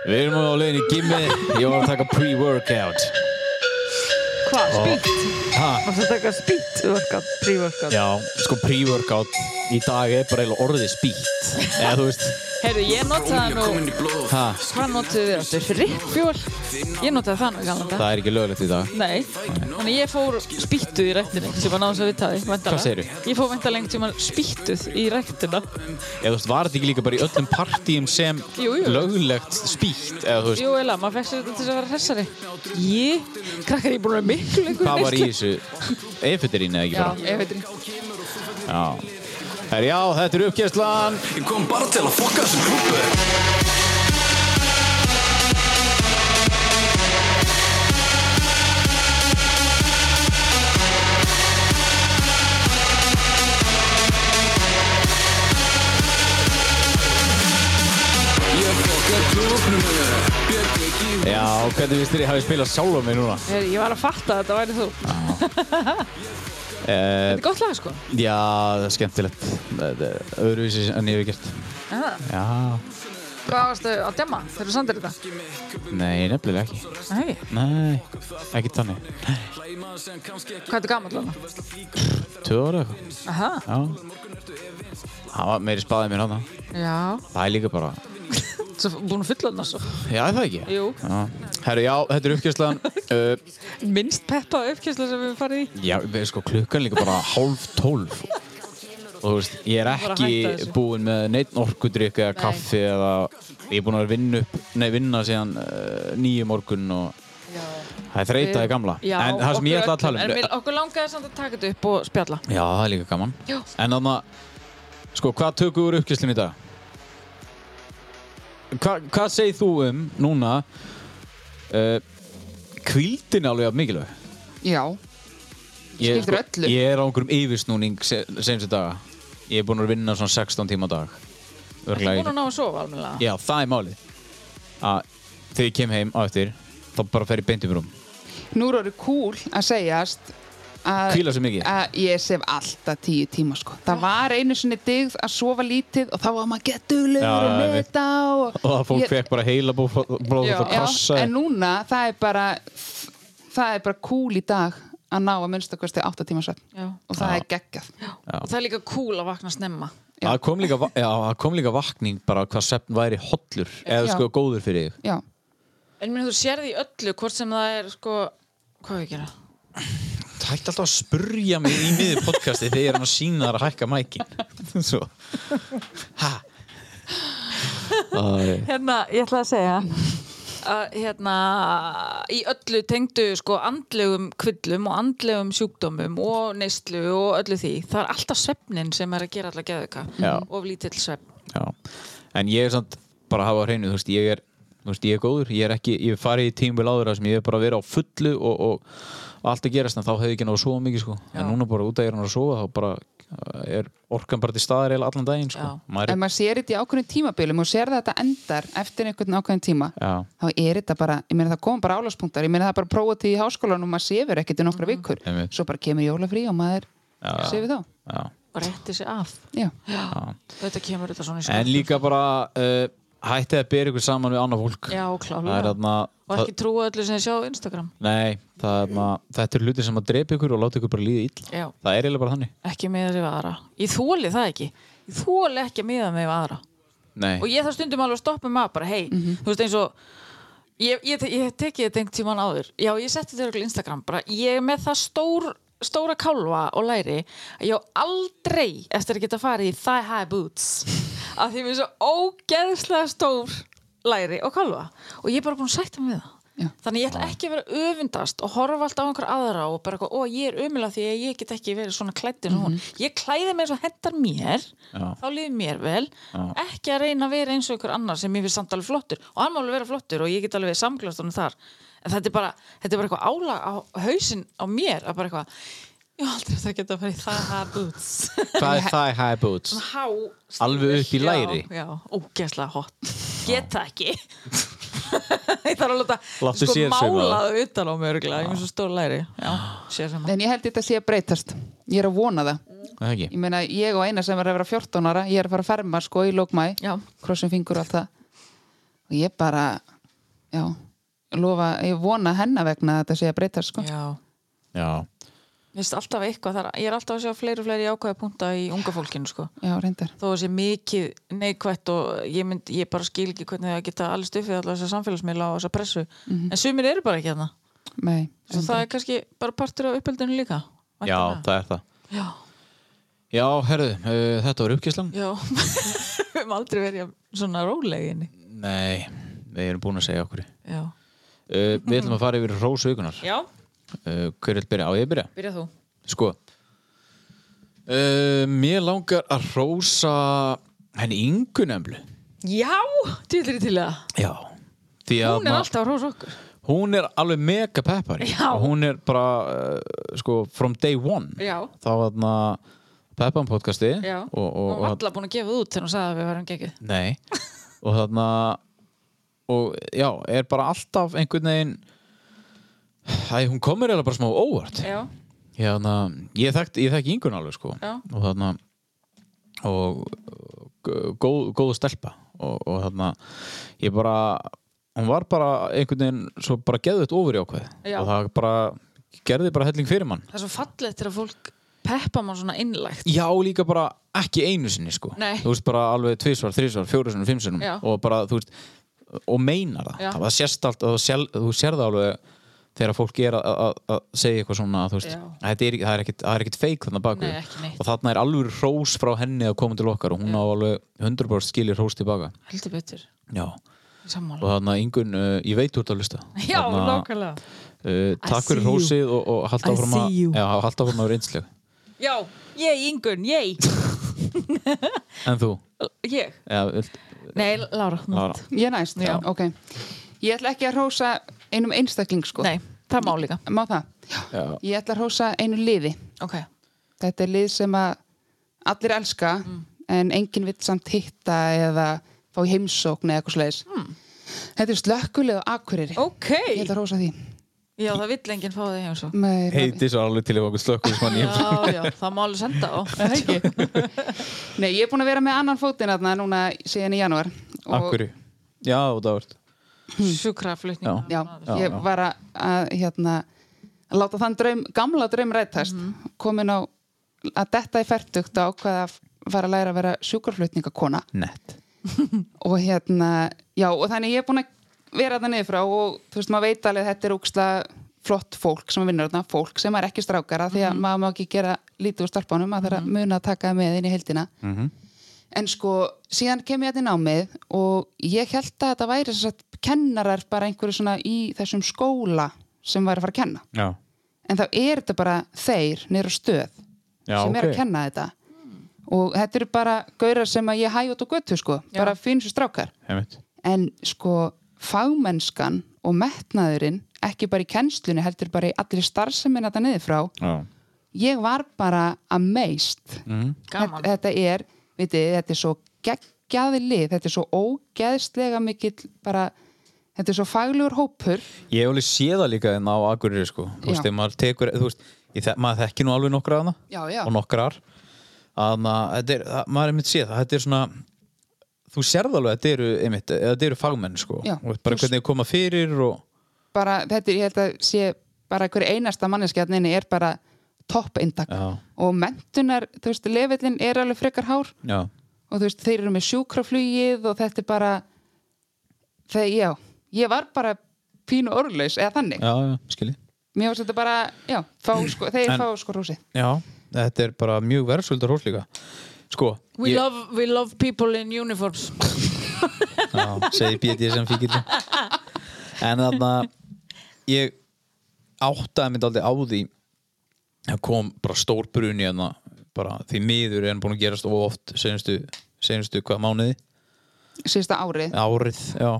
Speaker 1: Við erum á leiðin í gimmi Ég var að taka pre-workout
Speaker 2: hvað, spýtt
Speaker 1: Ha?
Speaker 2: og það taka spýtt workout, pre-workout
Speaker 1: Já, sko pre-workout í dag er bara eiginlega orðið spýtt Eða þú veist
Speaker 2: Heyrðu, ég notaði nú,
Speaker 1: ha,
Speaker 2: hvað notaðu við áttur? Riffjól, ég notaði það nú í gamla
Speaker 1: Það
Speaker 2: þetta
Speaker 1: er ekki löglegt í dag
Speaker 2: Nei, þannig ég fór spýttu í rættinni sem var náðum að vita því
Speaker 1: Hvað segirðu?
Speaker 2: Ég fór væntalega einhvern tímann spýttuð í rættina
Speaker 1: Eða þú veist, var þetta ekki líka bara í öllum partíum sem
Speaker 2: Jú, jú.
Speaker 1: löglegt spýtt Eða þú veist,
Speaker 2: Jú, eða, maður fekk sér þetta til þess að vera hressari Ég, krakkar, ég er búin að vera miklu lengur
Speaker 1: hvað var í
Speaker 2: neyslu.
Speaker 1: þessu? Efetirín eða ekki
Speaker 3: já,
Speaker 1: bara
Speaker 3: ég veit ekki
Speaker 1: Já Herru, já, þetta er uppgæslan
Speaker 5: Ég kom bara til að fokka þessum klubbu Ég fokka klubnum Ég teki
Speaker 1: Já, hvernig vistir ég hafi spilað sjálf á mig núna?
Speaker 2: Heyrðu, Ég var að fatta að þetta væri þú Þetta
Speaker 1: Eh,
Speaker 2: er gott lag, sko
Speaker 1: Já, það er skemmtilegt Það er öðruvísi en ég hef gert Já,
Speaker 2: Hvað varstu að demma þegar þú sandir þetta?
Speaker 1: nei, nefnilega ekki
Speaker 2: Nei,
Speaker 1: Nei, ekki þannig Nei,
Speaker 2: hvað er þetta gamall hana?
Speaker 1: Tvö ára eitthvað
Speaker 2: Aha,
Speaker 1: Já Það var meiri spaðið mér hana
Speaker 2: já
Speaker 1: Það er líka bara
Speaker 2: Svo búin að fulla hana svo
Speaker 1: Já, er það ekki?
Speaker 2: Jú.
Speaker 1: Já. Herru, já, þetta er uppgjörslan uh,
Speaker 2: Minnst peppa uppkjæsla sem við farið í
Speaker 1: Já, við sko klukkan líka bara hálf tólf Og þú veist, ég er
Speaker 2: Bara hætta
Speaker 1: ekki
Speaker 2: þessu.
Speaker 1: búinn með neitt orkudrykk eða kaffi eða ég er búinn að vinna upp, nei vinna síðan uh, nýju morgun og það er þreytaði gamla
Speaker 2: Já,
Speaker 1: en það sem ég
Speaker 2: okkur
Speaker 1: ætla að tala
Speaker 2: öllum.
Speaker 1: um
Speaker 2: En við- okkur langaði samt að taka þetta upp og spjalla
Speaker 1: Já, það er líka gaman.
Speaker 2: Já.
Speaker 1: En þannig sko, hvað tökum við úr uppkjöslum í dag? Hva, hvað segir þú um núna uh, kvíldin alveg af mikilvæg?
Speaker 3: já,
Speaker 1: Ég,
Speaker 3: Skiptir öllu.
Speaker 1: ég er á einhverjum yfirsnúning se, senstu daga. Ég er búinn að vinna svona 16 tíma á dag.
Speaker 2: Þú
Speaker 1: Örugglega
Speaker 2: búin
Speaker 1: í-
Speaker 2: að ná að sofa almennilega
Speaker 1: Já, það er málið. Að þegar ég kem heim á eftir, þá bara fer ég beint um rúm.
Speaker 3: nú er orðið cool að segjast að,
Speaker 1: Hvíla svo mikið.
Speaker 3: að ég sef alltaf tíu tíma sko. það var einu sinni digð að sofa lítið og þá var maður
Speaker 1: Já,
Speaker 3: gett duglegur og
Speaker 1: einmitt.
Speaker 3: netta og,
Speaker 1: Og það fólk
Speaker 3: Ég-
Speaker 1: fekk bara heila blóð og
Speaker 3: Já,
Speaker 1: krossaði.
Speaker 3: en núna það er bara það er bara cool í dag að ná að minnstakosti 8 tíma svefn
Speaker 2: Já.
Speaker 3: og það er geggjað
Speaker 2: Og það er líka cool að vakna snemma
Speaker 1: Það kom, líka, va- já, það kom líka vakning bara hvað svefn væri hollur eða
Speaker 3: Já.
Speaker 1: sko góður fyrir þig.
Speaker 3: já,
Speaker 2: En minn, þú sérði í öllu hvort sem það er sko, hvað er að gera?
Speaker 1: Það hætti alltaf að spurja mig í miður podcasti þegar ég er hann að sína þar að hækka mækin. Svo. Ha? Það er-
Speaker 2: Hérna, ég ætla að segja að hérna í öllu tengdu sko andlegum kvillum og andlegum sjúkdómum og neyslu og öllu því það er alltaf svefnin sem er að gera alltaf geðuka
Speaker 1: Já.
Speaker 2: of lítill svefn
Speaker 1: Já. En ég er samt bara að hafa á hreinu, þú veist, ég er, þú veist, ég er góður, ég er ekki, ég hef farið í tímbil áður þar sem ég hef bara verið á fullu og, og allt að gerast en þá hefði ég ekki náðu að sofa mikið sko. En núna bara út að ég er hann að sofa þá bara eh, er orkan bara til staðar eiginlega allan daginn sko.
Speaker 2: Já.
Speaker 1: Maður er-
Speaker 3: ef maður sér þetta í ákveðin tímabilum og sér það að þetta endar eftir einhvern ákveðin tíma
Speaker 1: Já.
Speaker 3: þá er þetta bara, ég meina það kom bara álaspunktar ég meina það er bara prófa til í háskólanum og maður sefur ekkert í nokkra vikur
Speaker 1: Mhm. Einmitt.
Speaker 3: svo bara kemur jólafrí og maður sefur þá
Speaker 1: Já.
Speaker 2: og rétti sig af
Speaker 3: Já,
Speaker 2: Já, þetta kemur þetta svona í
Speaker 1: En
Speaker 2: skjöldu.
Speaker 1: líka bara uh, hættið að bera ykkur saman við annað fólk
Speaker 2: Já,
Speaker 1: Það er
Speaker 2: klálega
Speaker 1: þarna
Speaker 2: og
Speaker 1: það-
Speaker 2: ekki trúa öllu sem þið sjá á Instagram
Speaker 1: Nei, það er þarna Þetta er hluti sem að drepa ykkur og láta ykkur bara líða illa
Speaker 2: Já.
Speaker 1: Það er eiginlega bara þannig
Speaker 2: ekki miða sig við aðra ég þóli það ekki ég þóli ekki að miða mig við aðra
Speaker 1: Nei,
Speaker 2: og ég þarf stundum alveg að stoppa mig að bara hei, þú veist eins og ég, ég, ég, ég tekið þetta einhvern tíman áður já, ég setti þetta örugglega á Instagram bara ég er með það stór, stóra kálfa og læri að ég á aldrei eftir að geta farið í thigh high boots að því mér er svo ógeðslega stór læri og kálfa og ég er bara búin að sætta mig við það
Speaker 3: Já.
Speaker 2: Þannig ég ætla ekki að vera öfundast og horfa alltaf á einhver aðra og bara eitthvað, ó ég er ömulega því að ég get ekki verið svona klættin mm hún. Ég klæði mig eins og hendar mér,
Speaker 1: Já.
Speaker 2: þá líður mér vel, ekki að reyna að vera eins og einhver annar sem ég finnst samt alveg flottur og hann má alveg vera flottur og ég get alveg samglast honum þar. En þetta er bara, þetta er bara eitthvað álag á hausinn á mér að bara eitthvað, ég á aldrei þetta geta að fara í það boots.
Speaker 1: hvað er það í high boots?
Speaker 2: Há.
Speaker 1: Alveg upp í læri?
Speaker 2: Já, já, ógeðslega hot. Get það ekki. ég þarf að láta
Speaker 1: Láttu
Speaker 2: sko
Speaker 1: sér sauma það.
Speaker 2: málaðu utan á mig örgulega, ég er með svo stór læri. Já, sér sem að.
Speaker 3: en ég held þetta sé að breytast Ég er að vona það
Speaker 1: Það ekki
Speaker 3: Ég meina, ég og eina sem er að vera 14 ára Ég er að fara að ferma sko í lókmæ
Speaker 2: Já.
Speaker 3: Krossum fingur og allt það Og ég bara, já Lofa, ég vona hennar vegna að þetta sé að breytast sko
Speaker 2: Já,
Speaker 1: Já,
Speaker 2: mér finnst alltaf eitthvað þar, ég er alltaf að sjá fleiri og fleiri jákvæða punta í unga fólkinu sko.
Speaker 3: Já, reyndar
Speaker 2: Þó að sé mikið neikvætt og ég, mynd, ég bara skil ekki hvernig það geta allir stuffið allar þessar samfélagsmiðla og þessar pressu. En sumir eru bara ekki þarna.
Speaker 3: Nei,
Speaker 2: Svo það er kannski bara partur af uppeldinu líka.
Speaker 1: já
Speaker 2: væntanlega.
Speaker 1: það er það
Speaker 2: Já,
Speaker 1: Já, herðu, uh, þetta var uppkíslan
Speaker 2: já. Við höfum aldrei verið svona róleginni.
Speaker 1: Nei, við erum búin að segja okkur uh,
Speaker 2: Já.
Speaker 1: Við ætlum að fara yfir rósaukunar
Speaker 2: Já,
Speaker 1: uh, Hver vil byrja? Á ég að byrja?
Speaker 2: byrja þú.
Speaker 1: Sko uh, Mér langar að rósa henni yngu nefnlu
Speaker 2: Já, dýlir til það.
Speaker 1: Já Því að
Speaker 2: Hún er alltaf rós okkur.
Speaker 1: hún er alveg mega peppari
Speaker 2: Já.
Speaker 1: og hún er bara uh, sko, from day one
Speaker 2: Já.
Speaker 1: þá var þarna peppan podcasti
Speaker 2: Já,
Speaker 1: og, og,
Speaker 2: hún var alltaf búin að gefa það út þegar hún sagði að við varum geggið.
Speaker 1: nei, og þarna og já, er bara alltaf einhvern veginn Æ, hún komur eða bara smá óvart
Speaker 2: Já,
Speaker 1: hérna, ég þekkt, ég þekkt yngun alveg sko
Speaker 2: Já.
Speaker 1: og þarna og gó- góð, góð stelpa og, og þarna ég bara, hún var bara einhvern veginn svo bara geðvett ofur í ákveð
Speaker 2: Já.
Speaker 1: og það bara, gerði bara helling fyrir mann
Speaker 2: það er svo fallegt þegar fólk peppa mann svona innlægt.
Speaker 1: já, líka bara ekki einu sinni sko
Speaker 2: Nei.
Speaker 1: þú veist bara alveg tvisvar, þrisvar, fjórusunum, fimmsunum
Speaker 2: Já.
Speaker 1: og bara, þú veist og meinar það,
Speaker 2: Já.
Speaker 1: það sérst allt það sér, þú sér það alveg þegar fólk er að- að að segja eitthvað svona þú veist,
Speaker 2: Já.
Speaker 1: þetta er, ekki- það er ekkit, það er ekkit feik þannig baku
Speaker 2: Nei, ekki neitt.
Speaker 1: og þarna er alveg hrós frá henni að koma til okkar og hún á alveg 100% skilir hrós tilbaka
Speaker 2: Heldur betur.
Speaker 1: já. og
Speaker 2: Sammála.
Speaker 1: þarna yngun, uh, ég veit þú ert að lusta
Speaker 2: Já, nákvæmlega.
Speaker 1: uh, takk
Speaker 2: see
Speaker 1: fyrir
Speaker 2: you.
Speaker 1: hrósið og, og halda
Speaker 2: I
Speaker 1: áfram að
Speaker 2: see you.
Speaker 1: já, halda áfram að vera einsleg
Speaker 2: Já, ég, Ingun, ég.
Speaker 1: en þú,
Speaker 2: Ég.
Speaker 1: já, vilt,
Speaker 2: Nei, Lára. þú
Speaker 1: Lára.
Speaker 2: mátt.
Speaker 3: Ég næst,
Speaker 1: Já.
Speaker 3: ok Ég ætla ekki að hrósa einum einstakling sko
Speaker 2: Nei, það má líka.
Speaker 3: Má það?
Speaker 1: Já.
Speaker 3: Ég ætla að hrósa einu liði
Speaker 2: Ok.
Speaker 3: Þetta er lið sem að allir elska en enginn vill samt hitta eða fá í heimsókn eða eitthvað slæðis Þetta er slökkulið á Akureyri
Speaker 2: Ok.
Speaker 3: Ég ætla að hrósa því
Speaker 2: Já, það vill enginn fá þig heim svo.
Speaker 3: Með- hérna-
Speaker 1: heiti svo alveg til okkur slökkulismann
Speaker 2: Já, já, það má alveg senda á.
Speaker 3: Nei, ég er búin að vera með annan fótinn þarna núna síðan í janúar og-
Speaker 1: akkur já, og það vart
Speaker 2: Sjúkraflutning.
Speaker 3: Já, ég var að, að hérna, láta þann draum, gamla draum rættast mm -hmm. komin á að detta í færtugt á hvað að fara að læra að vera sjúkarflutningakona
Speaker 1: nett
Speaker 3: og hérna, já og þannig ég er búin að vera þetta niður frá og þú veist maður veit alveg að þetta er úksla flott fólk sem vinnur þarna, fólk sem er ekki strákara því
Speaker 1: Mhm.
Speaker 3: að maður má ekki gera lítið úr starfbánum maður þarf að muna að taka það með inn í heldina
Speaker 1: Mhm.
Speaker 3: en sko, síðan kem ég þetta í námið og ég held að þetta væri sem sagt, kennarar bara einhverju svona í þessum skóla sem væri að fara að kenna
Speaker 1: já,
Speaker 3: en þá er þetta bara þeir nýra stöð
Speaker 1: Já,
Speaker 3: sem er
Speaker 1: ok.
Speaker 3: að kenna þetta og þetta eru bara gaurar sem að ég hæg út á götu sko, bara finnst strákar
Speaker 1: heimitt
Speaker 3: en sko fagmennskan og metnaðurinn ekki bara í kennslunni, heldur bara í allir starfsemin þetta niður frá,
Speaker 1: já,
Speaker 3: ég var bara amazed mm.
Speaker 2: Gaman.
Speaker 3: þetta er, vitið, þetta er svo geggjaði lið, þetta er svo ógeðslega mikill bara þetta er svo faglegur hópur
Speaker 1: Ég hef alveg séð það líka en á Akureyri sko. þú
Speaker 3: Já.
Speaker 1: veist, ef maður tekur þú veist, ég þe maður þekki nú alveg nokkra hana
Speaker 3: Já, já.
Speaker 1: og nokkrar að ma- þetta er, að, maður er einmitt séð það þetta er svona þú sérð alveg að þetta eru, einmitt, að þetta eru fagmenn sko,
Speaker 3: Já.
Speaker 1: og bara hvernig þau koma fyrir og
Speaker 3: bara, þetta er, ég held að sé bara hver einasta manneskjarninni er bara topp eintak
Speaker 1: Já.
Speaker 3: og mentunar, þú veist, lefillin er alveg frekar hár
Speaker 1: já,
Speaker 3: og þú veist, þeir eru með sjúkraflugið og þetta er bara þegar, já, ég var bara pínu orðlaus eða þannig
Speaker 1: já, já, skilji
Speaker 3: mér varst þetta bara, já, fá sko, þeir
Speaker 1: En-
Speaker 3: fá sko húsi
Speaker 1: já, þetta er bara mjög verðsöldar hós líka sko,
Speaker 2: We, love, we love people in uniforms
Speaker 1: já, segi BDSM fíkil en þannig að ég áttaði mynd aldrei á því það kom bara stór bruni hérna, bara því miður er hann búin að gerast of oft senustu, senustu hvað mánuði
Speaker 3: síðasta árið,
Speaker 1: árið, já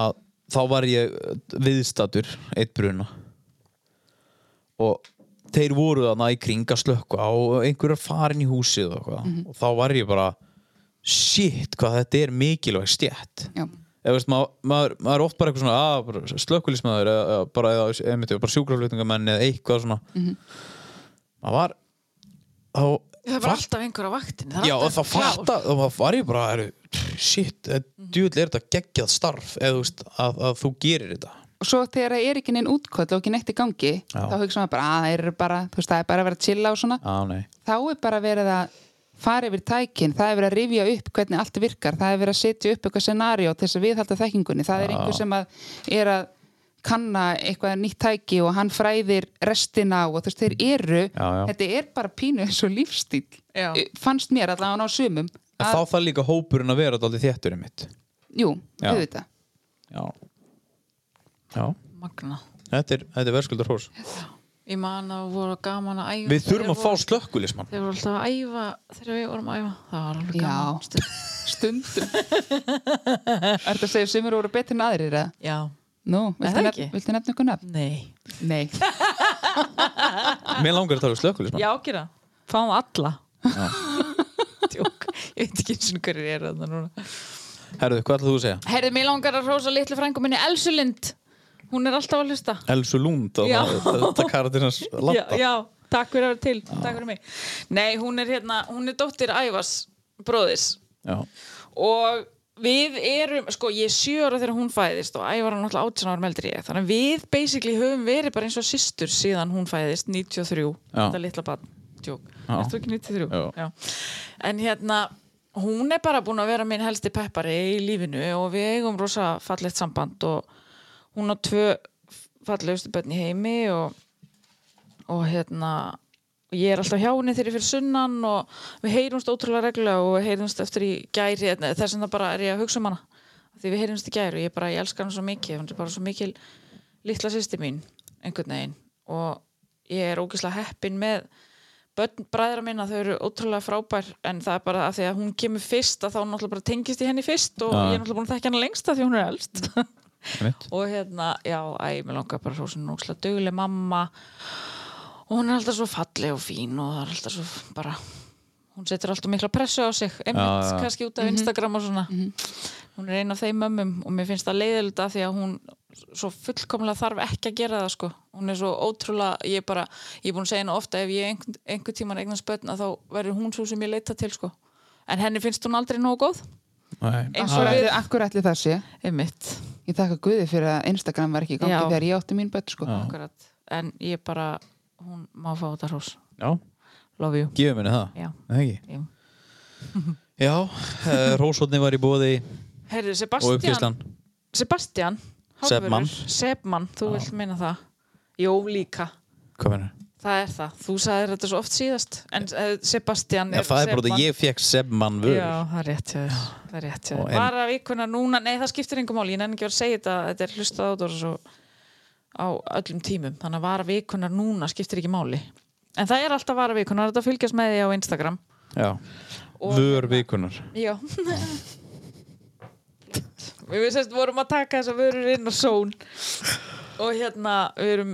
Speaker 1: að þá var ég viðstatur eitt bruna og þeir voru þarna í kring að slökka og einhver er farin í húsið og, mm og þá var ég bara shit hvað þetta er mikilvæg stjætt
Speaker 3: já,
Speaker 1: eða veist, maður, maður, maður er oft bara eitthvað svona að, slökkulismæður eða, eða bara, eða, einmitt, eða bara sjúkraflutningamenn eða eitthvað svona maður var þá
Speaker 2: Það var alltaf einhver á vaktin
Speaker 1: Já, og þá fatta, þá var ég bara er, shit, mm -hmm. djúvill er þetta geggjað starf eða þú veist, að, að þú gerir þetta
Speaker 3: og svo þegar það er ekki neinn útkoll og ekki neitt í gangi,
Speaker 1: Já.
Speaker 3: þá hugsa maður bara að það eru bara, þú veist, það er bara að vera að chilla og svona
Speaker 1: Já, nei
Speaker 3: þá er bara verið að fara yfir tækin, það er verið að rifja upp hvernig allt virkar, það er verið að setja upp eitthvað scenario til þess að viðhalda þekkingunni, það er einhver sem að er að kanna eitthvað nýtt tæki og hann fræðir restina og þú veist, þeir eru
Speaker 1: Já, já.
Speaker 3: þetta er bara pínu eins og lífstíl
Speaker 2: Já.
Speaker 3: fannst mér allavega á sumum
Speaker 1: En
Speaker 3: að,
Speaker 1: þá þarf líka hópurinn að vera dálítið þétturinn mitt
Speaker 3: jú,
Speaker 1: Já.
Speaker 3: auðvitað
Speaker 1: Já Já,
Speaker 2: Magna
Speaker 1: þetta er, þetta er verðskuldar hós
Speaker 2: Ég man að voru gaman að æfa
Speaker 1: Við þurfum
Speaker 2: Þeir
Speaker 1: að fá
Speaker 2: voru-
Speaker 1: slökkulismann
Speaker 2: Þeir voru alltaf að æfa þegar við vorum að æfa Það var alveg
Speaker 3: Já.
Speaker 2: gaman stund.
Speaker 3: stundum Er þetta að segja að sumir voru betur en aðrir eða?
Speaker 2: Já,
Speaker 3: Nú,
Speaker 2: Er
Speaker 3: viltu
Speaker 2: það
Speaker 3: nefna,
Speaker 2: ekki?
Speaker 3: viltu nefna ykkur nefn?
Speaker 2: nei
Speaker 3: Nei,
Speaker 1: Mér langar að tala um slökkulismann
Speaker 2: Já, gera, fáum alla Tjók, ég veit ekki eins og hverju er þetta núna
Speaker 1: Herðu, hvað ætlaðu þú að segja?
Speaker 2: Herðið, mér langar að hrósa litlu frængu minni Elsu Lind, hún er alltaf að hlusta
Speaker 1: Elsu Lund og
Speaker 2: Já.
Speaker 1: þetta karatinn hans
Speaker 2: já,
Speaker 1: lappa
Speaker 2: já, takk fyrir að vera til, takk fyrir mig Nei, hún er hérna, hún er dóttir Ævars bróðis
Speaker 1: já,
Speaker 2: og við erum, sko ég er sjö ára þegar hún fæðist og Ævar hann alltaf 18 ára meldri ég þannig að við basically höfum verið bara eins og systur síðan hún fæðist 93,
Speaker 1: Já.
Speaker 2: þetta litla barn tjók,
Speaker 1: Já.
Speaker 2: ertu ekki 93?
Speaker 1: Já.
Speaker 2: en hérna hún er bara búin að vera minn helsti peppari í lífinu og við eigum rosa fallegt samband og hún á tvö fallegustu börn í heimi og og hérna og ég er alltaf hjá henni þegar ég fyrir sunnan og við heyrumst ótrúlega reglulega og við heyrumst eftir í gæri hérna, þess vegna bara er ég að hugsa um hana því við heyrumst í gæri og ég bara, ég elska hana svo mikið hún er bara svo mikil litla sýsti mín einhvern veginn og ég er ógislega heppin með börn bræðra minna, þau eru ótrúlega frábær en það er bara að því að hún kemur fyrst að þá náttúrulega bara tengist ég henni fyrst og
Speaker 1: Já.
Speaker 2: ég er náttúrulega búin að þekka hana lengst að því hún er elst
Speaker 1: einmitt
Speaker 2: og hérna, já, æ, mér langar bara hrósin núkslega dugleg mamma og hún er alltaf svo falleg og fín og það er alltaf svo bara hún setur alltaf mikla pressu á sig einmitt,
Speaker 1: Já, já.
Speaker 2: kannski út af Instagram og svona hún er ein af þeim mömmum og mér finnst það leiðilega því að hún svo fullkomlega þarf ekki að gera það sko hún er svo ótrúlega, ég er bara ég er búin að segja henni ofta ef ég einhvern, einhvern tíman eignan spötna þá verður hún svo sem ég leita til sko en henni finnst hún aldrei nógu góð
Speaker 1: Nei.
Speaker 2: eins og
Speaker 3: akkur
Speaker 2: við,
Speaker 3: ætli- akkur ætli það sé
Speaker 2: einmitt
Speaker 3: Ég þakka Guði fyrir að Instagram var ekki í gangi
Speaker 2: Já.
Speaker 3: þegar ég átti mín börn sko.
Speaker 2: Akkurat. En ég bara, hún má fá þetta hrós.
Speaker 1: Já,
Speaker 2: Love you.
Speaker 1: gefum henni það
Speaker 2: Já.
Speaker 1: Nei, ekki?
Speaker 2: Jú.
Speaker 1: Já, uh, Rósotni var í bóði
Speaker 2: Herri,
Speaker 1: og
Speaker 2: Sebastian,
Speaker 1: uppkvíslan
Speaker 2: Sebastian
Speaker 1: Sebman.
Speaker 2: Sebman, þú vilt meina það. Jó, líka.
Speaker 1: Hvað mennur?
Speaker 2: Það er það. Þú sagðir þetta svo oft síðast. En eh, Sebastian
Speaker 1: Já,
Speaker 2: er
Speaker 1: það er bara að ég fekk sebmann vörur
Speaker 2: Já, það er rétt hjá þér. Það er rétt hjá
Speaker 1: Og
Speaker 2: þér.
Speaker 1: en-
Speaker 2: Bara vikuna núna, nei það skiptir engum máli, ég nenni ekki að segja þetta, þetta er hlustað át og svo á öllum tímum, þannig að vara vikuna núna skiptir ekki máli. En það er alltaf vara vikuna, þetta fylgjast með því á Instagram.
Speaker 1: Já.
Speaker 2: Og- hérna.
Speaker 1: Vör vikunar
Speaker 2: Já Við sérst vorum að taka þess að vörur inn og són og hérna við erum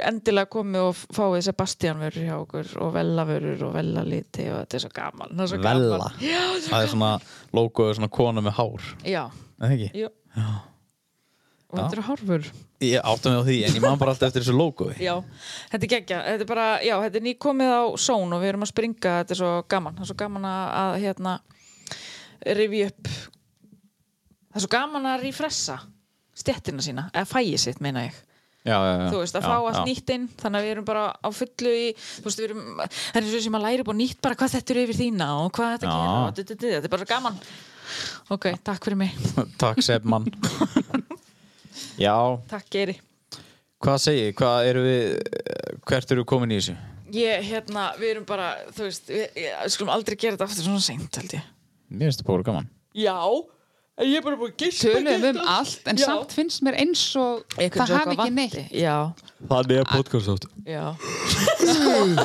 Speaker 2: endilega komið og fáið Sebastian vörur hjá okkur og Vella vörur og Vella liti og þetta er svo gaman það er svo gaman.
Speaker 1: Vella Það er svona logoðu svona kona með hár
Speaker 2: Já,
Speaker 1: Er það ekki?
Speaker 2: jú, og þetta eru horfur
Speaker 1: Ég átta mig á því, en ég man bara alltaf eftir þessu logoði
Speaker 2: Já, þetta er geggja, þetta er bara, já, þetta er nýkomið á són og við erum að springa, þetta er svo gaman, það er svo gaman að, að hérna, rifi upp, það er svo gaman að refressa stjettina sína, eða fæið sitt, meina ég.
Speaker 1: Já, já, já
Speaker 2: Þú veist, að
Speaker 1: Já,
Speaker 2: fá allt
Speaker 1: já.
Speaker 2: nýtt inn, þannig að við erum bara á fullu í, þú veist, við erum, það er eins og sem að læra upp á nýtt bara hvað þetta er yfir þína og hvað þetta
Speaker 1: Já.
Speaker 2: gera og þetta, þetta, þetta er bara gaman. Ok, takk fyrir mig,
Speaker 1: Takk sef mann Já,
Speaker 2: takk Geiri.
Speaker 1: hvað segi, hvað eru við Hvert eru við komin í þessu?
Speaker 2: Ég, hérna, við erum bara, þú veist, við, ég, við skulum aldrei gera þetta aftur svona seint, held ég.
Speaker 1: Mér finnst það bóru gaman
Speaker 2: Já, en ég er bara búin að gispa
Speaker 3: Tölum um allt, en samt finnst mér eins og það hafi ekki neitt.
Speaker 2: Já,
Speaker 1: Þannig er podcast átt
Speaker 2: já Svona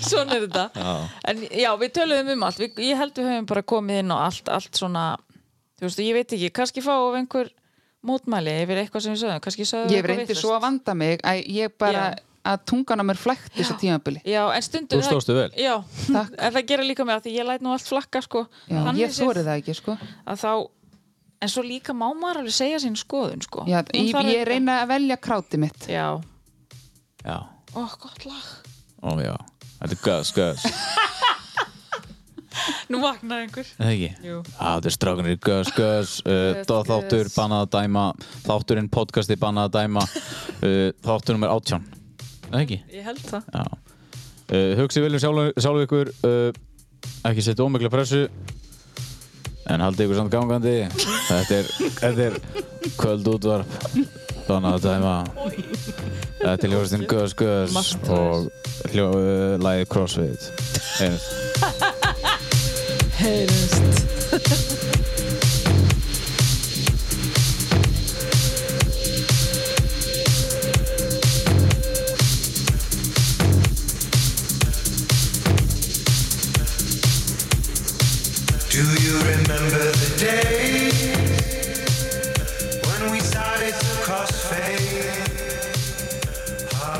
Speaker 2: Svona er þetta já. En já, við tölum um allt við, Ég held við höfum bara komið inn á allt, allt svona Þú veist, ég veit ekki, kannski fá of einhver mótmæli yfir eitthvað sem við sögum Kannski sögum við
Speaker 3: Ég hef
Speaker 2: eitthvað
Speaker 3: reyndi
Speaker 2: vitlaust.
Speaker 3: svo að vanda mig að ég bara,
Speaker 2: Já.
Speaker 3: að tungan á mér flækt þessu tímabili.
Speaker 2: Já, en stundum
Speaker 1: Þú stóðstu vel.
Speaker 2: Já,
Speaker 3: Takk.
Speaker 2: en það gera líka með að því ég læt nú allt flakka sko
Speaker 3: Já,
Speaker 2: Þannig
Speaker 3: ég
Speaker 2: séð
Speaker 3: þóri það ekki, sko.
Speaker 2: Að þá En svo líka má maður alveg segja sín skoðun sko
Speaker 3: Já,
Speaker 2: Hún
Speaker 3: ég,
Speaker 2: þarf
Speaker 3: ég
Speaker 2: ekki-
Speaker 3: reyna að velja krátið mitt.
Speaker 2: Já,
Speaker 1: Já,
Speaker 2: Ó, gott lag.
Speaker 1: ó já Þetta er gæðs, gæðs
Speaker 2: Nú vaknaði einhver.
Speaker 1: Er Það ekki?
Speaker 2: Jú.
Speaker 1: Á, þetta er strákunir, gös, gös, uh,
Speaker 2: Gös,
Speaker 1: dóð þáttur,
Speaker 2: gös.
Speaker 1: bannað að dæma, þátturinn, podcasti, bannað að dæma, uh, þáttur nummer 18. Er Það ekki?
Speaker 2: Ég held það.
Speaker 1: Já. Uh, Hugsið viljum sjálf, sjálf ykkur, uh, ekki setja ómikla pressu, en haldið ykkur samt gangandi. Þetta er, þetta er kvöld útvarp, bannað að dæma. Þetta er hljóðstinn gös, gös
Speaker 2: Martraðir.
Speaker 1: og hljó, uh, lagið crossfit. Einmitt.
Speaker 6: Do you remember the day when we started to cross fade?